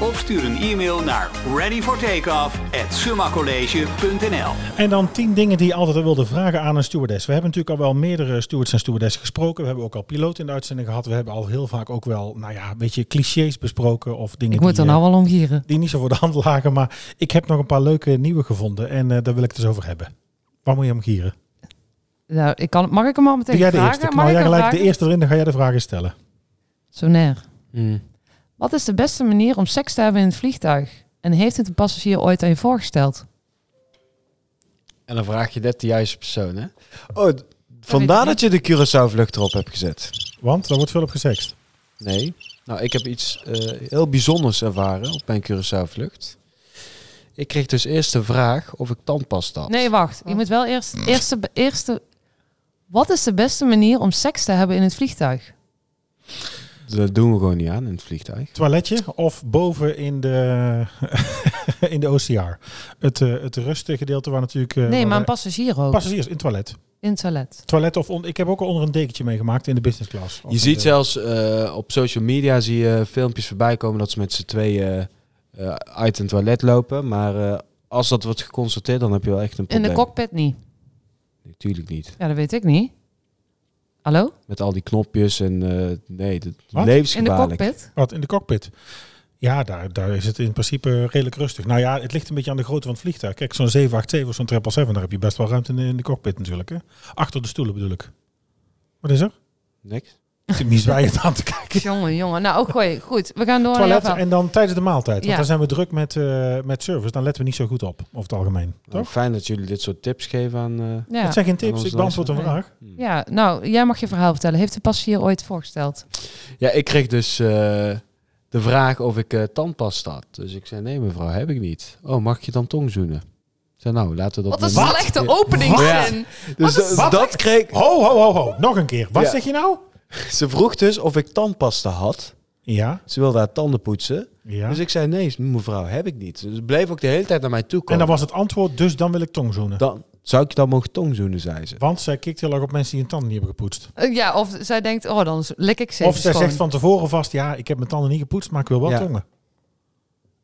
[SPEAKER 1] Of stuur een e-mail naar readyfortakeoff at summacollege.nl.
[SPEAKER 2] En dan tien dingen die je altijd al wilde vragen aan een stewardess. We hebben natuurlijk al wel meerdere stewards en stewardessen gesproken. We hebben ook al piloten in de uitzending gehad. We hebben al heel vaak ook wel, nou ja, een beetje clichés besproken of dingen
[SPEAKER 4] Ik
[SPEAKER 2] die,
[SPEAKER 4] moet er
[SPEAKER 2] eh,
[SPEAKER 4] nou wel om gieren.
[SPEAKER 2] die niet zo voor de hand lagen. Maar ik heb nog een paar leuke nieuwe gevonden en eh, daar wil ik het eens over hebben. Waar moet je om gieren?
[SPEAKER 4] Nou, ik kan, mag ik hem al meteen
[SPEAKER 2] Doe jij de
[SPEAKER 4] vragen?
[SPEAKER 2] eerste?
[SPEAKER 4] Mag
[SPEAKER 2] Knal
[SPEAKER 4] ik
[SPEAKER 2] jij
[SPEAKER 4] hem
[SPEAKER 2] gelijk de
[SPEAKER 4] vragen?
[SPEAKER 2] eerste erin, dan ga jij de vragen stellen.
[SPEAKER 4] Sonair, wat is de beste manier om seks te hebben in het vliegtuig? En heeft het een passagier ooit aan je voorgesteld?
[SPEAKER 3] En dan vraag je net de juiste persoon, hè? Oh, d- vandaar
[SPEAKER 4] niet.
[SPEAKER 3] dat je de Curaçao-vlucht erop hebt gezet.
[SPEAKER 2] Want daar wordt veel op gesext.
[SPEAKER 3] Nee. Nou, ik heb iets eh, heel bijzonders ervaren op mijn Curaçao-vlucht. Ik kreeg dus eerst de vraag of ik tandpasta had.
[SPEAKER 4] Nee, wacht. Je moet wel eerst... Eerste, eerste, wat is de beste manier om seks te hebben in het vliegtuig?
[SPEAKER 2] Eh,
[SPEAKER 3] Dat doen we gewoon niet aan in het vliegtuig.
[SPEAKER 2] Toiletje of boven in de, in de OCR. Het, eh het rustgedeelte waar natuurlijk... eh,
[SPEAKER 4] Nee,
[SPEAKER 2] waar
[SPEAKER 4] maar een
[SPEAKER 2] wij-
[SPEAKER 4] passagier ook.
[SPEAKER 2] Passagiers in het toilet.
[SPEAKER 4] In het toilet.
[SPEAKER 2] Toilet of on- ik heb ook al onder een dekentje meegemaakt in de business class. Of
[SPEAKER 3] Je
[SPEAKER 2] in
[SPEAKER 3] ziet
[SPEAKER 2] de-
[SPEAKER 3] zelfs eh, op social media zie je filmpjes voorbij komen dat ze met z'n tweeën eh, uit een toilet lopen. Maar eh, als dat wordt geconstateerd, dan heb je wel echt een
[SPEAKER 4] In
[SPEAKER 3] probleem.
[SPEAKER 4] de cockpit niet.
[SPEAKER 3] Natuurlijk niet.
[SPEAKER 4] Ja, dat weet ik niet. Hallo?
[SPEAKER 3] Met al die knopjes en eh, nee, dat
[SPEAKER 2] Wat?
[SPEAKER 4] In de
[SPEAKER 3] levensgevaarlijk.
[SPEAKER 4] cockpit?
[SPEAKER 2] Wat in de cockpit. Ja, daar, daar is het in principe redelijk rustig. Nou ja, het ligt een beetje aan de grootte van het vliegtuig. Kijk, zo'n 787 of zo'n 777, daar heb je best wel ruimte in de, in de cockpit natuurlijk. Hè? Achter de stoelen bedoel ik. Wat is er?
[SPEAKER 3] Niks.
[SPEAKER 2] Ik zit niet bij het aan te kijken.
[SPEAKER 4] Jongen, jongen. Nou, ook gooi. Goed, we gaan door naar
[SPEAKER 2] Toilet
[SPEAKER 4] jouw verhaal.
[SPEAKER 2] en dan tijdens de maaltijd. Want
[SPEAKER 4] Oh, Ja.
[SPEAKER 2] dan zijn we druk met, eh, met service. Dan letten we niet zo goed op, over het algemeen.
[SPEAKER 3] Nou,
[SPEAKER 2] Toch?
[SPEAKER 3] fijn dat jullie dit soort tips geven aan... eh,
[SPEAKER 4] Ja.
[SPEAKER 2] Het zijn geen
[SPEAKER 3] Aan
[SPEAKER 2] tips,
[SPEAKER 3] onze
[SPEAKER 2] ik beantwoord een
[SPEAKER 4] luisteraar.
[SPEAKER 2] vraag.
[SPEAKER 3] hm.
[SPEAKER 4] ja, nou, jij mag je verhaal vertellen. Heeft de passagier ooit voorgesteld?
[SPEAKER 3] Ja, ik kreeg dus eh, de vraag of ik eh, tandpasta had. Dus ik zei, nee mevrouw, heb ik niet. Oh, mag ik je dan tong zoenen? Ik zei, nou, laten we dat...
[SPEAKER 4] Wat een
[SPEAKER 3] maar niet-
[SPEAKER 4] slechte
[SPEAKER 3] Ja.
[SPEAKER 4] openingszin.
[SPEAKER 3] Dus
[SPEAKER 4] Wat een-
[SPEAKER 3] dat- dat kreeg...
[SPEAKER 2] Ho, ho, ho, ho. Nog een keer. Wat
[SPEAKER 3] Ja.
[SPEAKER 2] zeg je nou?
[SPEAKER 3] Ze vroeg dus of ik tandpasta had.
[SPEAKER 2] Ja,
[SPEAKER 3] Ze wilde haar tanden poetsen.
[SPEAKER 2] ja.
[SPEAKER 3] Dus ik zei, nee mevrouw, heb ik niet. Dus ze bleef ook de hele tijd naar mij toe
[SPEAKER 2] en
[SPEAKER 3] komen.
[SPEAKER 2] dan was het antwoord, dus dan wil ik tongzoenen.
[SPEAKER 3] dan, zou ik dan mogen tongzoenen, zei ze.
[SPEAKER 2] Want zij kikt heel erg op mensen die hun tanden niet hebben gepoetst.
[SPEAKER 4] Eh, Ja, of zij denkt, oh, dan lik ik ze
[SPEAKER 2] Of
[SPEAKER 4] even
[SPEAKER 2] zij
[SPEAKER 4] schoon.
[SPEAKER 2] zegt van tevoren vast, ja, ik heb mijn tanden niet gepoetst, maar ik wil wel
[SPEAKER 3] Ja.
[SPEAKER 2] tongen.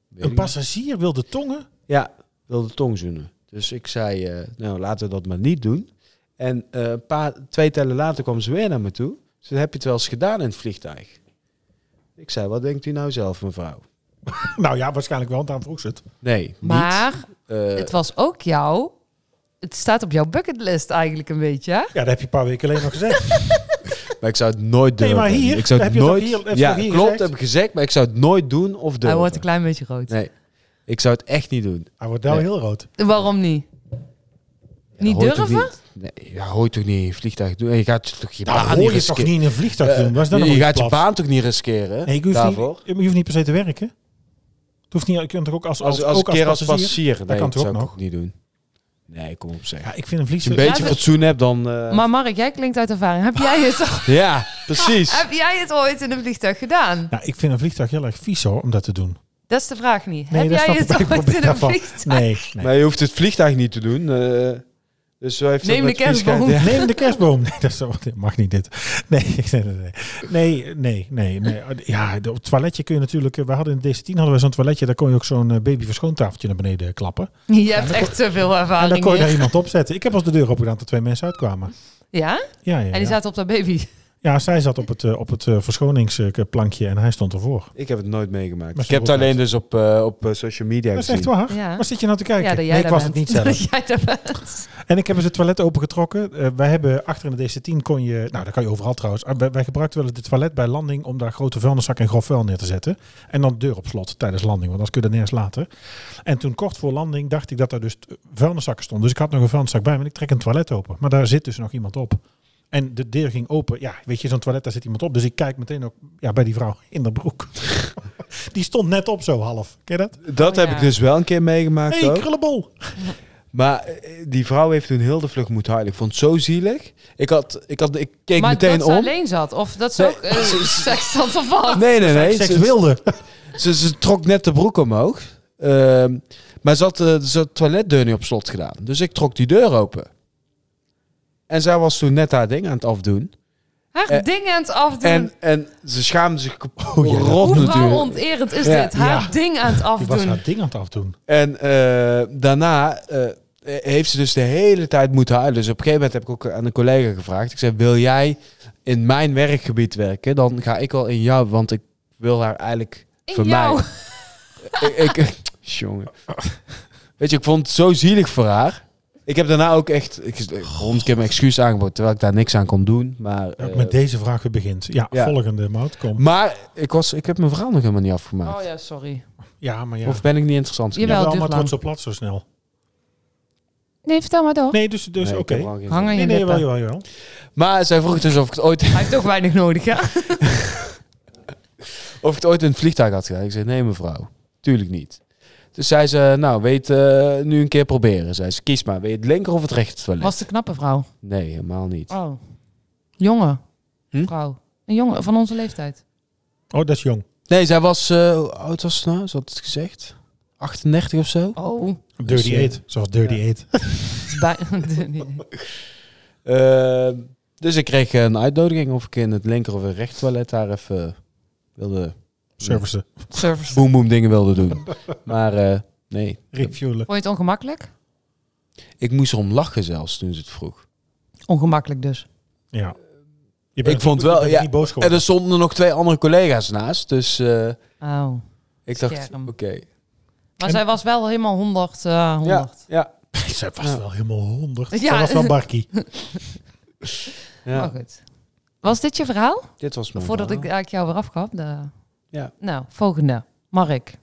[SPEAKER 3] Weet
[SPEAKER 2] Een
[SPEAKER 3] ik
[SPEAKER 2] passagier wil de tongen?
[SPEAKER 3] Ja, wilde tongzoenen. Dus ik zei, eh, nou laten we dat maar niet doen. En eh, een paar, twee tellen later kwam ze weer naar me toe. Ze zei, heb je het wel eens gedaan in het vliegtuig? Ik zei, wat denkt u nou zelf, mevrouw?
[SPEAKER 2] Nou ja, waarschijnlijk wel, want daarom vroeg ze het.
[SPEAKER 3] Nee,
[SPEAKER 4] Maar
[SPEAKER 3] niet. Eh,
[SPEAKER 4] het was ook jou. Het staat op jouw bucketlist eigenlijk een beetje, hè?
[SPEAKER 2] Ja, dat heb je een paar weken geleden nog gezegd.
[SPEAKER 3] maar ik zou het nooit
[SPEAKER 2] Nee,
[SPEAKER 3] durven.
[SPEAKER 2] maar hier,
[SPEAKER 3] ik zou
[SPEAKER 2] heb
[SPEAKER 3] het
[SPEAKER 2] je het
[SPEAKER 3] nooit,
[SPEAKER 2] ook hier- heb je
[SPEAKER 3] ja,
[SPEAKER 2] het ook hier
[SPEAKER 3] klopt,
[SPEAKER 2] gezegd?
[SPEAKER 3] heb ik gezegd, maar ik zou het nooit doen of durven.
[SPEAKER 4] Hij wordt een klein beetje rood.
[SPEAKER 3] Nee, ik zou het echt niet doen.
[SPEAKER 2] Hij wordt wel
[SPEAKER 3] Nee.
[SPEAKER 2] heel rood.
[SPEAKER 4] Waarom niet?
[SPEAKER 3] Ja,
[SPEAKER 4] Niet
[SPEAKER 3] dat hoort toch
[SPEAKER 4] durven?
[SPEAKER 3] Niet, nee, ja, hoort toch niet in je vliegtuig doen. En je gaat toch je
[SPEAKER 2] Nou,
[SPEAKER 3] baan
[SPEAKER 2] dat hoor je
[SPEAKER 3] riskeren. Eh,
[SPEAKER 2] toch niet in een vliegtuig doen? Waar is dat
[SPEAKER 3] je
[SPEAKER 2] nou voor
[SPEAKER 3] gaat je
[SPEAKER 2] plat?
[SPEAKER 3] baan toch niet riskeren
[SPEAKER 2] Nee, ik hoef
[SPEAKER 3] daarvoor?
[SPEAKER 2] niet, je hoeft niet per se te werken. Het hoeft niet, je kunt toch ook als, als,
[SPEAKER 3] Als, als,
[SPEAKER 2] ook
[SPEAKER 3] een keer als
[SPEAKER 2] passagier?
[SPEAKER 3] passagier. Nee,
[SPEAKER 2] kan
[SPEAKER 3] dat
[SPEAKER 2] toch
[SPEAKER 3] zou
[SPEAKER 2] ook
[SPEAKER 3] ik
[SPEAKER 2] nog?
[SPEAKER 3] ook niet doen. Nee, kom op zeg.
[SPEAKER 2] Ja, ik vind een
[SPEAKER 3] Als je een
[SPEAKER 2] vliegtuig...
[SPEAKER 3] beetje
[SPEAKER 4] Ja,
[SPEAKER 3] fatsoen hebt, dan... eh,
[SPEAKER 4] Maar Mark, jij klinkt uit ervaring. Heb jij het,
[SPEAKER 3] Ja, precies.
[SPEAKER 4] heb jij het ooit in een vliegtuig gedaan?
[SPEAKER 2] Nou, ik vind een vliegtuig heel erg vies hoor, om dat te doen.
[SPEAKER 4] Dat is de vraag niet.
[SPEAKER 2] Nee,
[SPEAKER 4] heb
[SPEAKER 2] dat
[SPEAKER 4] jij
[SPEAKER 2] snap ik. Ik
[SPEAKER 4] het ooit
[SPEAKER 2] probeer
[SPEAKER 4] in een
[SPEAKER 2] daarvan-
[SPEAKER 4] vliegtuig?
[SPEAKER 2] Nee, nee.
[SPEAKER 3] Maar je hoeft het vliegtuig niet te doen. eh, dus zo heeft
[SPEAKER 4] Neem
[SPEAKER 3] dat
[SPEAKER 4] de
[SPEAKER 3] met vliegtuig-
[SPEAKER 4] kerstboom.
[SPEAKER 3] Ja.
[SPEAKER 2] Neem de kerstboom. Nee, dat is, oh, dit mag niet dit. Nee, nee, nee, nee. nee, nee, nee, nee. Ja, op het toiletje kun je natuurlijk... eh, We hadden in DC10 hadden we zo'n toiletje. Daar kon je ook zo'n eh, babyverschoontafeltje naar beneden klappen.
[SPEAKER 4] Je hebt echt te veel
[SPEAKER 2] En dan
[SPEAKER 4] ervaring
[SPEAKER 2] kon je daar
[SPEAKER 4] hier.
[SPEAKER 2] iemand op zetten. Ik heb als de deur opgedaan dat twee mensen uitkwamen.
[SPEAKER 4] Ja?
[SPEAKER 2] Ja, ja,
[SPEAKER 4] En die
[SPEAKER 2] ja.
[SPEAKER 4] zaten op dat baby.
[SPEAKER 2] ja zij zat op het, eh, op het eh, verschoningsplankje en hij stond ervoor.
[SPEAKER 3] Ik heb het nooit meegemaakt.
[SPEAKER 2] Maar
[SPEAKER 3] ik heb het
[SPEAKER 2] zo
[SPEAKER 3] alleen dus op, eh, op eh, social media
[SPEAKER 2] Dat is echt
[SPEAKER 3] gezien.
[SPEAKER 2] waar.
[SPEAKER 4] Ja.
[SPEAKER 2] Waar zit je nou te kijken?
[SPEAKER 4] Ja, dat jij
[SPEAKER 2] nee, ik
[SPEAKER 4] daar
[SPEAKER 2] was
[SPEAKER 4] bent.
[SPEAKER 2] het niet zelf.
[SPEAKER 4] Dat jij daar bent.
[SPEAKER 2] En ik heb eens het toilet opengetrokken. Eh, wij hebben achter in de DC10 kon je, nou dat kan je overal trouwens. Ah, wij, wij gebruikten wel eens het toilet bij landing om daar grote vuilniszak en grof vuil neer te zetten. En dan de deur op slot tijdens landing, want anders kun je dat nergens laten. En toen kort voor landing dacht ik dat daar dus t- vuilniszakken stonden. Dus ik had nog een vuilniszak bij me en ik trek een toilet open. Maar daar zit dus nog iemand op. En de deur ging open. Ja, weet je, zo'n toilet, daar zit iemand op. Dus ik kijk meteen ook ja, bij die vrouw in de broek. die stond net op zo half. Ken je dat?
[SPEAKER 3] Dat
[SPEAKER 4] Oh,
[SPEAKER 3] heb
[SPEAKER 4] ja.
[SPEAKER 3] ik dus wel een keer meegemaakt
[SPEAKER 2] Hé, hey,
[SPEAKER 3] ook.
[SPEAKER 2] krullenbol.
[SPEAKER 3] Maar eh, die vrouw heeft toen heel de vlucht moeten huilen. Ik vond het zo zielig. Ik, had, ik, had, ik keek
[SPEAKER 4] maar
[SPEAKER 3] meteen
[SPEAKER 4] dat ze
[SPEAKER 3] om.
[SPEAKER 4] alleen zat. Of dat ze
[SPEAKER 3] Nee.
[SPEAKER 4] ook eh, seks had of wat.
[SPEAKER 3] Nee, nee, nee.
[SPEAKER 2] Seks
[SPEAKER 3] Ze-
[SPEAKER 2] wilde.
[SPEAKER 3] Ze, ze trok net de broek omhoog. Ehm, maar ze had eh, ze had de toiletdeur niet op slot gedaan. Dus ik trok die deur open. En zij was toen net haar ding aan het afdoen.
[SPEAKER 4] Haar
[SPEAKER 3] Eh,
[SPEAKER 4] ding aan het afdoen.
[SPEAKER 3] En, en ze schaamde zich kapot
[SPEAKER 2] Oh, ja.
[SPEAKER 3] rot
[SPEAKER 4] Hoe
[SPEAKER 3] natuurlijk.
[SPEAKER 4] vrouwonterend is
[SPEAKER 3] Ja.
[SPEAKER 4] dit? Haar
[SPEAKER 2] Ja.
[SPEAKER 4] ding aan het
[SPEAKER 2] Die was
[SPEAKER 4] afdoen.
[SPEAKER 2] haar ding aan het afdoen.
[SPEAKER 3] En eh, daarna eh, heeft ze dus de hele tijd moeten huilen. Dus op een gegeven moment heb ik ook aan een collega gevraagd. Ik zei, wil jij in mijn werkgebied werken? Dan ga ik wel in jou, want ik wil haar eigenlijk
[SPEAKER 4] In
[SPEAKER 3] vermijden.
[SPEAKER 4] jou.
[SPEAKER 3] ik, ik, jongen. Weet je, ik vond het zo zielig voor haar. Ik heb daarna ook echt ik, ik- honderd keer mijn excuus aangeboden, terwijl ik daar niks aan kon doen. Maar,
[SPEAKER 2] Ook
[SPEAKER 3] eh,
[SPEAKER 2] met deze vraag weer begint. Ja,
[SPEAKER 3] ja.
[SPEAKER 2] volgende Mout, kom.
[SPEAKER 3] maar ik, was, ik heb mijn verhaal nog helemaal niet afgemaakt.
[SPEAKER 4] Oh ja, sorry.
[SPEAKER 2] Ja, maar ja.
[SPEAKER 3] Of ben ik niet interessant?
[SPEAKER 4] Jawel,
[SPEAKER 2] ja,
[SPEAKER 4] het
[SPEAKER 2] wel, maar
[SPEAKER 4] duurt
[SPEAKER 2] het wordt
[SPEAKER 4] lang.
[SPEAKER 2] zo plat zo snel.
[SPEAKER 4] Nee, vertel maar door.
[SPEAKER 2] Nee, dus, dus
[SPEAKER 3] Nee, ik
[SPEAKER 2] oké.
[SPEAKER 3] heb lang geen
[SPEAKER 4] Hang aan
[SPEAKER 3] zin.
[SPEAKER 4] je
[SPEAKER 2] Nee, nee,
[SPEAKER 4] lippen.
[SPEAKER 2] jawel, jawel, jawel.
[SPEAKER 3] Maar zij vroeg dus of ik het ooit,
[SPEAKER 4] Hij heeft toch weinig nodig, hè?
[SPEAKER 3] of ik het ooit in het vliegtuig had gedaan. Ik zei, nee mevrouw, tuurlijk niet. Dus zei ze, nou weet je nu een keer proberen. Zei ze, kies maar, weet je het linker of het rechter toilet?
[SPEAKER 4] Was de knappe vrouw.
[SPEAKER 3] Nee, helemaal niet.
[SPEAKER 4] Oh. Jonge.
[SPEAKER 3] Hm?
[SPEAKER 4] Vrouw. Een jongen van onze leeftijd.
[SPEAKER 2] Oh, dat is jong.
[SPEAKER 3] Nee, zij was, eh, hoe oud was ze nou? Ze had het gezegd. 38 of zo?
[SPEAKER 4] Oh.
[SPEAKER 2] Dirty
[SPEAKER 3] eh,
[SPEAKER 2] Eight, zoals Dirty Eight.
[SPEAKER 4] Is bij... Nee.
[SPEAKER 3] Eh, dus ik kreeg een uitnodiging of ik in het linker of het rechter toilet daar even eh, wilde
[SPEAKER 2] Servicen,
[SPEAKER 4] Service.
[SPEAKER 3] boem boem dingen wilde doen. maar eh, nee,
[SPEAKER 2] refuelen.
[SPEAKER 4] Vond je het ongemakkelijk?
[SPEAKER 3] ik moest erom lachen zelfs toen ze het vroeg.
[SPEAKER 4] Ongemakkelijk dus.
[SPEAKER 2] Ja.
[SPEAKER 3] Eh, Ik vond wel,
[SPEAKER 2] je bent
[SPEAKER 3] ja,
[SPEAKER 2] niet boos
[SPEAKER 3] En
[SPEAKER 2] geworden.
[SPEAKER 3] er stonden nog twee andere collega's naast, dus eh,
[SPEAKER 4] Oh.
[SPEAKER 3] ik Ik dacht,
[SPEAKER 4] Scherm.
[SPEAKER 3] oké.
[SPEAKER 4] Maar
[SPEAKER 2] En-
[SPEAKER 4] zij was wel helemaal 100. eh, 100.
[SPEAKER 3] Ja, ja,
[SPEAKER 2] Ze was
[SPEAKER 3] Ja.
[SPEAKER 2] wel helemaal honderd.
[SPEAKER 4] Ja.
[SPEAKER 2] Dat was wel Barkie.
[SPEAKER 3] ja.
[SPEAKER 4] Maar Oh, goed. Was dit je verhaal?
[SPEAKER 3] Dit was mijn
[SPEAKER 4] Voordat ik
[SPEAKER 3] verhaal.
[SPEAKER 4] eigenlijk jou weer afgaf. De...
[SPEAKER 3] Ja.
[SPEAKER 4] Nou, volgende. Mark.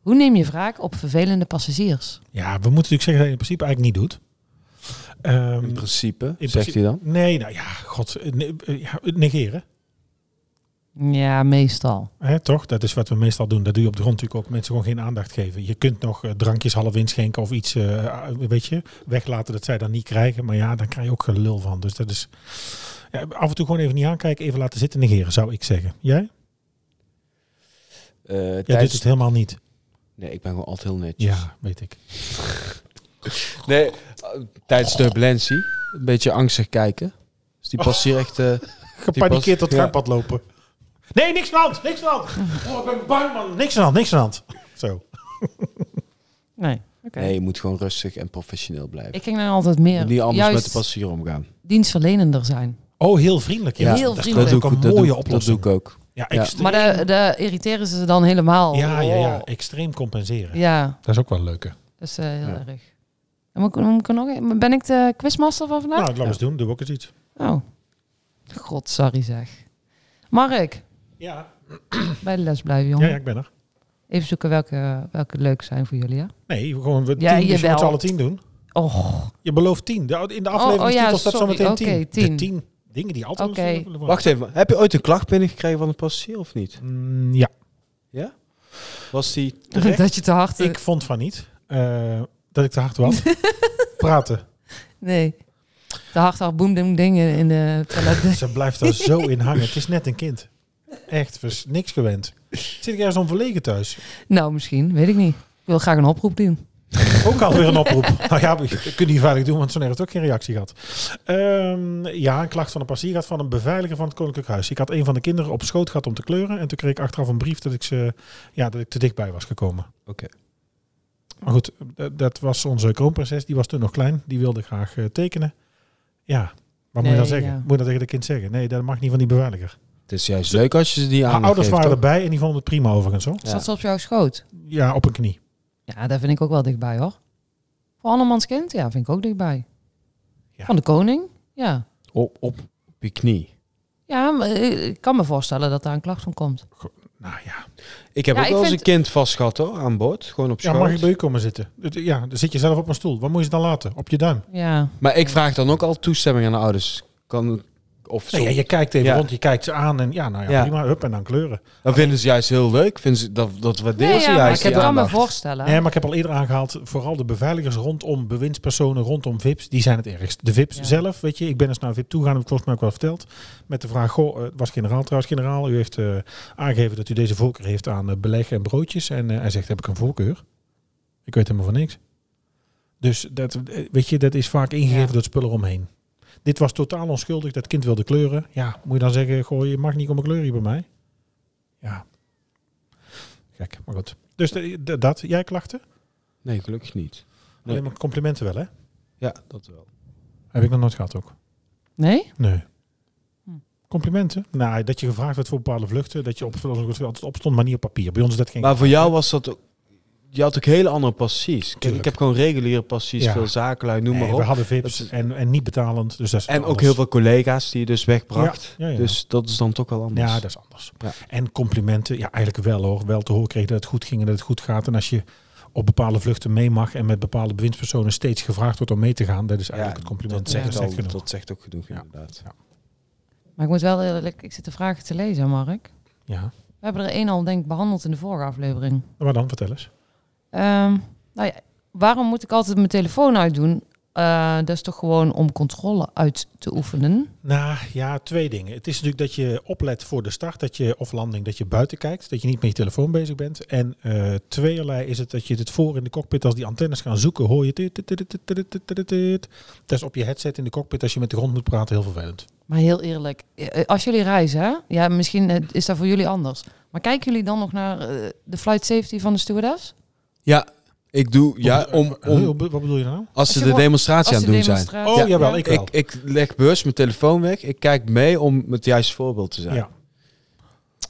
[SPEAKER 4] Hoe neem je wraak op vervelende passagiers?
[SPEAKER 2] Ja, we moeten natuurlijk zeggen dat hij in principe eigenlijk niet doet. Ehm,
[SPEAKER 3] In principe,
[SPEAKER 2] in
[SPEAKER 3] zegt
[SPEAKER 2] principe-
[SPEAKER 3] hij dan.
[SPEAKER 2] Nee, nou ja, god, eh, ne- eh, ja, het negeren.
[SPEAKER 4] Ja, meestal.
[SPEAKER 2] Hè, toch? Dat is wat we meestal doen. Dat doe je op de grond natuurlijk ook mensen gewoon geen aandacht geven. Je kunt nog eh, drankjes half inschenken of iets, eh, weet je, weglaten dat zij dan niet krijgen. Maar ja, dan krijg je ook gelul van. Dus dat is ja, af en toe gewoon even niet aankijken, even laten zitten negeren, zou ik zeggen. Jij?
[SPEAKER 3] Eh,
[SPEAKER 2] Jij doet
[SPEAKER 3] tijdens-
[SPEAKER 2] het helemaal niet.
[SPEAKER 3] Nee, ik ben gewoon altijd heel netjes.
[SPEAKER 2] Ja, weet ik.
[SPEAKER 3] Nee, eh, tijdens turbulentie. Een beetje angstig kijken. Dus die past hier echt... eh,
[SPEAKER 2] Gepanikeerd tot
[SPEAKER 3] Ja.
[SPEAKER 2] het gangpad lopen. Nee, niks aan de hand, niks aan de hand. Oh, ik ben bang man. Niks aan de hand, niks aan de hand. Zo.
[SPEAKER 4] Nee. Oké.
[SPEAKER 3] Nee, je moet gewoon rustig en professioneel blijven.
[SPEAKER 4] Ik ging dan altijd
[SPEAKER 3] Je
[SPEAKER 4] meer
[SPEAKER 3] moet niet anders
[SPEAKER 4] juist
[SPEAKER 3] met de passagier omgaan.
[SPEAKER 4] dienstverlenender zijn.
[SPEAKER 2] Oh, heel vriendelijk. Ja,
[SPEAKER 3] Ja,
[SPEAKER 4] heel
[SPEAKER 2] dat is ook
[SPEAKER 4] vriendelijk.
[SPEAKER 2] een mooie
[SPEAKER 3] dat doe, dat doe
[SPEAKER 2] oplossing.
[SPEAKER 3] ik ook.
[SPEAKER 2] ja,
[SPEAKER 3] Ja.
[SPEAKER 2] extreem.
[SPEAKER 4] Maar de, de irriteren ze dan helemaal.
[SPEAKER 2] ja, ja, ja,
[SPEAKER 4] Oh.
[SPEAKER 2] extreem compenseren.
[SPEAKER 4] Ja,
[SPEAKER 2] Dat is ook wel leuker.
[SPEAKER 4] dat is eh, heel
[SPEAKER 3] Ja.
[SPEAKER 4] erg. En moet ik- moet ik er nog een- ben ik de quizmaster van vandaag?
[SPEAKER 2] Nou, laten we eens doen. Doe ook eens iets.
[SPEAKER 4] Oh. God, sorry zeg. Mark,
[SPEAKER 2] Ja.
[SPEAKER 4] bij de les blijven, jongen.
[SPEAKER 2] Ja, ik ben er.
[SPEAKER 4] Even zoeken welke, welke leuk zijn voor jullie, Oh, ja?
[SPEAKER 2] Nee, gewoon we
[SPEAKER 4] Ja,
[SPEAKER 2] tien, dus je
[SPEAKER 4] jawel.
[SPEAKER 2] moet alle tien doen.
[SPEAKER 4] Och,
[SPEAKER 2] Je belooft tien. De- In de aflevering
[SPEAKER 4] oh ja,
[SPEAKER 2] staat dat
[SPEAKER 4] sorry.
[SPEAKER 2] zometeen
[SPEAKER 4] Oké,
[SPEAKER 2] tien. De
[SPEAKER 4] tien.
[SPEAKER 2] tien dingen die altijd
[SPEAKER 4] Oké.
[SPEAKER 2] willen worden.
[SPEAKER 3] Wacht even, maar heb je ooit een klacht binnengekregen van een passagier of niet?
[SPEAKER 2] Mm, ja,
[SPEAKER 3] Ja? Was die terecht?
[SPEAKER 4] dat je te hard...
[SPEAKER 2] ik vond van niet eh, dat ik te hard was. Praten.
[SPEAKER 4] Nee. Te hard hard boem ding dingen in de toilet.
[SPEAKER 2] Ze blijft daar zo in hangen. Het is net een kind. Echt, we is niks gewend. Zit ik ergens onverlegen thuis?
[SPEAKER 4] nou, misschien. Weet ik niet. Ik wil graag een oproep doen.
[SPEAKER 2] Ook alweer een oproep. Nou ja, we kunnen die veilig doen, want zo'n heeft ook geen reactie gehad. Ehm, ja, een klacht van een passagier gehad van een beveiliger van het Koninklijk Huis. Ik had een van de kinderen op schoot gehad om te kleuren. En toen kreeg ik achteraf een brief dat ik, ze, ja, dat ik te dichtbij was gekomen.
[SPEAKER 3] Oké.
[SPEAKER 2] Maar goed, d- dat was onze kroonprinses. Die was toen nog klein. Die wilde graag eh, tekenen. Ja, wat moet je dan
[SPEAKER 4] Nee,
[SPEAKER 2] zeggen?
[SPEAKER 4] ja.
[SPEAKER 2] Moet je dat tegen de kind zeggen? Nee, dat mag niet van die beveiliger.
[SPEAKER 3] Het is juist leuk als je ze die
[SPEAKER 2] Haar
[SPEAKER 3] aan
[SPEAKER 2] ouders waren erbij en die vonden het prima overigens. Hoor.
[SPEAKER 4] Zat ze op jouw schoot?
[SPEAKER 2] Ja, op een knie.
[SPEAKER 4] Ja, daar vind ik ook wel dichtbij, hoor. Voor Andermans kind? Ja, vind ik ook dichtbij.
[SPEAKER 2] Ja.
[SPEAKER 4] Van de koning? Ja.
[SPEAKER 3] op, op, op je knie.
[SPEAKER 4] Ja, maar ik ik kan me voorstellen dat daar een klacht van komt.
[SPEAKER 2] Nou ja,
[SPEAKER 3] Ik heb
[SPEAKER 4] Ja,
[SPEAKER 3] ook
[SPEAKER 4] ik
[SPEAKER 3] wel eens
[SPEAKER 4] vind-
[SPEAKER 3] een kind vast gehad hoor, aan boord. Gewoon op
[SPEAKER 2] ja
[SPEAKER 3] schoot.
[SPEAKER 2] mag ik bij u komen zitten? Ja, dan zit je zelf op een stoel. Wat moet je ze dan laten? Op je duim.
[SPEAKER 4] Ja.
[SPEAKER 3] Maar ik vraag dan ook al toestemming aan de ouders. Kan, of
[SPEAKER 2] Nee, Nou ja,
[SPEAKER 3] soms-
[SPEAKER 2] je kijkt even
[SPEAKER 3] Ja.
[SPEAKER 2] rond, je kijkt ze aan en ja, nou ja,
[SPEAKER 3] Ja.
[SPEAKER 2] prima, hup en dan kleuren.
[SPEAKER 3] Dan vinden ze juist heel leuk. Vinden ze, dat, dat waarderen
[SPEAKER 4] Nee,
[SPEAKER 3] ze
[SPEAKER 4] ja, maar ik
[SPEAKER 3] juist.
[SPEAKER 4] kan
[SPEAKER 3] die
[SPEAKER 4] me
[SPEAKER 3] aandacht.
[SPEAKER 4] voorstellen.
[SPEAKER 2] Nee, maar ik heb al eerder aangehaald, vooral de beveiligers rondom bewindspersonen, rondom VIP's, die zijn het ergst. De VIP's
[SPEAKER 4] Ja.
[SPEAKER 2] zelf, weet je, ik ben eens naar een VIP toe gegaan, heb ik volgens mij ook wel verteld, met de vraag, goh, eh, het was generaal trouwens, generaal, u heeft eh, aangegeven dat u deze voorkeur heeft aan eh, beleg en broodjes en eh, hij zegt, heb ik een voorkeur? Ik weet helemaal van niks. Dus dat, eh, weet je, dat is vaak ingegeven
[SPEAKER 4] Ja.
[SPEAKER 2] door het spul eromheen. Dit was totaal onschuldig, dat kind wilde kleuren. Ja, moet je dan zeggen, goh, je mag niet komen kleuren hier bij mij? Ja. Gek, maar goed. Dus de- de- dat, jij klachten?
[SPEAKER 3] Nee, gelukkig niet. Nee.
[SPEAKER 2] Alleen maar complimenten wel, hè?
[SPEAKER 3] Ja, dat wel.
[SPEAKER 2] Heb ik nog nooit gehad ook.
[SPEAKER 4] Nee?
[SPEAKER 2] Nee.
[SPEAKER 4] Hm.
[SPEAKER 2] Complimenten? Nou, dat je gevraagd werd voor bepaalde vluchten, dat je op altijd opstond, maar niet op papier. Bij ons is dat geen.
[SPEAKER 3] Maar voor jou was dat ook... Je had ook hele andere passies. Kijk,
[SPEAKER 2] Tuurlijk.
[SPEAKER 3] ik heb gewoon reguliere passies.
[SPEAKER 2] Ja.
[SPEAKER 3] Veel zakenlui, noem
[SPEAKER 2] Nee,
[SPEAKER 3] maar op.
[SPEAKER 2] we hadden VIP's
[SPEAKER 3] Dat is-
[SPEAKER 2] en, en niet betalend, dus dat is
[SPEAKER 3] En ook
[SPEAKER 2] anders.
[SPEAKER 3] heel veel collega's die je dus wegbracht.
[SPEAKER 2] Ja, ja, ja.
[SPEAKER 3] Dus dat is dan toch wel anders.
[SPEAKER 2] Ja, dat is anders.
[SPEAKER 3] Ja.
[SPEAKER 2] En complimenten, ja, eigenlijk wel hoor. Wel te horen kreeg dat het goed ging en dat het goed gaat. En als je op bepaalde vluchten mee mag en met bepaalde bewindspersonen steeds gevraagd wordt om mee te gaan, dat is eigenlijk het compliment.
[SPEAKER 3] Dat
[SPEAKER 4] Ja.
[SPEAKER 3] zegt,
[SPEAKER 2] Dat is
[SPEAKER 3] al,
[SPEAKER 2] echt genoeg.
[SPEAKER 3] dat zegt ook genoeg,
[SPEAKER 2] Ja.
[SPEAKER 3] inderdaad.
[SPEAKER 4] Maar ik moet wel eerlijk... Ik zit de vragen te lezen, Mark.
[SPEAKER 2] Ja,
[SPEAKER 4] We hebben er één al, denk ik, behandeld in de vorige aflevering.
[SPEAKER 2] maar dan vertel eens.
[SPEAKER 4] Ehm, nou ja, waarom moet ik altijd mijn telefoon uitdoen? Eh, dat is toch gewoon om controle uit te oefenen.
[SPEAKER 2] Nou ja, twee dingen. Het is natuurlijk dat je oplet voor de start dat je, of landing, dat je buiten kijkt. Dat je niet met je telefoon bezig bent. En eh tweeërlei is het dat je het voor in de cockpit, als die antennes gaan zoeken, hoor je... dit, dit, dit, dit, dit, dit, dit, dit. Dat is op je headset in de cockpit als je met de grond moet praten heel vervelend.
[SPEAKER 4] Maar heel eerlijk, eh, als jullie reizen, hè? ja, misschien eh, is dat voor jullie anders. Maar kijken jullie dan nog naar eh, de flight safety van de stewardess?
[SPEAKER 3] Ja, ik doe... Ja, om,
[SPEAKER 2] Huh,
[SPEAKER 3] om,
[SPEAKER 2] Wat bedoel je nou?
[SPEAKER 3] als ze
[SPEAKER 4] je
[SPEAKER 3] de
[SPEAKER 4] wo-
[SPEAKER 3] demonstratie aan
[SPEAKER 4] als
[SPEAKER 3] het
[SPEAKER 4] de
[SPEAKER 3] doen zijn.
[SPEAKER 4] demonstratie.
[SPEAKER 2] Oh,
[SPEAKER 4] ja.
[SPEAKER 2] jawel, ik wel.
[SPEAKER 3] Ik, ik leg bewust mijn telefoon weg. Ik kijk mee om het juiste voorbeeld te zijn.
[SPEAKER 2] Ja.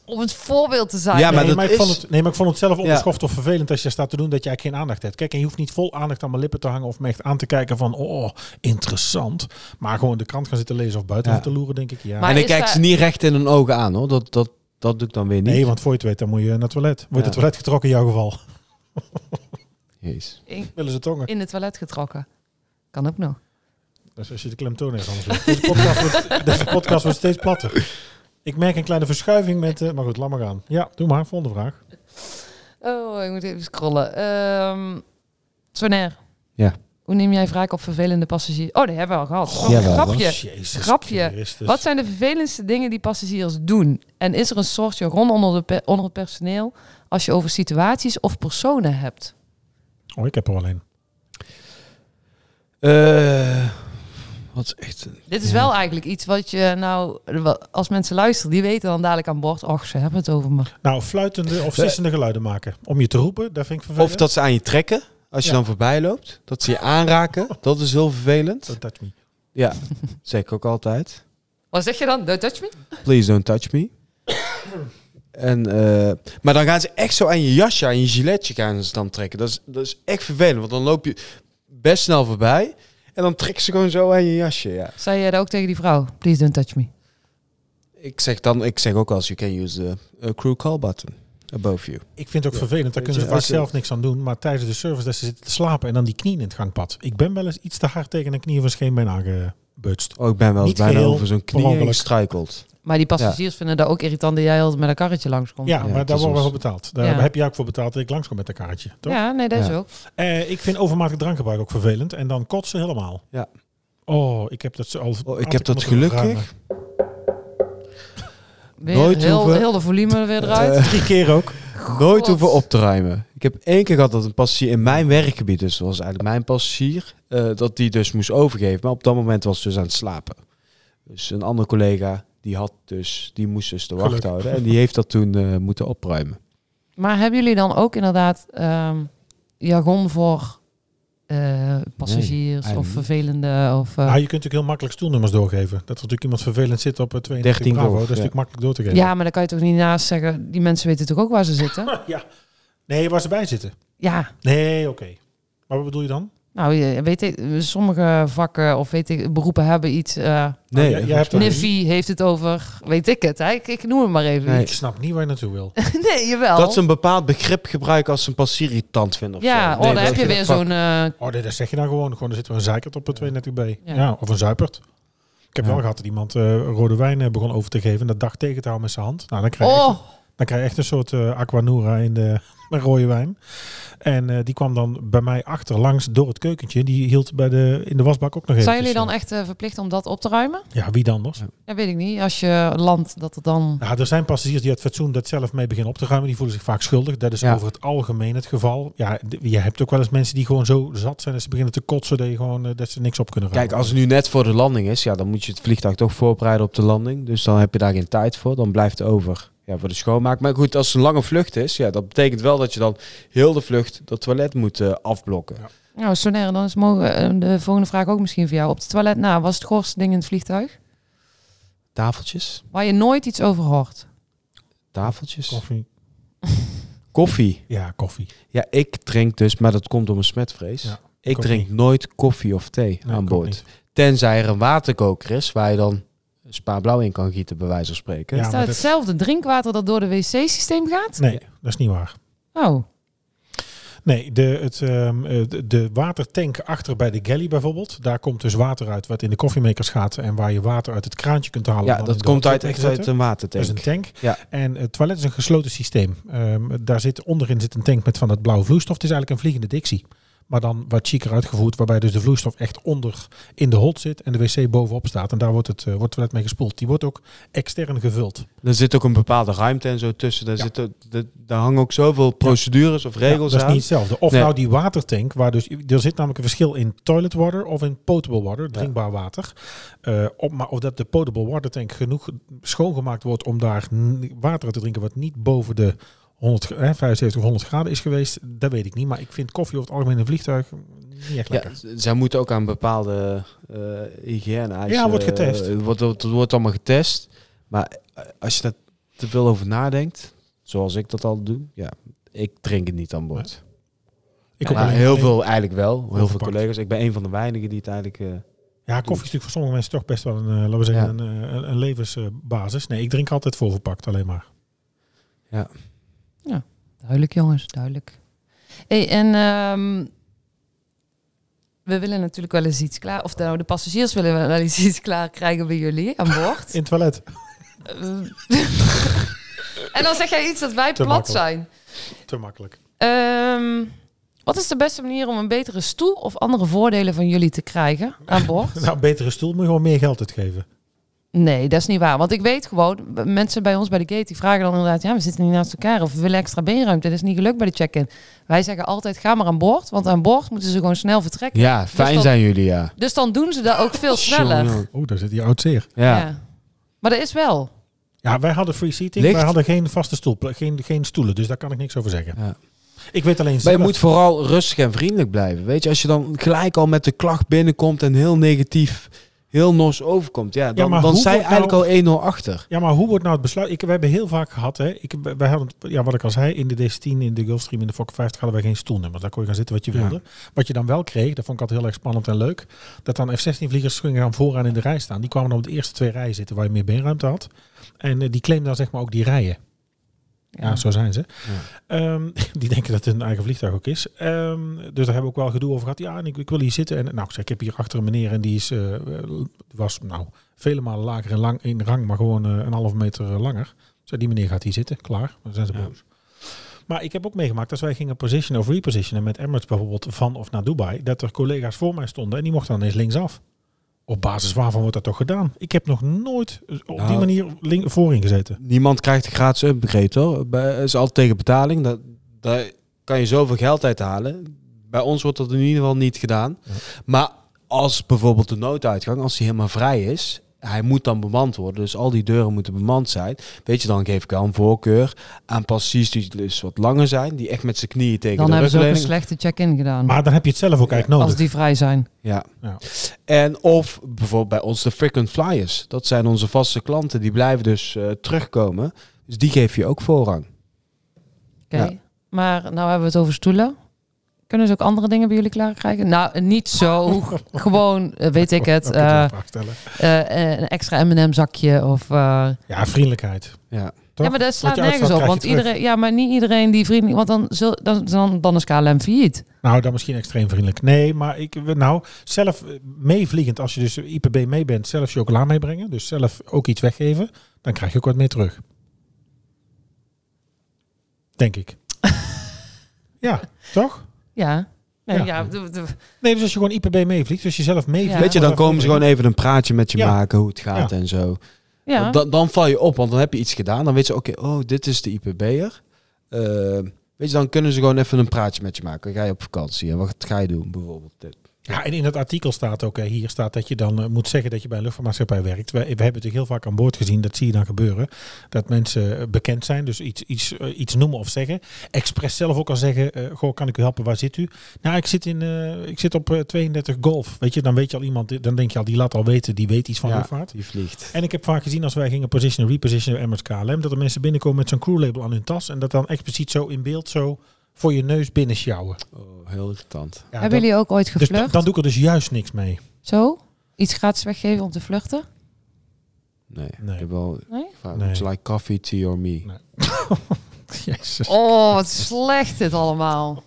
[SPEAKER 4] om het voorbeeld te zijn.
[SPEAKER 3] Ja, maar
[SPEAKER 2] nee,
[SPEAKER 3] dat
[SPEAKER 2] maar ik vond
[SPEAKER 3] is-
[SPEAKER 2] het, nee, maar ik vond het zelf
[SPEAKER 3] Ja.
[SPEAKER 2] onbeschoft of vervelend als je staat te doen dat je eigenlijk geen aandacht hebt. Kijk, en je hoeft niet vol aandacht aan mijn lippen te hangen of me echt aan te kijken van, oh, interessant. Maar gewoon de krant gaan zitten lezen of buiten
[SPEAKER 3] Ja.
[SPEAKER 2] gaan te loeren, denk ik, ja.
[SPEAKER 4] Maar
[SPEAKER 3] en ik
[SPEAKER 4] is
[SPEAKER 3] kijk
[SPEAKER 4] daar-
[SPEAKER 3] ze niet recht in hun ogen aan hoor. Dat, dat, dat doe ik dan weer niet.
[SPEAKER 2] nee, want voor je het weet, dan moet je naar het toilet. Wordt
[SPEAKER 3] Ja.
[SPEAKER 2] het toilet getrokken in jouw geval?
[SPEAKER 3] Jezus.
[SPEAKER 4] In,
[SPEAKER 2] Willen ze tongen?
[SPEAKER 4] in het toilet getrokken. Kan ook nog.
[SPEAKER 2] Dus als je de klemtoon hebt, anders ligt. Deze podcast, wordt, deze podcast wordt steeds platter. Ik merk een kleine verschuiving met... eh, maar goed, laat maar gaan. Ja, doe maar. Volgende vraag.
[SPEAKER 4] Oh, ik moet even scrollen. Ehm Sonair.
[SPEAKER 3] Ja.
[SPEAKER 4] Hoe neem jij wraak op vervelende passagiers? Oh, die hebben we al gehad. Oh,
[SPEAKER 3] Jawel,
[SPEAKER 4] grapje.
[SPEAKER 2] Jezus
[SPEAKER 4] Grapje.
[SPEAKER 2] Christus.
[SPEAKER 3] Dus-
[SPEAKER 4] Wat zijn de vervelendste dingen die passagiers doen? En is er een soort jargon onder, de pe- onder het personeel als je over situaties of personen hebt?
[SPEAKER 2] Oh, ik heb er wel een.
[SPEAKER 3] Eh, wat is echt... een-
[SPEAKER 4] Dit is
[SPEAKER 3] Ja.
[SPEAKER 4] wel eigenlijk iets wat je nou, wat- als mensen luisteren, die weten dan dadelijk aan boord, och, ze hebben het over me.
[SPEAKER 2] Nou, fluitende of sissende geluiden maken. Om je te roepen, daar vind ik vervelend.
[SPEAKER 3] Of dat ze aan je trekken. Als je
[SPEAKER 2] Ja.
[SPEAKER 3] dan voorbij loopt. Dat ze je aanraken. Dat is heel vervelend.
[SPEAKER 2] Don't touch me.
[SPEAKER 3] Ja, zeg ik ook altijd.
[SPEAKER 4] Wat zeg je dan? Don't touch me?
[SPEAKER 3] Please don't touch me. En, eh, maar dan gaan ze echt zo aan je jasje, aan je giletje gaan ze dan trekken. Dat is, dat is echt vervelend, want dan loop je best snel voorbij. En dan trekken ze gewoon zo aan je jasje, ja.
[SPEAKER 4] Zei jij dat ook tegen die vrouw? Please don't touch me.
[SPEAKER 3] Ik zeg, dan, ik zeg ook als you can use the eh, crew call button above you.
[SPEAKER 2] Ik vind het ook vervelend. Daar kunnen
[SPEAKER 3] Weet
[SPEAKER 2] ze
[SPEAKER 3] je,
[SPEAKER 2] vaak
[SPEAKER 3] als je-
[SPEAKER 2] zelf niks aan doen. Maar tijdens de service dat ze zitten te slapen en dan die knieën in het gangpad. Ik ben wel eens iets te hard tegen een knie van scheenbeen aangebutst.
[SPEAKER 3] Oh, ik ben wel eens
[SPEAKER 2] Niet
[SPEAKER 3] bijna
[SPEAKER 2] geheel
[SPEAKER 3] over zo'n knie
[SPEAKER 2] ongeluk.
[SPEAKER 3] heen gestruikeld.
[SPEAKER 4] Maar die passagiers vinden dat ook irritant dat jij altijd met een karretje langskomt.
[SPEAKER 2] Ja,
[SPEAKER 3] Ja,
[SPEAKER 2] maar
[SPEAKER 3] het
[SPEAKER 2] daar
[SPEAKER 3] is
[SPEAKER 2] worden we
[SPEAKER 3] ons-
[SPEAKER 2] voor betaald. Daar
[SPEAKER 4] Ja.
[SPEAKER 2] heb je ook voor betaald dat ik langskom met een kaartje. Toch?
[SPEAKER 4] ja nee, dat is
[SPEAKER 3] Ja.
[SPEAKER 4] ook.
[SPEAKER 2] Eh, ik vind overmatig drankgebruik ook vervelend. En dan kotsen helemaal.
[SPEAKER 3] Ja.
[SPEAKER 2] Oh, ik heb dat zo al.
[SPEAKER 3] Oh, ik
[SPEAKER 2] had
[SPEAKER 3] heb dat
[SPEAKER 2] moeten
[SPEAKER 3] gelukkig.
[SPEAKER 2] ruimen.
[SPEAKER 4] Weer
[SPEAKER 3] Nooit
[SPEAKER 4] heel,
[SPEAKER 3] hoeven.
[SPEAKER 4] heel de volume er weer eruit.
[SPEAKER 3] Eh,
[SPEAKER 2] Drie keer ook.
[SPEAKER 3] nooit
[SPEAKER 4] God.
[SPEAKER 3] hoeven op te ruimen. Ik heb één keer gehad dat een passagier in mijn werkgebied, dus dat was eigenlijk mijn passagier, eh, dat die dus moest overgeven. Maar op dat moment was ze dus aan het slapen. Dus een andere collega, die had dus, die moest dus de wacht
[SPEAKER 2] Gelukkig.
[SPEAKER 3] houden. En die heeft dat toen eh, moeten opruimen.
[SPEAKER 4] Maar hebben jullie dan ook inderdaad ehm jargon voor eh, passagiers
[SPEAKER 3] Nee,
[SPEAKER 4] of
[SPEAKER 3] eigenlijk
[SPEAKER 4] vervelende? Of, eh,
[SPEAKER 2] Nou, je kunt natuurlijk heel makkelijk stoelnummers doorgeven. Dat er natuurlijk iemand vervelend zit op eh, 32
[SPEAKER 3] 13
[SPEAKER 2] Bravo.
[SPEAKER 3] golf,
[SPEAKER 2] Dat is
[SPEAKER 3] ja.
[SPEAKER 2] natuurlijk makkelijk door te geven.
[SPEAKER 4] ja, maar dan kan je toch niet naast zeggen, die mensen weten toch ook waar ze zitten?
[SPEAKER 2] ja. Nee, waar ze bij zitten.
[SPEAKER 4] ja,
[SPEAKER 2] Nee, oké. Maar wat bedoel je dan?
[SPEAKER 4] nou, je weet ik, sommige vakken of weet ik, beroepen hebben iets. eh
[SPEAKER 3] Nee,
[SPEAKER 2] Oh, jij- jij hebt
[SPEAKER 3] volgens mij-
[SPEAKER 2] een-
[SPEAKER 4] Niffy heeft het over, weet ik het, hè? Ik, ik noem het maar even.
[SPEAKER 3] Nee.
[SPEAKER 4] Nee,
[SPEAKER 2] Ik snap niet waar je naartoe wil.
[SPEAKER 4] jawel.
[SPEAKER 3] dat ze een bepaald begrip gebruiken als ze een passagier irritant vinden. Of
[SPEAKER 4] ja,
[SPEAKER 3] zo.
[SPEAKER 4] oh,
[SPEAKER 3] Nee,
[SPEAKER 4] daar
[SPEAKER 3] dat
[SPEAKER 4] heb je
[SPEAKER 3] ik-
[SPEAKER 4] weer zo'n... eh,
[SPEAKER 2] Oh, nee, dat zeg je nou gewoon. Gewoon, er zit wel een zeikert op eh, een 32B. Ja.
[SPEAKER 4] Ja.
[SPEAKER 2] of een zuipert. Ik heb
[SPEAKER 3] Ja.
[SPEAKER 2] wel gehad dat iemand eh, rode wijn eh, begon over te geven. En dat dag tegen te houden met zijn hand. Nou, dan krijg je
[SPEAKER 4] oh,
[SPEAKER 2] Dan krijg je echt een soort eh aquanura in de met rode wijn. En eh, die kwam dan bij mij achterlangs door het keukentje. Die hield bij de, in de wasbak ook nog even.
[SPEAKER 4] zijn jullie dan echt eh, verplicht om dat op te ruimen?
[SPEAKER 2] Ja, wie dan anders?
[SPEAKER 4] Ja, weet ik niet. Als je landt, dat het dan...
[SPEAKER 2] Nou, er zijn passagiers die het fatsoen dat zelf mee beginnen op te ruimen. Die voelen zich vaak schuldig. Dat is
[SPEAKER 3] Ja.
[SPEAKER 2] over het algemeen het geval. Ja, d- je hebt ook wel eens mensen die gewoon zo zat zijn dat ze beginnen te kotsen dat, je gewoon, eh, dat ze niks op kunnen ruimen.
[SPEAKER 3] Kijk, als het nu net voor de landing is, ja, dan moet je het vliegtuig toch voorbereiden op de landing. Dus dan heb je daar geen tijd voor. Dan blijft het over ja, voor de schoonmaak. Maar goed, als het een lange vlucht is, ja, dat betekent wel dat je dan heel de vlucht dat toilet moet eh, afblokken.
[SPEAKER 2] Ja.
[SPEAKER 4] Nou, Sonaire, dan is mogen, eh, de volgende vraag ook misschien voor jou. Op het toilet na, was het goorste ding in het vliegtuig?
[SPEAKER 3] Tafeltjes,
[SPEAKER 4] Waar je nooit iets over hoort.
[SPEAKER 3] tafeltjes,
[SPEAKER 2] Koffie.
[SPEAKER 3] koffie.
[SPEAKER 2] Ja, koffie.
[SPEAKER 3] Ja, ik drink dus, maar dat komt door mijn smetvrees.
[SPEAKER 2] Ja,
[SPEAKER 3] ik
[SPEAKER 2] ook
[SPEAKER 3] drink
[SPEAKER 2] niet.
[SPEAKER 3] nooit koffie of thee
[SPEAKER 2] Nee,
[SPEAKER 3] aan
[SPEAKER 2] ik ook
[SPEAKER 3] boord.
[SPEAKER 2] niet.
[SPEAKER 3] Tenzij er een waterkoker is waar je dan spa blauw in kan gieten, bij wijze van spreken.
[SPEAKER 2] Ja,
[SPEAKER 4] is
[SPEAKER 2] maar
[SPEAKER 4] dat
[SPEAKER 2] dat-
[SPEAKER 4] hetzelfde drinkwater dat door de wc-systeem gaat?
[SPEAKER 2] Nee, dat is niet waar.
[SPEAKER 4] Oh,
[SPEAKER 2] Nee, de, het, ehm, eh, de- de watertank achter bij de galley bijvoorbeeld. Daar komt dus water uit wat in de koffiemakers gaat. En waar je water uit het kraantje kunt halen.
[SPEAKER 3] Ja,
[SPEAKER 2] om dan in
[SPEAKER 3] dat
[SPEAKER 2] de
[SPEAKER 3] komt uit,
[SPEAKER 2] hot tub
[SPEAKER 3] echt
[SPEAKER 2] te zetten.
[SPEAKER 3] uit een
[SPEAKER 2] Dat is een
[SPEAKER 3] watertank.
[SPEAKER 2] tank.
[SPEAKER 3] Ja.
[SPEAKER 2] En het toilet is een gesloten systeem. Ehm, daar zit, onderin zit een tank met van dat blauwe vloeistof. Het is eigenlijk een vliegende dixie. Maar dan wat chiquer uitgevoerd. Waarbij dus de vloeistof echt onder in de hot zit. En de wc bovenop staat. En daar wordt het, eh, wordt het toilet mee gespoeld. Die wordt ook extern gevuld.
[SPEAKER 3] Er zit ook een bepaalde ruimte en zo tussen. Daar,
[SPEAKER 2] Ja.
[SPEAKER 3] zit ook- de- daar hangen ook zoveel procedures of regels
[SPEAKER 2] Ja, dat is
[SPEAKER 3] aan.
[SPEAKER 2] niet hetzelfde. Of
[SPEAKER 3] Nee.
[SPEAKER 2] nou die watertank, waar dus er zit namelijk een verschil in toilet water of in potable water, drinkbaar water. Eh, op, maar of dat de potable water tank genoeg schoongemaakt wordt om daar n- water uit te drinken wat niet boven de 100, gra- eh, 75 of 100 graden is geweest, dat weet ik niet. Maar ik vind koffie over het algemeen in een vliegtuig niet echt
[SPEAKER 3] Ja,
[SPEAKER 2] lekker.
[SPEAKER 3] z- zij moeten ook aan bepaalde eh hygiëne
[SPEAKER 2] Ja, wordt getest.
[SPEAKER 3] Het wordt, wordt, wordt allemaal getest. Maar eh, als je dat te veel over nadenkt, zoals ik dat al doe, ja, ik drink het niet aan boord.
[SPEAKER 2] Ik
[SPEAKER 3] Maar
[SPEAKER 2] alleen-
[SPEAKER 3] heel veel eigenlijk wel, heel veel
[SPEAKER 2] Opgepakt.
[SPEAKER 3] collega's. Ik ben een van de weinigen die het eigenlijk... eh,
[SPEAKER 2] Ja, koffie is natuurlijk voor sommige mensen toch best wel een, eh, laten we zeggen, een, eh, een, een levensbasis. Nee, ik drink altijd voorverpakt alleen maar.
[SPEAKER 4] Duidelijk, jongens, duidelijk. Hey, en ehm, we willen natuurlijk wel eens iets klaar, of nou, de passagiers willen wel eens iets klaar krijgen bij jullie aan boord.
[SPEAKER 2] In het toilet.
[SPEAKER 4] Eh, en dan zeg jij iets dat wij
[SPEAKER 2] Te
[SPEAKER 4] plat
[SPEAKER 2] makkelijk.
[SPEAKER 4] zijn.
[SPEAKER 2] Te makkelijk.
[SPEAKER 4] Ehm, wat is de beste manier om een betere stoel of andere voordelen van jullie te krijgen aan boord?
[SPEAKER 2] Nou, betere stoel moet je gewoon meer geld uitgeven.
[SPEAKER 4] Nee, dat is niet waar. Want ik weet gewoon, b- mensen bij ons bij de gate die vragen dan inderdaad, ja, we zitten niet naast elkaar of we willen extra beenruimte. Dat is niet gelukt bij de check-in. Wij zeggen altijd, ga maar aan boord, want aan boord moeten ze gewoon snel vertrekken.
[SPEAKER 3] Ja, fijn
[SPEAKER 4] dat-
[SPEAKER 3] zijn jullie, ja.
[SPEAKER 4] Dus dan doen ze dat ook veel sneller. Ja.
[SPEAKER 3] Jongen,
[SPEAKER 2] Oeh, Oh, daar zit hier oud zeer.
[SPEAKER 3] Ja.
[SPEAKER 4] Maar dat is wel.
[SPEAKER 2] Ja, wij hadden free seating.
[SPEAKER 3] Licht?
[SPEAKER 2] Wij hadden geen vaste stoel, geen, geen stoelen, dus daar kan ik niks over zeggen.
[SPEAKER 3] Ja.
[SPEAKER 2] Ik weet alleen
[SPEAKER 3] Maar je
[SPEAKER 2] zelf...
[SPEAKER 3] moet vooral rustig en vriendelijk blijven. Weet je, als je dan gelijk al met de klacht binnenkomt en heel negatief, heel nors overkomt, ja, dan,
[SPEAKER 2] maar
[SPEAKER 3] dan
[SPEAKER 2] hoe
[SPEAKER 3] zijn
[SPEAKER 2] wordt nou-
[SPEAKER 3] eigenlijk al 1-0 achter.
[SPEAKER 2] Ja, maar hoe wordt nou het besluit? Ik, we hebben heel vaak gehad, hè? Ik, wij hadden, ja, wat ik al zei, in de DC10, in de Gulfstream, in de Fokker 50 hadden wij geen stoelnummer. Daar kon je gaan zitten wat je
[SPEAKER 3] Ja.
[SPEAKER 2] wilde. Wat je dan wel kreeg, dat vond ik altijd heel erg spannend en leuk, dat dan F-16-vliegers gingen gaan vooraan in de rij staan. Die kwamen dan op de eerste twee rijen zitten waar je meer beenruimte had. En eh, die claimden dan zeg maar ook die rijen. Ja, zo zijn ze. Ehm, die denken dat het hun eigen vliegtuig ook is. Ehm, dus daar hebben we ook wel gedoe over gehad. Ja, en ik, ik wil hier zitten. En nou, ik, zeg, ik heb hier achter een meneer en die is, eh, was nou vele malen lager in, lang, in rang, maar gewoon eh, een halve meter eh, langer. Ik Zei, die meneer gaat hier zitten, klaar. Dan zijn ze
[SPEAKER 3] Ja.
[SPEAKER 2] boos. Maar ik heb ook meegemaakt dat wij gingen position of repositionen met Emirates bijvoorbeeld van of naar Dubai. Dat er collega's voor mij stonden en die mochten dan eens linksaf. Op basis waarvan wordt dat toch gedaan? Ik heb nog nooit eh, op
[SPEAKER 3] Nou.
[SPEAKER 2] die manier link- voorin gezeten.
[SPEAKER 3] Niemand krijgt een gratis upgrade hoor. Bij- Het is altijd tegen betaling. Dat, daar kan je zoveel geld uithalen. Bij ons wordt dat in ieder geval niet gedaan.
[SPEAKER 2] Ja.
[SPEAKER 3] Maar als bijvoorbeeld de nooduitgang, als die helemaal vrij is, hij moet dan bemand worden. Dus al die deuren moeten bemand zijn. Weet je, dan geef ik wel een voorkeur aan passies die dus wat langer zijn, die echt met zijn knieën tegen
[SPEAKER 4] Dan
[SPEAKER 3] de
[SPEAKER 4] hebben ze ook een
[SPEAKER 3] rugleuning-
[SPEAKER 4] slechte check-in gedaan.
[SPEAKER 2] Maar dan heb je het zelf ook eigenlijk
[SPEAKER 4] als
[SPEAKER 2] nodig.
[SPEAKER 4] die vrij zijn.
[SPEAKER 3] Ja.
[SPEAKER 2] Ja.
[SPEAKER 3] En of bijvoorbeeld bij ons de frequent flyers. Dat zijn onze vaste klanten. Die blijven dus eh, terugkomen. Dus die geef je ook voorrang.
[SPEAKER 4] Oké.
[SPEAKER 3] Ja.
[SPEAKER 4] Maar nou hebben we het over stoelen. Kunnen ze ook andere dingen bij jullie klaar krijgen? Nou, niet zo. Gewoon, eh, weet ik het,
[SPEAKER 2] Oké, dat wil
[SPEAKER 4] eh,
[SPEAKER 2] ik vraag stellen.
[SPEAKER 4] eh, een extra M&M zakje of... eh,
[SPEAKER 2] Ja, vriendelijkheid.
[SPEAKER 3] Ja.
[SPEAKER 2] Toch?
[SPEAKER 4] Ja, maar dat
[SPEAKER 2] Wat
[SPEAKER 4] slaat
[SPEAKER 2] je
[SPEAKER 4] nergens
[SPEAKER 2] uitslaat, krijg
[SPEAKER 4] op. Want
[SPEAKER 2] je terug.
[SPEAKER 4] iedereen, ja, maar niet iedereen die vriendelijk... Want dan, zul, dan, dan, dan is KLM failliet.
[SPEAKER 2] Nou, dan misschien extreem vriendelijk. Nee, maar ik, we- nou, zelf eh, meevliegend, als je dus IPB mee bent, zelf chocola meebrengen. Dus zelf ook iets weggeven. Dan krijg je ook wat meer terug. Denk ik. ja, toch?
[SPEAKER 4] Ja. Nee,
[SPEAKER 2] Ja.
[SPEAKER 4] ja. d- d-
[SPEAKER 2] Nee, dus als je gewoon IPB meevliegt, dus je zelf meevliegt.
[SPEAKER 4] Ja.
[SPEAKER 3] Weet je, dan komen ze gewoon even een praatje met je
[SPEAKER 2] Ja.
[SPEAKER 3] maken. Hoe het gaat en zo.
[SPEAKER 4] ja.
[SPEAKER 3] Want Dan, dan val je op. Want dan heb je iets gedaan. Dan weten ze, oké, oh, dit is de IPB'er. Eh, weet je, dan kunnen ze gewoon even een praatje met je maken. Ga je op vakantie en wat ga je doen bijvoorbeeld? Dit.
[SPEAKER 2] Ja, en in dat artikel staat ook, hè, hier staat dat je dan eh, moet zeggen dat je bij een luchtvaartmaatschappij werkt. We, we hebben het heel vaak aan boord gezien, dat zie je dan gebeuren. Dat mensen eh, bekend zijn, dus iets, iets, eh, iets noemen of zeggen. Express zelf ook al zeggen, eh, goh, kan ik u helpen, waar zit u? Nou, ik zit, in, eh, ik zit op eh, 32 Golf. Weet je, dan weet je al iemand, eh, dan denk je al, die laat al weten, die weet iets van
[SPEAKER 3] Ja,
[SPEAKER 2] luchtvaart.
[SPEAKER 3] die vliegt.
[SPEAKER 2] En ik heb vaak gezien als wij gingen positionen, repositionen bij Emirates KLM, dat er mensen binnenkomen met zo'n crewlabel aan hun tas en dat dan expliciet zo in beeld zo voor je neus binnen sjouwen.
[SPEAKER 3] Oh, heel irritant.
[SPEAKER 2] Ja,
[SPEAKER 4] hebben
[SPEAKER 2] dat-
[SPEAKER 4] jullie ook ooit
[SPEAKER 2] dus dan-
[SPEAKER 4] gevlucht?
[SPEAKER 2] dan doe ik er dus juist niks mee.
[SPEAKER 4] Zo? Iets gratis weggeven om te vluchten?
[SPEAKER 3] Nee.
[SPEAKER 2] Nee.
[SPEAKER 3] Ik heb wel
[SPEAKER 4] Nee?
[SPEAKER 3] gevraagd,
[SPEAKER 2] Nee.
[SPEAKER 3] it's like coffee, tea or me.
[SPEAKER 2] Jezus.
[SPEAKER 4] Oh, wat slecht dit allemaal.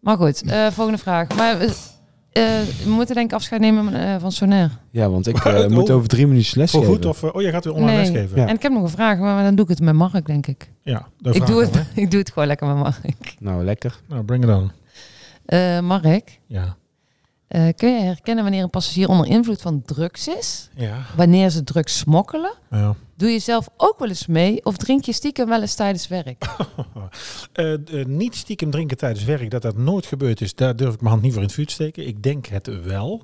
[SPEAKER 4] Maar goed, eh, volgende vraag. Maar eh, eh, we moeten denk ik afscheid nemen eh, van Sonair.
[SPEAKER 3] Ja, want ik
[SPEAKER 2] Maar,
[SPEAKER 3] eh,
[SPEAKER 2] oh,
[SPEAKER 3] moet over drie minuten les
[SPEAKER 2] Voor goed
[SPEAKER 3] geven.
[SPEAKER 2] of... eh, Oh, jij gaat weer online
[SPEAKER 4] Nee.
[SPEAKER 2] lesgeven.
[SPEAKER 3] Ja.
[SPEAKER 2] Ja,
[SPEAKER 4] En ik heb nog een vraag, maar dan doe ik het met Mark, denk ik.
[SPEAKER 2] daar
[SPEAKER 4] Ik
[SPEAKER 2] vraag
[SPEAKER 4] doe,
[SPEAKER 2] aan,
[SPEAKER 4] het, ik doe het gewoon lekker met Mark.
[SPEAKER 3] Nou, lekker.
[SPEAKER 2] hè. Nou, bring it on.
[SPEAKER 4] Eh, Mark,
[SPEAKER 2] Ja.
[SPEAKER 4] eh, kun je herkennen wanneer een passagier onder invloed van drugs is?
[SPEAKER 2] Ja.
[SPEAKER 4] Wanneer ze drugs smokkelen?
[SPEAKER 2] ja.
[SPEAKER 4] Doe je zelf ook wel eens mee of drink je stiekem wel eens tijdens werk?
[SPEAKER 2] Eh, d- eh, niet stiekem drinken tijdens werk, dat dat nooit gebeurd is, daar durf ik mijn hand niet voor in het vuur te steken. Ik denk het wel.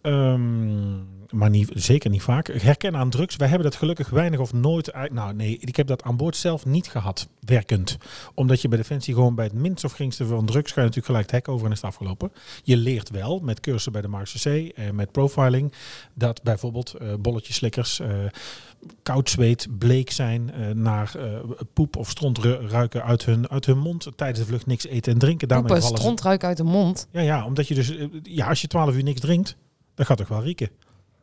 [SPEAKER 2] Ehm, maar niet, zeker niet vaak. Herkennen aan drugs. Wij hebben dat gelukkig weinig of nooit. Uit, nou nee, ik heb dat aan boord zelf niet gehad, werkend. Omdat je bij Defensie gewoon bij het minst of geringste van drugs... ga je natuurlijk gelijk het hek over en is het afgelopen. Je leert wel met cursussen bij de Marseille en met profiling... dat bijvoorbeeld eh bolletjeslikkers, eh, koud zweet, bleek zijn... eh, naar eh, poep of stront ru- ruiken uit hun, uit hun mond... tijdens de vlucht niks eten en drinken. Daarmee
[SPEAKER 4] Poepen,
[SPEAKER 2] vallen ze-
[SPEAKER 4] strontruik uit de mond.
[SPEAKER 2] ja, ja, omdat je dus, eh, ja, als je 12 uur niks drinkt, dan gaat toch wel rieken.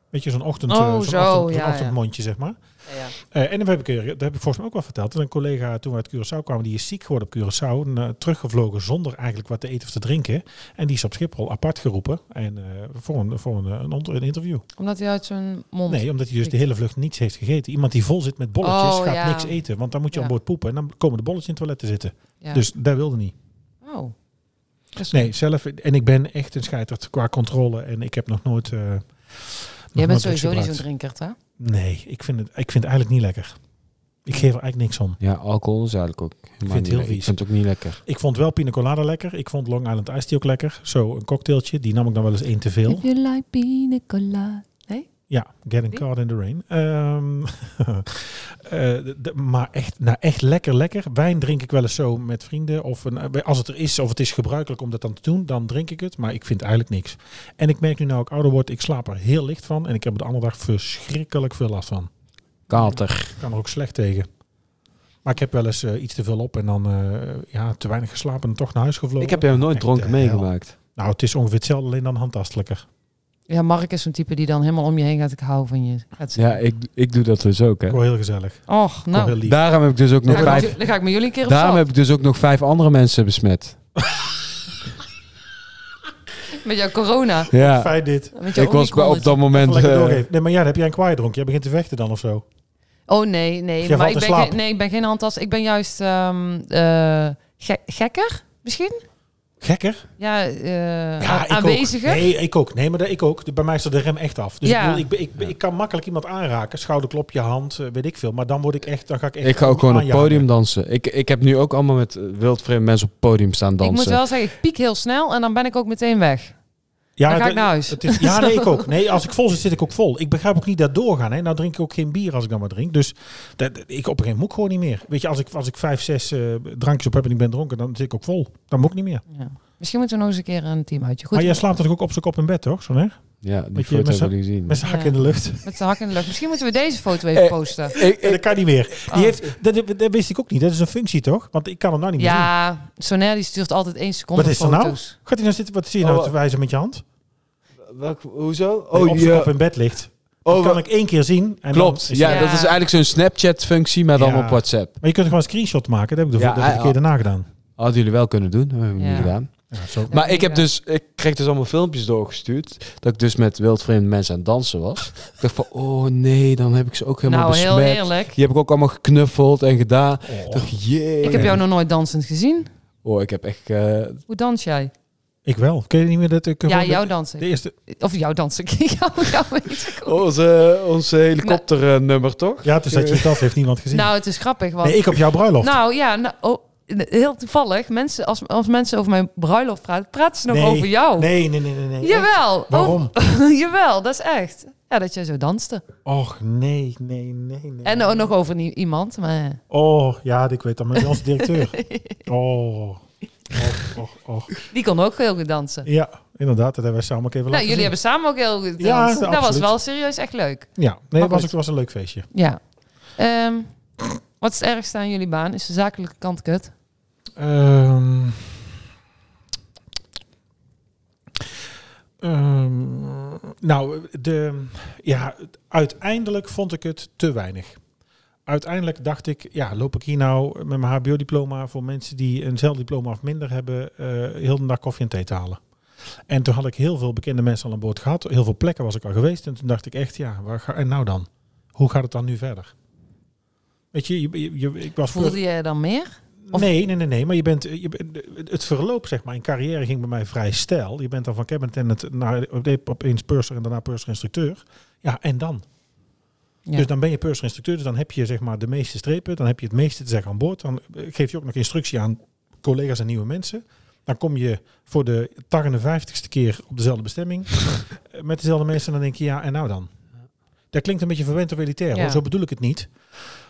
[SPEAKER 2] Weet je, zo'n ochtend, eh,
[SPEAKER 4] Oh,
[SPEAKER 2] zo'n
[SPEAKER 4] zo,
[SPEAKER 2] ochtend, zo'n
[SPEAKER 4] ja, ja.
[SPEAKER 2] ochtendmondje, zeg maar. Eh, en dat heb, ik, eh, dat heb ik volgens mij ook wel verteld. En een collega toen we uit Curaçao kwamen, die is ziek geworden op Curaçao. En, eh, teruggevlogen zonder eigenlijk wat te eten of te drinken. En die is op Schiphol apart geroepen en, eh, voor, een, voor een, eh, een, ont- een interview.
[SPEAKER 4] Omdat hij uit zijn mond...
[SPEAKER 2] Nee, omdat hij dus de hele vlucht niets heeft gegeten. Iemand die vol zit met bolletjes
[SPEAKER 4] Oh,
[SPEAKER 2] gaat
[SPEAKER 4] ja.
[SPEAKER 2] niks eten. Want dan moet je
[SPEAKER 4] Ja.
[SPEAKER 2] aan boord poepen en dan komen de bolletjes in het toilet te zitten.
[SPEAKER 4] Ja.
[SPEAKER 2] Dus dat wilde niet.
[SPEAKER 4] Oh. Dat is-
[SPEAKER 2] Nee, zelf. En ik ben echt een scheiterd qua controle. En ik heb nog nooit. eh, nog
[SPEAKER 4] Jij
[SPEAKER 2] nooit
[SPEAKER 4] bent sowieso niet
[SPEAKER 2] drugs
[SPEAKER 4] zo'n
[SPEAKER 2] gebruikt.
[SPEAKER 4] drinkert, hè?
[SPEAKER 2] Nee, ik vind, het, ik vind het eigenlijk niet lekker. Ik geef er eigenlijk niks om.
[SPEAKER 3] Ja, alcohol is eigenlijk ook. helemaal
[SPEAKER 2] vind het
[SPEAKER 3] niet
[SPEAKER 2] heel
[SPEAKER 3] lekker.
[SPEAKER 2] vies.
[SPEAKER 3] Ik vind het ook niet lekker.
[SPEAKER 2] Ik vond wel pina colada lekker. Ik vond Long Island Ice Tea ook lekker. Zo, een cocktailtje. Die nam ik dan wel eens één te veel.
[SPEAKER 4] you like pina colada.
[SPEAKER 2] Ja, Getting
[SPEAKER 4] Wie?
[SPEAKER 2] Caught in the Rain. Ehm, eh, de- de- maar echt, nou echt lekker, lekker. Wijn drink ik wel eens zo met vrienden. Of een, eh, als het er is, of het is gebruikelijk om dat dan te doen, dan drink ik het. Maar ik vind eigenlijk niks. En ik merk nu nou ik ouder word, ik slaap er heel licht van. En ik heb er de andere dag verschrikkelijk veel last van.
[SPEAKER 3] Kater.
[SPEAKER 2] Ik kan er ook slecht tegen. Maar ik heb wel eens eh, iets te veel op en dan eh, ja, te weinig geslapen en toch naar huis gevlogen.
[SPEAKER 3] Ik heb jou nooit
[SPEAKER 2] Echt
[SPEAKER 3] dronken
[SPEAKER 2] de hel.
[SPEAKER 3] meegemaakt.
[SPEAKER 2] Nou, het is ongeveer hetzelfde, alleen dan handtastelijker.
[SPEAKER 4] Ja, Mark is zo'n type die dan helemaal om je heen gaat. Ik hou van je. Gaat ze-
[SPEAKER 3] Ja, ik, ik doe dat dus ook. Hè.
[SPEAKER 2] Gewoon heel gezellig.
[SPEAKER 4] Och,
[SPEAKER 2] Gewoon heel
[SPEAKER 4] nou.
[SPEAKER 2] lief.
[SPEAKER 3] Daarom heb ik dus ook
[SPEAKER 4] Dan
[SPEAKER 3] nog
[SPEAKER 4] ga, ik met
[SPEAKER 3] vijf.
[SPEAKER 4] ju- dan ga ik met jullie een keer op
[SPEAKER 3] Daarom
[SPEAKER 4] stap.
[SPEAKER 3] heb ik dus ook nog vijf andere mensen besmet.
[SPEAKER 4] Met jouw corona.
[SPEAKER 3] Ja.
[SPEAKER 2] Fijn dit.
[SPEAKER 4] Met jouw
[SPEAKER 3] Ik was bij-
[SPEAKER 4] Omicron.
[SPEAKER 3] op dat moment.
[SPEAKER 2] Lekker
[SPEAKER 3] eh,
[SPEAKER 2] doorgeven. Nee, maar ja, dan heb jij een kwaai dronk. Jij begint te vechten dan of zo.
[SPEAKER 4] Oh nee, nee.
[SPEAKER 2] Jij
[SPEAKER 4] maar
[SPEAKER 2] valt
[SPEAKER 4] ik
[SPEAKER 2] in
[SPEAKER 4] ben,
[SPEAKER 2] slaap.
[SPEAKER 4] geen- nee, ik ben geen handtas. Ik ben juist ehm, eh, gek- gekker, misschien?
[SPEAKER 2] Gekker?
[SPEAKER 4] Ja, eh
[SPEAKER 2] Ja,
[SPEAKER 4] a-
[SPEAKER 2] ik
[SPEAKER 4] aanweziger.
[SPEAKER 2] ook. Nee, ik ook. Nee, maar dat- ik ook. De- Bij mij staat de rem echt af. Dus
[SPEAKER 4] Ja.
[SPEAKER 2] ik, bedoel, ik, ben- ik, ben- ik kan makkelijk iemand aanraken. Schouderklopje, hand, eh, weet ik veel. Maar dan word ik echt, dan ga ik echt...
[SPEAKER 3] Ik ga ook gewoon op het
[SPEAKER 2] aanjagen.
[SPEAKER 3] podium dansen. Ik, ik heb nu ook allemaal met eh, wildvreemde mensen op het podium staan
[SPEAKER 4] ik moet
[SPEAKER 3] dansen.
[SPEAKER 4] wel zeggen, ik piek heel snel en dan ben ik ook meteen weg.
[SPEAKER 2] Ja,
[SPEAKER 4] Dan ga ik
[SPEAKER 2] dat-
[SPEAKER 4] naar huis.
[SPEAKER 2] het is- ja, nee, ik ook. Nee, als ik vol zit, zit ik ook vol. Ik begrijp ook niet dat doorgaan. Hè. Nou drink ik ook geen bier als ik dan maar drink. Dus dat, dat- ik op een gegeven moment moet ik gewoon niet meer. Weet je, als ik, als ik vijf, zes eh, drankjes op heb en ik ben dronken, dan zit ik ook vol. Dan moet ik niet meer.
[SPEAKER 4] Ja. Misschien moeten we nog eens een keer een team uitje. Goed,
[SPEAKER 2] maar jij slaapt toch ook op zijn kop in bed, toch? Zo'n hè?
[SPEAKER 3] Ja, die
[SPEAKER 2] Met je-
[SPEAKER 3] foto
[SPEAKER 2] met
[SPEAKER 3] heb ik gezien.
[SPEAKER 2] Met zijn hak
[SPEAKER 4] Ja.
[SPEAKER 2] in de lucht.
[SPEAKER 4] met de hak in de lucht. Misschien moeten we deze foto even
[SPEAKER 3] Eh,
[SPEAKER 4] posten.
[SPEAKER 3] Ik-
[SPEAKER 2] En
[SPEAKER 3] ik-
[SPEAKER 2] dat kan niet meer.
[SPEAKER 4] Oh.
[SPEAKER 2] Die heeft, dat, dat wist ik ook niet. Dat is een functie, toch? Want ik kan hem nou niet meer zien.
[SPEAKER 4] Ja, Soner die stuurt altijd één seconde
[SPEAKER 2] Wat is er nou?
[SPEAKER 4] foto's.
[SPEAKER 2] Gaat hij nou zitten? Wat zie je nou
[SPEAKER 3] Oh,
[SPEAKER 2] te wijzen met je hand?
[SPEAKER 3] welk- hoezo?
[SPEAKER 2] Oh,
[SPEAKER 3] Oh,
[SPEAKER 2] op
[SPEAKER 3] je-
[SPEAKER 2] zijn kop in bed ligt.
[SPEAKER 3] oh,
[SPEAKER 2] dat kan ik één keer zien. En
[SPEAKER 3] klopt.
[SPEAKER 2] dan is
[SPEAKER 3] Ja,
[SPEAKER 2] het-
[SPEAKER 4] Ja.
[SPEAKER 3] dat is eigenlijk zo'n Snapchat-functie, maar dan
[SPEAKER 2] Ja.
[SPEAKER 3] op WhatsApp.
[SPEAKER 2] Maar je kunt gewoon een screenshot maken. Dat heb ik de
[SPEAKER 3] Ja,
[SPEAKER 2] dat heb ik een
[SPEAKER 3] hij-
[SPEAKER 2] keer daarna gedaan.
[SPEAKER 3] Hadden jullie wel kunnen doen, dat hebben we
[SPEAKER 4] Ja.
[SPEAKER 3] niet gedaan.
[SPEAKER 2] Ja, zo.
[SPEAKER 4] Ja,
[SPEAKER 3] Maar ik heb
[SPEAKER 4] inderdaad.
[SPEAKER 3] dus, ik kreeg dus allemaal filmpjes doorgestuurd. Dat ik dus met wildvreemde mensen aan het dansen was. ik dacht van, oh nee, dan heb ik ze ook helemaal
[SPEAKER 4] Nou, heel
[SPEAKER 3] besmet.
[SPEAKER 4] eerlijk.
[SPEAKER 3] Die heb ik ook allemaal geknuffeld en gedaan. Ik
[SPEAKER 2] Oh.
[SPEAKER 3] dacht, jee.
[SPEAKER 4] Ik heb jou nog nooit dansend gezien.
[SPEAKER 3] Oh, ik heb echt... eh,
[SPEAKER 4] Hoe dans jij?
[SPEAKER 2] Ik wel. Ken je niet meer dat ik...
[SPEAKER 4] Ja,
[SPEAKER 2] gewoon de-
[SPEAKER 4] jou
[SPEAKER 2] De
[SPEAKER 4] dansen.
[SPEAKER 2] eerste...
[SPEAKER 4] Of jou dansen. jou, jou weet ik ook.
[SPEAKER 3] onze, onze helikopternummer, toch?
[SPEAKER 2] Ja, het is dat je het af heeft niemand gezien.
[SPEAKER 4] Nou, het is grappig. Want
[SPEAKER 2] nee, ik op jouw bruiloft.
[SPEAKER 4] Nou ja, nou, oh, heel toevallig. Mensen, als, als mensen over mijn bruiloft praten, praten ze nog
[SPEAKER 2] Nee,
[SPEAKER 4] over jou.
[SPEAKER 2] Nee, nee, nee, nee. nee.
[SPEAKER 4] Jawel.
[SPEAKER 2] Waarom?
[SPEAKER 4] Over- jawel, dat is echt. Ja, dat jij zo danste.
[SPEAKER 2] Och, nee, nee, nee, nee.
[SPEAKER 4] En ook nog over nie- iemand. Maar
[SPEAKER 2] Oh, ja, ik weet dat. Maar onze directeur. Oh. Och, och, och.
[SPEAKER 4] die kon ook heel goed dansen.
[SPEAKER 2] Ja, inderdaad. Dat hebben wij samen ook even
[SPEAKER 4] nou,
[SPEAKER 2] laten
[SPEAKER 4] jullie
[SPEAKER 2] zien.
[SPEAKER 4] hebben samen ook heel goed
[SPEAKER 2] Ja,
[SPEAKER 4] gedanst. dat was
[SPEAKER 2] absoluut.
[SPEAKER 4] wel serieus echt leuk.
[SPEAKER 2] Ja, nee,
[SPEAKER 4] Maar
[SPEAKER 2] het was,
[SPEAKER 4] goed.
[SPEAKER 2] ook- was een leuk feestje.
[SPEAKER 4] Ja. Ehm, wat is het ergste aan jullie baan? Is de zakelijke kant kut?
[SPEAKER 2] Ehm. Ehm, nou, de, ja, uiteindelijk vond ik het te weinig. Uiteindelijk dacht ik, ja, loop ik hier nou met mijn HBO-diploma voor mensen die eenzelfde diploma of minder hebben, eh, heel de dag koffie en thee te halen. En toen had ik heel veel bekende mensen al aan boord gehad, heel veel plekken was ik al geweest. En toen dacht ik echt, ja, waar ga, en nou dan? Hoe gaat het dan nu verder? Weet je, je, je- je- ik was voor,
[SPEAKER 4] Voelde je je dan meer? Of-
[SPEAKER 2] Nee, nee, nee, nee. Maar je bent, eh, je bent- het verloop zeg maar in carrière ging bij mij vrij stijl. Je bent dan van cabinet en het naar opeens purser en daarna purser instructeur. Ja, en dan.
[SPEAKER 4] Ja.
[SPEAKER 2] Dus dan ben je purser instructeur. Dus dan heb je zeg maar de meeste strepen. Dan heb je het meeste te zeggen aan boord. Dan eh, geef je ook nog instructie aan collega's en nieuwe mensen. Dan kom je voor de 58ste keer op dezelfde bestemming. eh, met dezelfde mensen. Dan denk je, ja, en nou dan? Dat klinkt een beetje verwend of elitair.
[SPEAKER 4] Ja.
[SPEAKER 2] hoor. Zo bedoel ik het niet.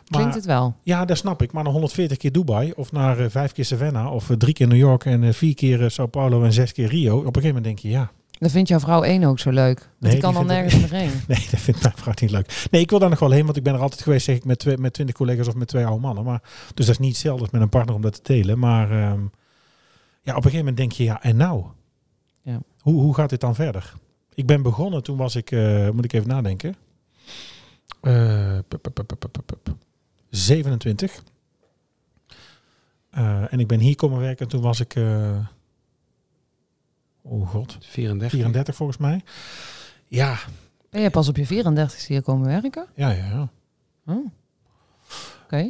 [SPEAKER 4] Klinkt
[SPEAKER 2] Maar,
[SPEAKER 4] het wel.
[SPEAKER 2] Ja, dat snap ik. Maar naar 140 keer Dubai. Of naar eh, vijf keer Savannah. Of eh, drie keer New York. En eh, vier keer eh, Sao Paulo. En zes keer Rio. Op een gegeven moment denk je, ja.
[SPEAKER 4] Dan vindt jouw vrouw één ook zo leuk. Want
[SPEAKER 2] die
[SPEAKER 4] die kan dan
[SPEAKER 2] vindt het-
[SPEAKER 4] nergens meer heen.
[SPEAKER 2] Nee, dat vindt mijn vrouw niet leuk. Nee, ik wil daar nog wel heen, want ik ben er altijd geweest, zeg ik, met, twee, met 20 collega's of met twee oude mannen. Maar, dus dat is niet hetzelfde als met een partner om dat te delen. Maar ehm, ja, op een gegeven moment denk je, ja, en nou?
[SPEAKER 4] Ja.
[SPEAKER 2] Hoe, hoe gaat dit dan verder? Ik ben begonnen, toen was ik, eh, moet ik even nadenken, Eh, pup, pup, pup, pup, pup, pup, pup. 27. Eh, en ik ben hier komen werken, toen was ik, eh, oh god,
[SPEAKER 3] 34.
[SPEAKER 2] 34 volgens mij. Ja,
[SPEAKER 4] Ben je pas op je 34 hier komen werken?
[SPEAKER 2] ja, ja, ja.
[SPEAKER 4] Oh. Oké.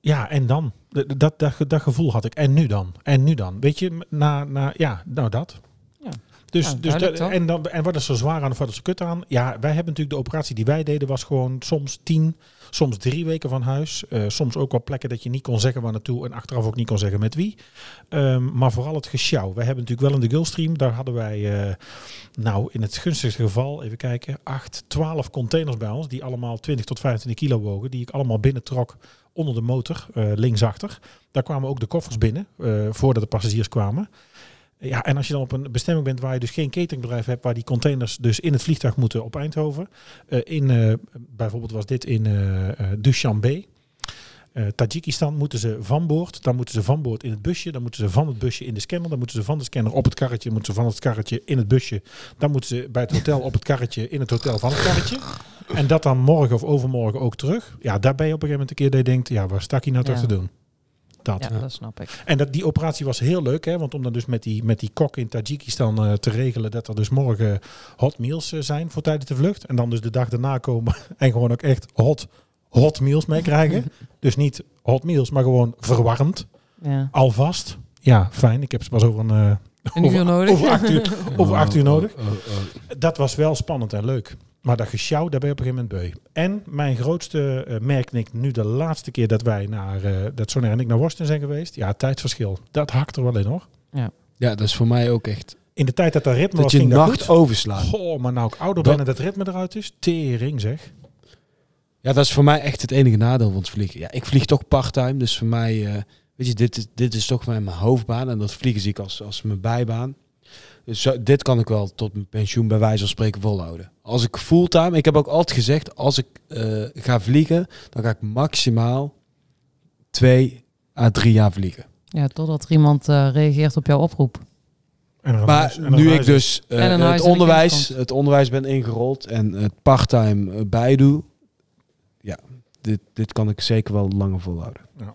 [SPEAKER 2] Ja, en dan? D- d- Dat, dat, dat gevoel had ik. En nu dan? En nu dan? Weet je, na, na ja, nou dat.
[SPEAKER 4] Ja.
[SPEAKER 2] Dus,
[SPEAKER 4] Nou,
[SPEAKER 2] dus
[SPEAKER 4] duidelijk
[SPEAKER 2] dat-
[SPEAKER 4] toch?
[SPEAKER 2] en, dan, en wat is er zwaar aan of wat is er kut aan? Ja, wij hebben natuurlijk de operatie die wij deden was gewoon soms tien, soms drie weken van huis. Eh, soms ook wel plekken dat je niet kon zeggen waar naartoe en achteraf ook niet kon zeggen met wie. Ehm, maar vooral het gesjouw. Wij hebben natuurlijk wel in de Gulfstream, daar hadden wij, eh, nou in het gunstigste geval, even kijken, acht, twaalf containers bij ons. Die allemaal 20 tot 25 kilo wogen, die ik allemaal binnentrok onder de motor, eh, linksachter. Daar kwamen ook de koffers binnen, eh, voordat de passagiers kwamen. Ja, en als je dan op een bestemming bent waar je dus geen cateringbedrijf hebt, waar die containers dus in het vliegtuig moeten op Eindhoven. Eh, in, eh, bijvoorbeeld was dit in eh eh, Dushanbe. Eh Tajikistan moeten ze van boord, dan moeten ze van boord in het busje, dan moeten ze van het busje in de scanner, dan moeten ze van de scanner op het karretje, dan moeten ze van het karretje in het busje, dan moeten ze bij het hotel op het karretje, in het hotel van het karretje. En dat dan morgen of overmorgen ook terug. Ja, daar ben je op een gegeven moment een keer dat je denkt, ja, waar stak hij nou toch
[SPEAKER 4] Ja.
[SPEAKER 2] te doen? Dat.
[SPEAKER 4] Ja, dat snap ik.
[SPEAKER 2] En dat, die operatie was heel leuk, hè? want om dan dus met die, met die kok in Tajikistan eh, te regelen dat er dus morgen hot meals eh, zijn voor tijdens de vlucht. En dan dus de dag daarna komen en gewoon ook echt hot, hot meals meekrijgen. dus niet hot meals, maar gewoon verwarmd,
[SPEAKER 4] Ja.
[SPEAKER 2] alvast. Ja, fijn. Ik heb ze pas over een... eh,
[SPEAKER 4] Een uur
[SPEAKER 2] over-
[SPEAKER 4] nodig.
[SPEAKER 2] Over acht uur, over acht uur
[SPEAKER 3] Oh, oh,
[SPEAKER 2] nodig.
[SPEAKER 3] oh, oh.
[SPEAKER 2] Dat was wel spannend en leuk. Maar dat gesjouw, daar ben je op een gegeven moment beu. En mijn grootste eh, merknik nu de laatste keer dat wij naar, eh dat Sonja en ik naar Washington zijn geweest. Ja, tijdsverschil. Dat hakt er wel in hoor.
[SPEAKER 3] Ja, dat is voor mij ook echt.
[SPEAKER 2] In de tijd dat dat ritme
[SPEAKER 3] Dat
[SPEAKER 2] was,
[SPEAKER 3] je
[SPEAKER 2] ging
[SPEAKER 3] nacht
[SPEAKER 2] dat goed.
[SPEAKER 3] overslaat.
[SPEAKER 2] Goh, maar nou ik ouder
[SPEAKER 3] Dat-
[SPEAKER 2] ben en dat ritme eruit is. Tering zeg.
[SPEAKER 3] Ja, dat is voor mij echt het enige nadeel van het vliegen. Ja, ik vlieg toch part-time, dus voor mij, eh, weet je, dit is, dit is toch mijn mijn hoofdbaan. En dat vliegen zie ik als, als mijn bijbaan. Dus zo- dit kan ik wel tot mijn pensioen bij wijze van spreken volhouden. Als ik fulltime, ik heb ook altijd gezegd, als ik eh, ga vliegen, dan ga ik maximaal twee à drie jaar vliegen.
[SPEAKER 4] Ja, totdat er iemand eh, reageert op jouw oproep.
[SPEAKER 2] En er een
[SPEAKER 3] Maar
[SPEAKER 2] huis- en er een
[SPEAKER 3] nu ik
[SPEAKER 2] huis is.
[SPEAKER 3] dus eh,
[SPEAKER 4] En een huis en
[SPEAKER 3] het,
[SPEAKER 4] een
[SPEAKER 3] onderwijs,
[SPEAKER 4] kindskant.
[SPEAKER 3] het onderwijs ben ingerold en het part-time eh, bijdoe, ja, dit, dit kan ik zeker wel langer volhouden.
[SPEAKER 2] Ja.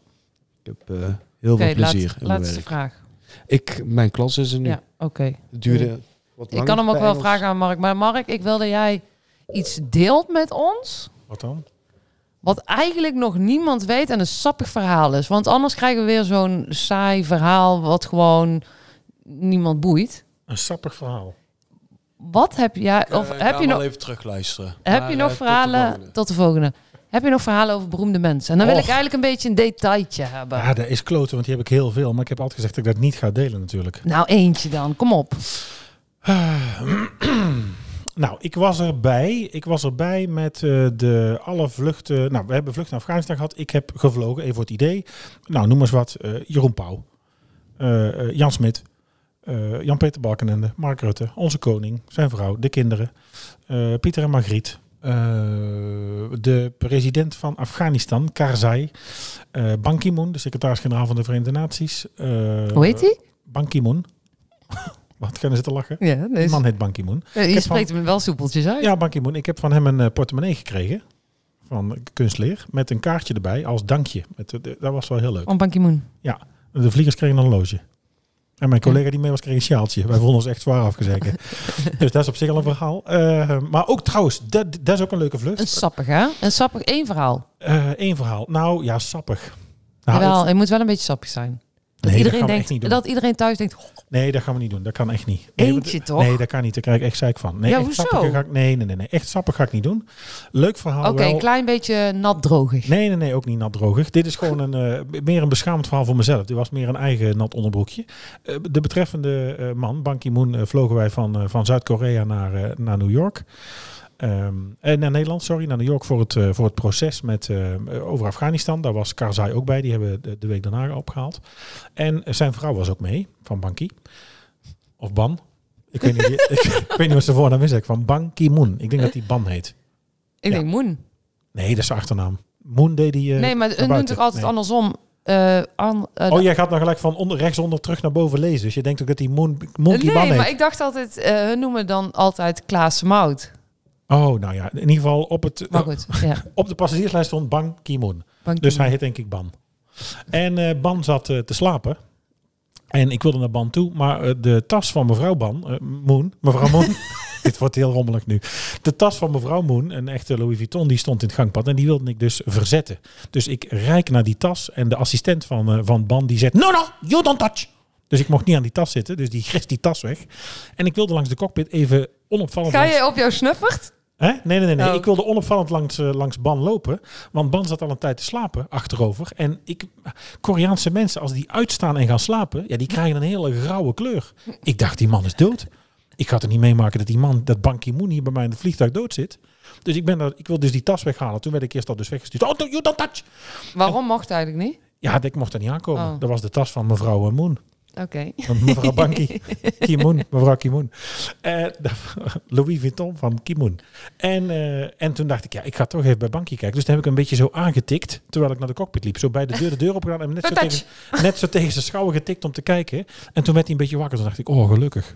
[SPEAKER 3] Ik heb eh, heel
[SPEAKER 4] Oké,
[SPEAKER 3] veel plezier
[SPEAKER 4] laat,
[SPEAKER 3] in mijn
[SPEAKER 4] laatste
[SPEAKER 3] werk.
[SPEAKER 4] vraag.
[SPEAKER 3] Ik, mijn klas is er nu.
[SPEAKER 4] Ja, oké.
[SPEAKER 3] Het duurde wat
[SPEAKER 4] Ik kan hem ook
[SPEAKER 3] bij
[SPEAKER 4] wel
[SPEAKER 3] Engels.
[SPEAKER 4] vragen aan Mark. Maar Mark, ik wil dat jij iets deelt met ons.
[SPEAKER 2] Wat dan?
[SPEAKER 4] Wat eigenlijk nog niemand weet en een sappig verhaal is. Want anders krijgen we weer zo'n saai verhaal wat gewoon niemand boeit.
[SPEAKER 2] Een sappig verhaal.
[SPEAKER 4] Wat heb jij, of
[SPEAKER 3] Eh,
[SPEAKER 4] heb
[SPEAKER 3] ga
[SPEAKER 4] je nog,
[SPEAKER 3] wel even terugluisteren.
[SPEAKER 4] heb
[SPEAKER 3] Maar,
[SPEAKER 4] je
[SPEAKER 3] eh,
[SPEAKER 4] nog
[SPEAKER 3] tot de
[SPEAKER 4] verhalen,
[SPEAKER 3] volgende.
[SPEAKER 4] tot de volgende. Heb je nog verhalen over beroemde mensen? En dan wil
[SPEAKER 2] Och.
[SPEAKER 4] ik eigenlijk een beetje een detailtje hebben.
[SPEAKER 2] Ja, dat is kloten, want die heb ik heel veel. Maar ik heb altijd gezegd dat ik dat niet ga delen natuurlijk.
[SPEAKER 4] Nou, eentje dan. Kom op.
[SPEAKER 2] Nou, ik was erbij. Ik was erbij met eh, de alle vluchten. Nou, we hebben vluchten naar Afghanistan gehad. Ik heb gevlogen, even voor het idee. Nou, noem eens wat. eh, Jeroen Pauw. eh, eh, Jan Smit. eh, Jan-Peter Balkenende. Mark Rutte. Onze koning. Zijn vrouw. De kinderen. eh, Pieter en Margriet. eh, de president van Afghanistan, Karzai. eh Ban Ki-moon, de secretaris-generaal van de Verenigde Naties. eh,
[SPEAKER 4] Hoe heet hij?
[SPEAKER 2] Ban Ki-moon. Wat kunnen ze te lachen?
[SPEAKER 4] Ja,
[SPEAKER 2] Die
[SPEAKER 4] nee.
[SPEAKER 2] man heet Ban Ki-moon.
[SPEAKER 4] je
[SPEAKER 2] heb
[SPEAKER 4] spreekt hem wel soepeltjes uit.
[SPEAKER 2] Ja, Ban Ki-moon. Ik heb van hem een eh, portemonnee gekregen. Van kunstleer. Met een kaartje erbij als dankje. Met, de- de- dat was wel heel leuk.
[SPEAKER 4] Van Ban Ki-moon.
[SPEAKER 2] De vliegers kregen een horloge. En mijn collega die mee was kreeg een sjaaltje. Wij vonden ons echt zwaar afgezeken. dus dat is op zich al een verhaal. Eh, maar ook trouwens, dat, dat is ook een leuke
[SPEAKER 4] Een
[SPEAKER 2] vlucht.
[SPEAKER 4] sappig, hè? Een sappig één verhaal.
[SPEAKER 2] Eén verhaal. Nou ja, sappig. Nou,
[SPEAKER 4] Jawel,
[SPEAKER 2] het-
[SPEAKER 4] het moet wel een beetje sappig zijn. Dat,
[SPEAKER 2] Nee, dat
[SPEAKER 4] iedereen,
[SPEAKER 2] gaan we echt niet
[SPEAKER 4] denkt,
[SPEAKER 2] doen.
[SPEAKER 4] dat iedereen thuis denkt, "Goh,
[SPEAKER 2] Nee, dat gaan we niet doen. Dat kan echt niet. Nee, want-
[SPEAKER 4] Eentje toch?
[SPEAKER 2] Nee, dat kan niet. Daar krijg ik echt zeik van. Nee,
[SPEAKER 4] Ja,
[SPEAKER 2] echt
[SPEAKER 4] hoezo?
[SPEAKER 2] sappig ga ik, nee, nee, nee, nee. Echt sappig ga ik niet doen. Leuk verhaal
[SPEAKER 4] oké,
[SPEAKER 2] wel.
[SPEAKER 4] een klein beetje nat drogig.
[SPEAKER 2] Nee, nee, nee, ook niet nat droogig. Dit is gewoon een, eh, meer een beschaamd verhaal voor mezelf. Dit was meer een eigen nat onderbroekje. Eh, de betreffende eh, man, Ban Ki-moon, eh, vlogen wij van, eh, van Zuid-Korea naar, eh, naar New York. Ehm, eh, naar Nederland, sorry, naar New York voor het, eh, voor het proces met, eh, over Afghanistan. Daar was Karzai ook bij, die hebben we de, de week daarna opgehaald. En zijn vrouw was ook mee, van Ban Ki. Of Ban. Ik weet niet, ik, weet niet wat zijn voornaam is, eigenlijk, van Ban Ki-moon. Ik denk dat die Ban heet.
[SPEAKER 4] Ik
[SPEAKER 2] Ja.
[SPEAKER 4] denk Moen.
[SPEAKER 2] Nee, dat is zijn achternaam. Moon deed die... eh,
[SPEAKER 4] nee, maar
[SPEAKER 2] naar
[SPEAKER 4] hun doen
[SPEAKER 2] buiten.
[SPEAKER 4] toch altijd
[SPEAKER 2] Nee.
[SPEAKER 4] andersom. Eh, an- eh,
[SPEAKER 2] Oh, jij gaat nou gelijk van onder, rechtsonder terug naar boven lezen. Dus je denkt ook dat die Moon, Monkey
[SPEAKER 4] nee,
[SPEAKER 2] Ban
[SPEAKER 4] maar
[SPEAKER 2] heet.
[SPEAKER 4] ik dacht altijd, eh, hun noemen dan altijd Klaas Mout.
[SPEAKER 2] Oh, nou ja. In ieder geval op, het,
[SPEAKER 4] Maar goed, ja.
[SPEAKER 2] op de passagierslijst stond Ban Ki-moon.
[SPEAKER 4] Dank
[SPEAKER 2] Dus
[SPEAKER 4] je.
[SPEAKER 2] hij heet denk ik Ban. En eh, Ban zat eh, te slapen. En ik wilde naar Ban toe. Maar eh, de tas van mevrouw Ban, eh, Moon, mevrouw Moon... Dit wordt heel rommelig nu. De tas van mevrouw Moon, een echte Louis Vuitton, die stond in het gangpad. En die wilde ik dus verzetten. Dus ik rijk naar die tas. En de assistent van, eh, van Ban, die zegt... No, no, you don't touch. Dus ik mocht niet aan die tas zitten. Dus die grist die tas weg. En ik wilde langs de cockpit even onopvallend...
[SPEAKER 4] Ga
[SPEAKER 2] langs-
[SPEAKER 4] je op jouw snuffert?
[SPEAKER 2] Hè? Nee, nee, nee. nee.
[SPEAKER 4] Oh.
[SPEAKER 2] Ik wilde onopvallend langs, eh, langs Ban lopen. Want Ban zat al een tijd te slapen achterover. En ik, Koreaanse mensen, als die uitstaan en gaan slapen, ja, die krijgen een hele grauwe kleur. Ik dacht, die man is dood. Ik ga er niet meemaken dat die man, dat Ban Ki-moon hier bij mij in het vliegtuig dood zit. Dus ik, ben daar, ik wil dus die tas weghalen. Toen werd ik eerst al dus weggestuurd. Oh, don't- you don't touch!
[SPEAKER 4] Waarom mocht hij eigenlijk niet?
[SPEAKER 2] Ja, ik mocht er niet aankomen.
[SPEAKER 4] Oh.
[SPEAKER 2] Dat was de tas van mevrouw eh, Moon.
[SPEAKER 4] Oké.
[SPEAKER 2] Van Mevrouw Banki. Kimoen. Mevrouw Kimoen. Eh, Louis Vuitton van Kimoen. En, eh, en toen dacht ik, ja, ik ga toch even bij Banki kijken. Dus toen heb ik een beetje zo aangetikt. Terwijl ik naar de cockpit liep. Zo bij de deur de deur opgegaan. En net zo,
[SPEAKER 4] Touch.
[SPEAKER 2] tegen, net zo tegen zijn schouwen getikt om te kijken. En toen werd hij een beetje wakker. Toen dacht ik, oh, gelukkig.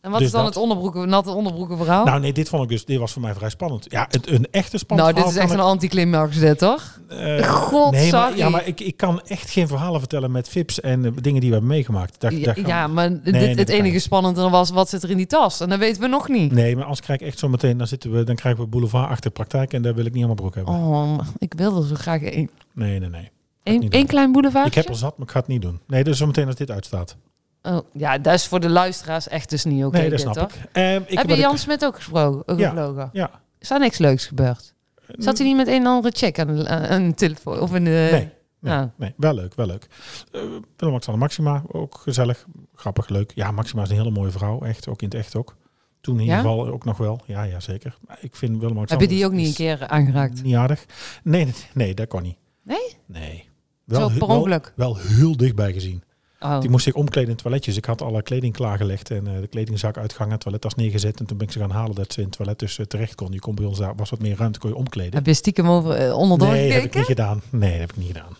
[SPEAKER 4] En wat
[SPEAKER 2] Dus
[SPEAKER 4] is dan
[SPEAKER 2] dat.
[SPEAKER 4] het onderbroeken, natte onderbroeken verhaal? Nou,
[SPEAKER 2] Nou nee, dit vond ik dus, dit was voor mij vrij spannend. Ja, het, een echte spannend
[SPEAKER 4] Nou, dit is echt een
[SPEAKER 2] verhaal
[SPEAKER 4] anticlimax dit, toch?
[SPEAKER 2] kan ik, eh,
[SPEAKER 4] God,
[SPEAKER 2] Nee, maar,
[SPEAKER 4] sorry.
[SPEAKER 2] ja, maar ik, ik kan echt geen verhalen vertellen met vips en eh, dingen die we hebben meegemaakt. Daar,
[SPEAKER 4] Ja,
[SPEAKER 2] daar gaan we-
[SPEAKER 4] ja, maar dit,
[SPEAKER 2] nee, dat
[SPEAKER 4] het
[SPEAKER 2] kan
[SPEAKER 4] enige
[SPEAKER 2] niet.
[SPEAKER 4] spannende was, wat zit er in die tas? En dat weten we nog niet.
[SPEAKER 2] Nee, maar als krijg ik echt zo meteen, dan, zitten we, dan krijgen we boulevard achter praktijk en daar wil ik niet allemaal broek hebben.
[SPEAKER 4] Oh, ik wil er zo graag één.
[SPEAKER 2] Nee, nee, nee.
[SPEAKER 4] Eén
[SPEAKER 2] niet doen.
[SPEAKER 4] één klein
[SPEAKER 2] Ik
[SPEAKER 4] boulevardje?
[SPEAKER 2] heb al zat, maar ik ga het niet doen. Nee, dus zometeen als dit uitstaat.
[SPEAKER 4] Oh, ja, dat is voor de luisteraars echt dus niet oké.
[SPEAKER 2] nee, dat
[SPEAKER 4] dit,
[SPEAKER 2] snap
[SPEAKER 4] hoor.
[SPEAKER 2] ik. Ehm, ik
[SPEAKER 4] Heb
[SPEAKER 2] wat
[SPEAKER 4] je
[SPEAKER 2] ik-
[SPEAKER 4] Jan Smit ook gesproken?
[SPEAKER 2] Ja.
[SPEAKER 4] gevlogen?
[SPEAKER 2] Ja.
[SPEAKER 4] Is daar niks leuks gebeurd? Zat hij niet met een en andere check aan de- aan een telefoon? Of een, eh,
[SPEAKER 2] Nee. Nee,
[SPEAKER 4] Ja.
[SPEAKER 2] nee, wel leuk, wel leuk. Eh Willem-Alexander Maxima, ook gezellig, grappig, leuk. Ja, Maxima is een hele mooie vrouw, echt, ook in het echt ook. Toen in
[SPEAKER 4] Ja?
[SPEAKER 2] ieder geval ook nog wel. Ja, ja, zeker. Maar ik Dus vind
[SPEAKER 4] Heb
[SPEAKER 2] Willem-Alexander...
[SPEAKER 4] je die ook niet een keer aangeraakt?
[SPEAKER 2] is Niet aardig. Nee, nee, nee, dat kon niet.
[SPEAKER 4] Nee?
[SPEAKER 2] Nee.
[SPEAKER 4] Zo
[SPEAKER 2] he-
[SPEAKER 4] per ongeluk.
[SPEAKER 2] Wel, wel heel dichtbij gezien.
[SPEAKER 4] Oh.
[SPEAKER 2] Die moest ik omkleden in toiletjes. Ik had alle kleding klaargelegd en eh, de kledingzak uitgang en toilettas neergezet. En toen ben ik ze gaan halen dat ze in het toilet dus eh, terecht kon. Je kon bij ons daar, was wat meer ruimte, kon je omkleden.
[SPEAKER 4] Heb je stiekem over, eh, onderdoor
[SPEAKER 2] Nee, dat heb ik
[SPEAKER 4] gekeken?
[SPEAKER 2] niet gedaan. Nee, dat heb ik niet gedaan.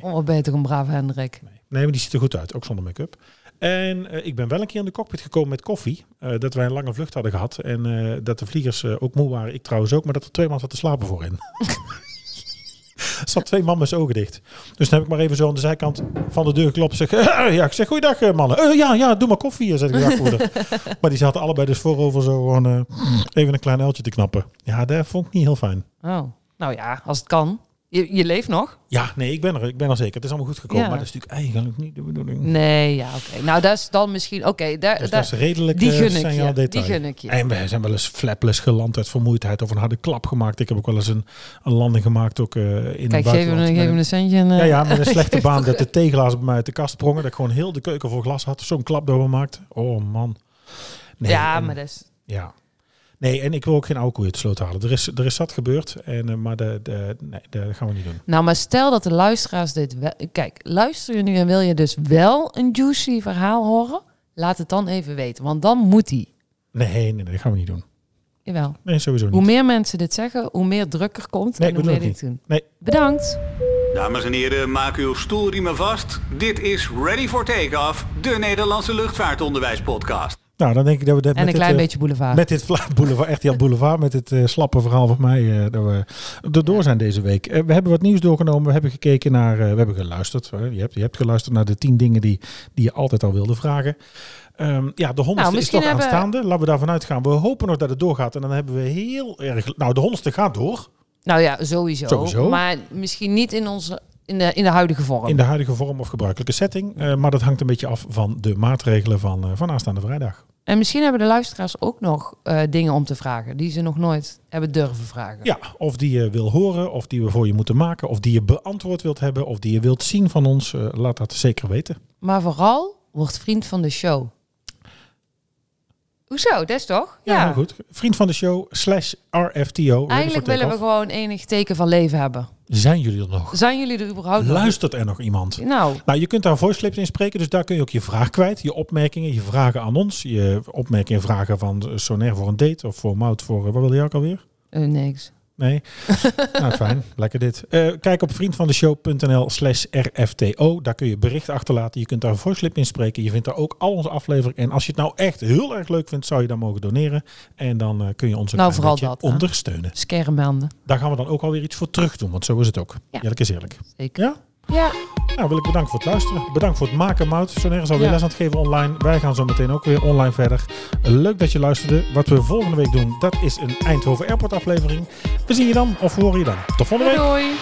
[SPEAKER 4] Oh, wat ben je toch een brave Hendrik.
[SPEAKER 2] Nee, nee maar die ziet er goed uit, ook zonder make-up. En eh, ik ben wel een keer in de cockpit gekomen met koffie. eh, dat wij een lange vlucht hadden gehad. En eh, dat de vliegers eh, ook moe waren. Ik trouwens ook, maar dat er twee man zaten te slapen voorin. Er zat twee man met zijn ogen dicht. Dus dan heb ik maar even zo aan de zijkant van de deur geklopt. Zeg, eh, ja, ik zeg, goeiedag eh, mannen. Eh, ja, ja, doe maar koffie, eh, zei de dagvoerder. maar die zaten allebei dus voorover zo gewoon eh, even een klein uiltje te knappen. Ja, dat vond ik niet heel fijn.
[SPEAKER 4] Oh. Nou ja, als het kan. Je, je leeft nog?
[SPEAKER 2] Ja, nee, ik ben er, ik ben er zeker. Het is allemaal goed gekomen,
[SPEAKER 4] Ja.
[SPEAKER 2] maar dat is natuurlijk eigenlijk niet de bedoeling.
[SPEAKER 4] Nee, ja, oké. Nou, dat is dan misschien... Oké, daar,
[SPEAKER 2] Dus dat is
[SPEAKER 4] daar,
[SPEAKER 2] redelijk
[SPEAKER 4] die
[SPEAKER 2] eh,
[SPEAKER 4] gun ik
[SPEAKER 2] signaal
[SPEAKER 4] je.
[SPEAKER 2] detail.
[SPEAKER 4] Die gun ik je.
[SPEAKER 2] En we zijn wel eens flapless geland uit vermoeidheid of een harde klap gemaakt. Ik heb ook wel eens een, een landing gemaakt ook eh, in
[SPEAKER 4] Kijk,
[SPEAKER 2] het
[SPEAKER 4] geef hem,
[SPEAKER 2] buitenland.
[SPEAKER 4] geef hem
[SPEAKER 2] Met
[SPEAKER 4] een centje. En,
[SPEAKER 2] een-
[SPEAKER 4] eh,
[SPEAKER 2] ja, ja, met een slechte baan dat de tegelaars bij mij uit de kast sprongen. Dat ik gewoon heel de keuken vol glas had. Zo'n klap door me maakte. Oh man. Nee,
[SPEAKER 4] ja,
[SPEAKER 2] en-
[SPEAKER 4] maar dat is...
[SPEAKER 2] ja. Nee, en ik wil ook geen oude koeien uit de sloot halen. Er is, er is zat gebeurd, en, eh, maar de, de, nee, dat gaan we niet doen.
[SPEAKER 4] Nou, maar stel dat de luisteraars dit wel... Kijk, luister je nu en wil je dus wel een juicy verhaal horen? Laat het dan even weten, want dan moet die.
[SPEAKER 2] Nee, nee, nee, dat gaan we niet doen.
[SPEAKER 4] Jawel.
[SPEAKER 2] Nee, sowieso
[SPEAKER 4] Hoe
[SPEAKER 2] niet.
[SPEAKER 4] meer mensen dit zeggen, hoe meer druk er komt
[SPEAKER 2] Nee,
[SPEAKER 4] en
[SPEAKER 2] ik
[SPEAKER 4] hoe
[SPEAKER 2] bedoel
[SPEAKER 4] meer
[SPEAKER 2] het
[SPEAKER 4] dit doen.
[SPEAKER 2] Nee,
[SPEAKER 4] Bedankt.
[SPEAKER 1] Dames en heren, maak uw stoelriemen vast. Dit is Ready for Takeoff, de Nederlandse luchtvaartonderwijspodcast.
[SPEAKER 2] nou dan denk ik dat we dat met
[SPEAKER 4] En een
[SPEAKER 2] dit,
[SPEAKER 4] klein
[SPEAKER 2] eh,
[SPEAKER 4] beetje boulevard.
[SPEAKER 2] Met dit vla- boulevard, echt die boulevard, met dit eh, slappe verhaal van mij, eh, dat we erdoor zijn deze week. Eh, we hebben wat nieuws doorgenomen, we hebben gekeken naar, eh, we hebben geluisterd. eh, je, hebt, je hebt geluisterd naar de tien dingen die, die je altijd al wilde vragen. Ehm, ja, de honderdste is
[SPEAKER 4] Nou, misschien
[SPEAKER 2] toch
[SPEAKER 4] hebben-
[SPEAKER 2] aanstaande. Laten we daarvan uitgaan. We hopen nog dat het doorgaat en dan hebben we heel erg... Nou, de honderdste gaat door.
[SPEAKER 4] Nou ja, sowieso.
[SPEAKER 2] Sowieso.
[SPEAKER 4] Maar misschien niet in onze in de, in de huidige vorm.
[SPEAKER 2] In de huidige vorm of gebruikelijke setting. eh, maar dat hangt een beetje af van de maatregelen van, eh, van aanstaande vrijdag.
[SPEAKER 4] En misschien hebben de luisteraars ook nog eh, dingen om te vragen die ze nog nooit hebben durven vragen.
[SPEAKER 2] Ja, of die je wil horen, of die we voor je moeten maken, of die je beantwoord wilt hebben, of die je wilt zien van ons. eh, laat dat zeker weten.
[SPEAKER 4] Maar vooral, word vriend van de show. Hoezo? Dat is toch?
[SPEAKER 2] Ja, heel Nou goed. Vriend van de show, slash RFTO.
[SPEAKER 4] Eigenlijk willen we gewoon enig teken van leven hebben.
[SPEAKER 2] Zijn jullie er nog?
[SPEAKER 4] Zijn jullie er überhaupt Oh, nog?
[SPEAKER 2] Luistert er nog iemand?
[SPEAKER 4] Nou,
[SPEAKER 2] Nou, je kunt daar voice clips in spreken, dus daar kun je ook je vraag kwijt. Je opmerkingen, je vragen aan ons. Je opmerkingen en vragen van eh, Sonair voor een date of voor Mout voor... eh, wat wil jij ook alweer?
[SPEAKER 4] eh, niks.
[SPEAKER 2] Nee? nou, fijn. Lekker dit. Eh, kijk op vriendvandeshow.nl slash rfto. Daar kun je bericht achterlaten. Je kunt daar een voice clip in spreken. Je vindt daar ook al onze afleveringen. En als je het nou echt heel erg leuk vindt, zou je dan mogen doneren. En dan eh, kun je ons een
[SPEAKER 4] Nou,
[SPEAKER 2] klein
[SPEAKER 4] vooral
[SPEAKER 2] beetje
[SPEAKER 4] dat, hè?
[SPEAKER 2] ondersteunen.
[SPEAKER 4] Schermende.
[SPEAKER 2] Daar gaan we dan ook alweer iets voor terug doen, want zo is het ook.
[SPEAKER 4] Ja.
[SPEAKER 2] Eerlijk is eerlijk.
[SPEAKER 4] Zeker.
[SPEAKER 2] Ja?
[SPEAKER 4] Ja.
[SPEAKER 2] Nou, wil ik bedanken voor het luisteren. Bedankt voor het maken, Mout. Zo nergens alweer
[SPEAKER 4] Ja.
[SPEAKER 2] les aan het geven online. Wij gaan zo meteen ook weer online verder. Leuk dat je luisterde. Wat we volgende week doen, dat is een Eindhoven Airport aflevering. We zien je dan, of we horen je dan. Tot volgende
[SPEAKER 4] Doei.
[SPEAKER 2] week.
[SPEAKER 4] doei.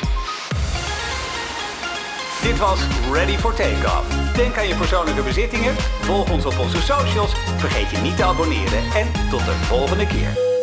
[SPEAKER 1] Dit was Ready for Takeoff. Denk aan je persoonlijke bezittingen, volg ons op onze socials, vergeet je niet te abonneren en tot de volgende keer.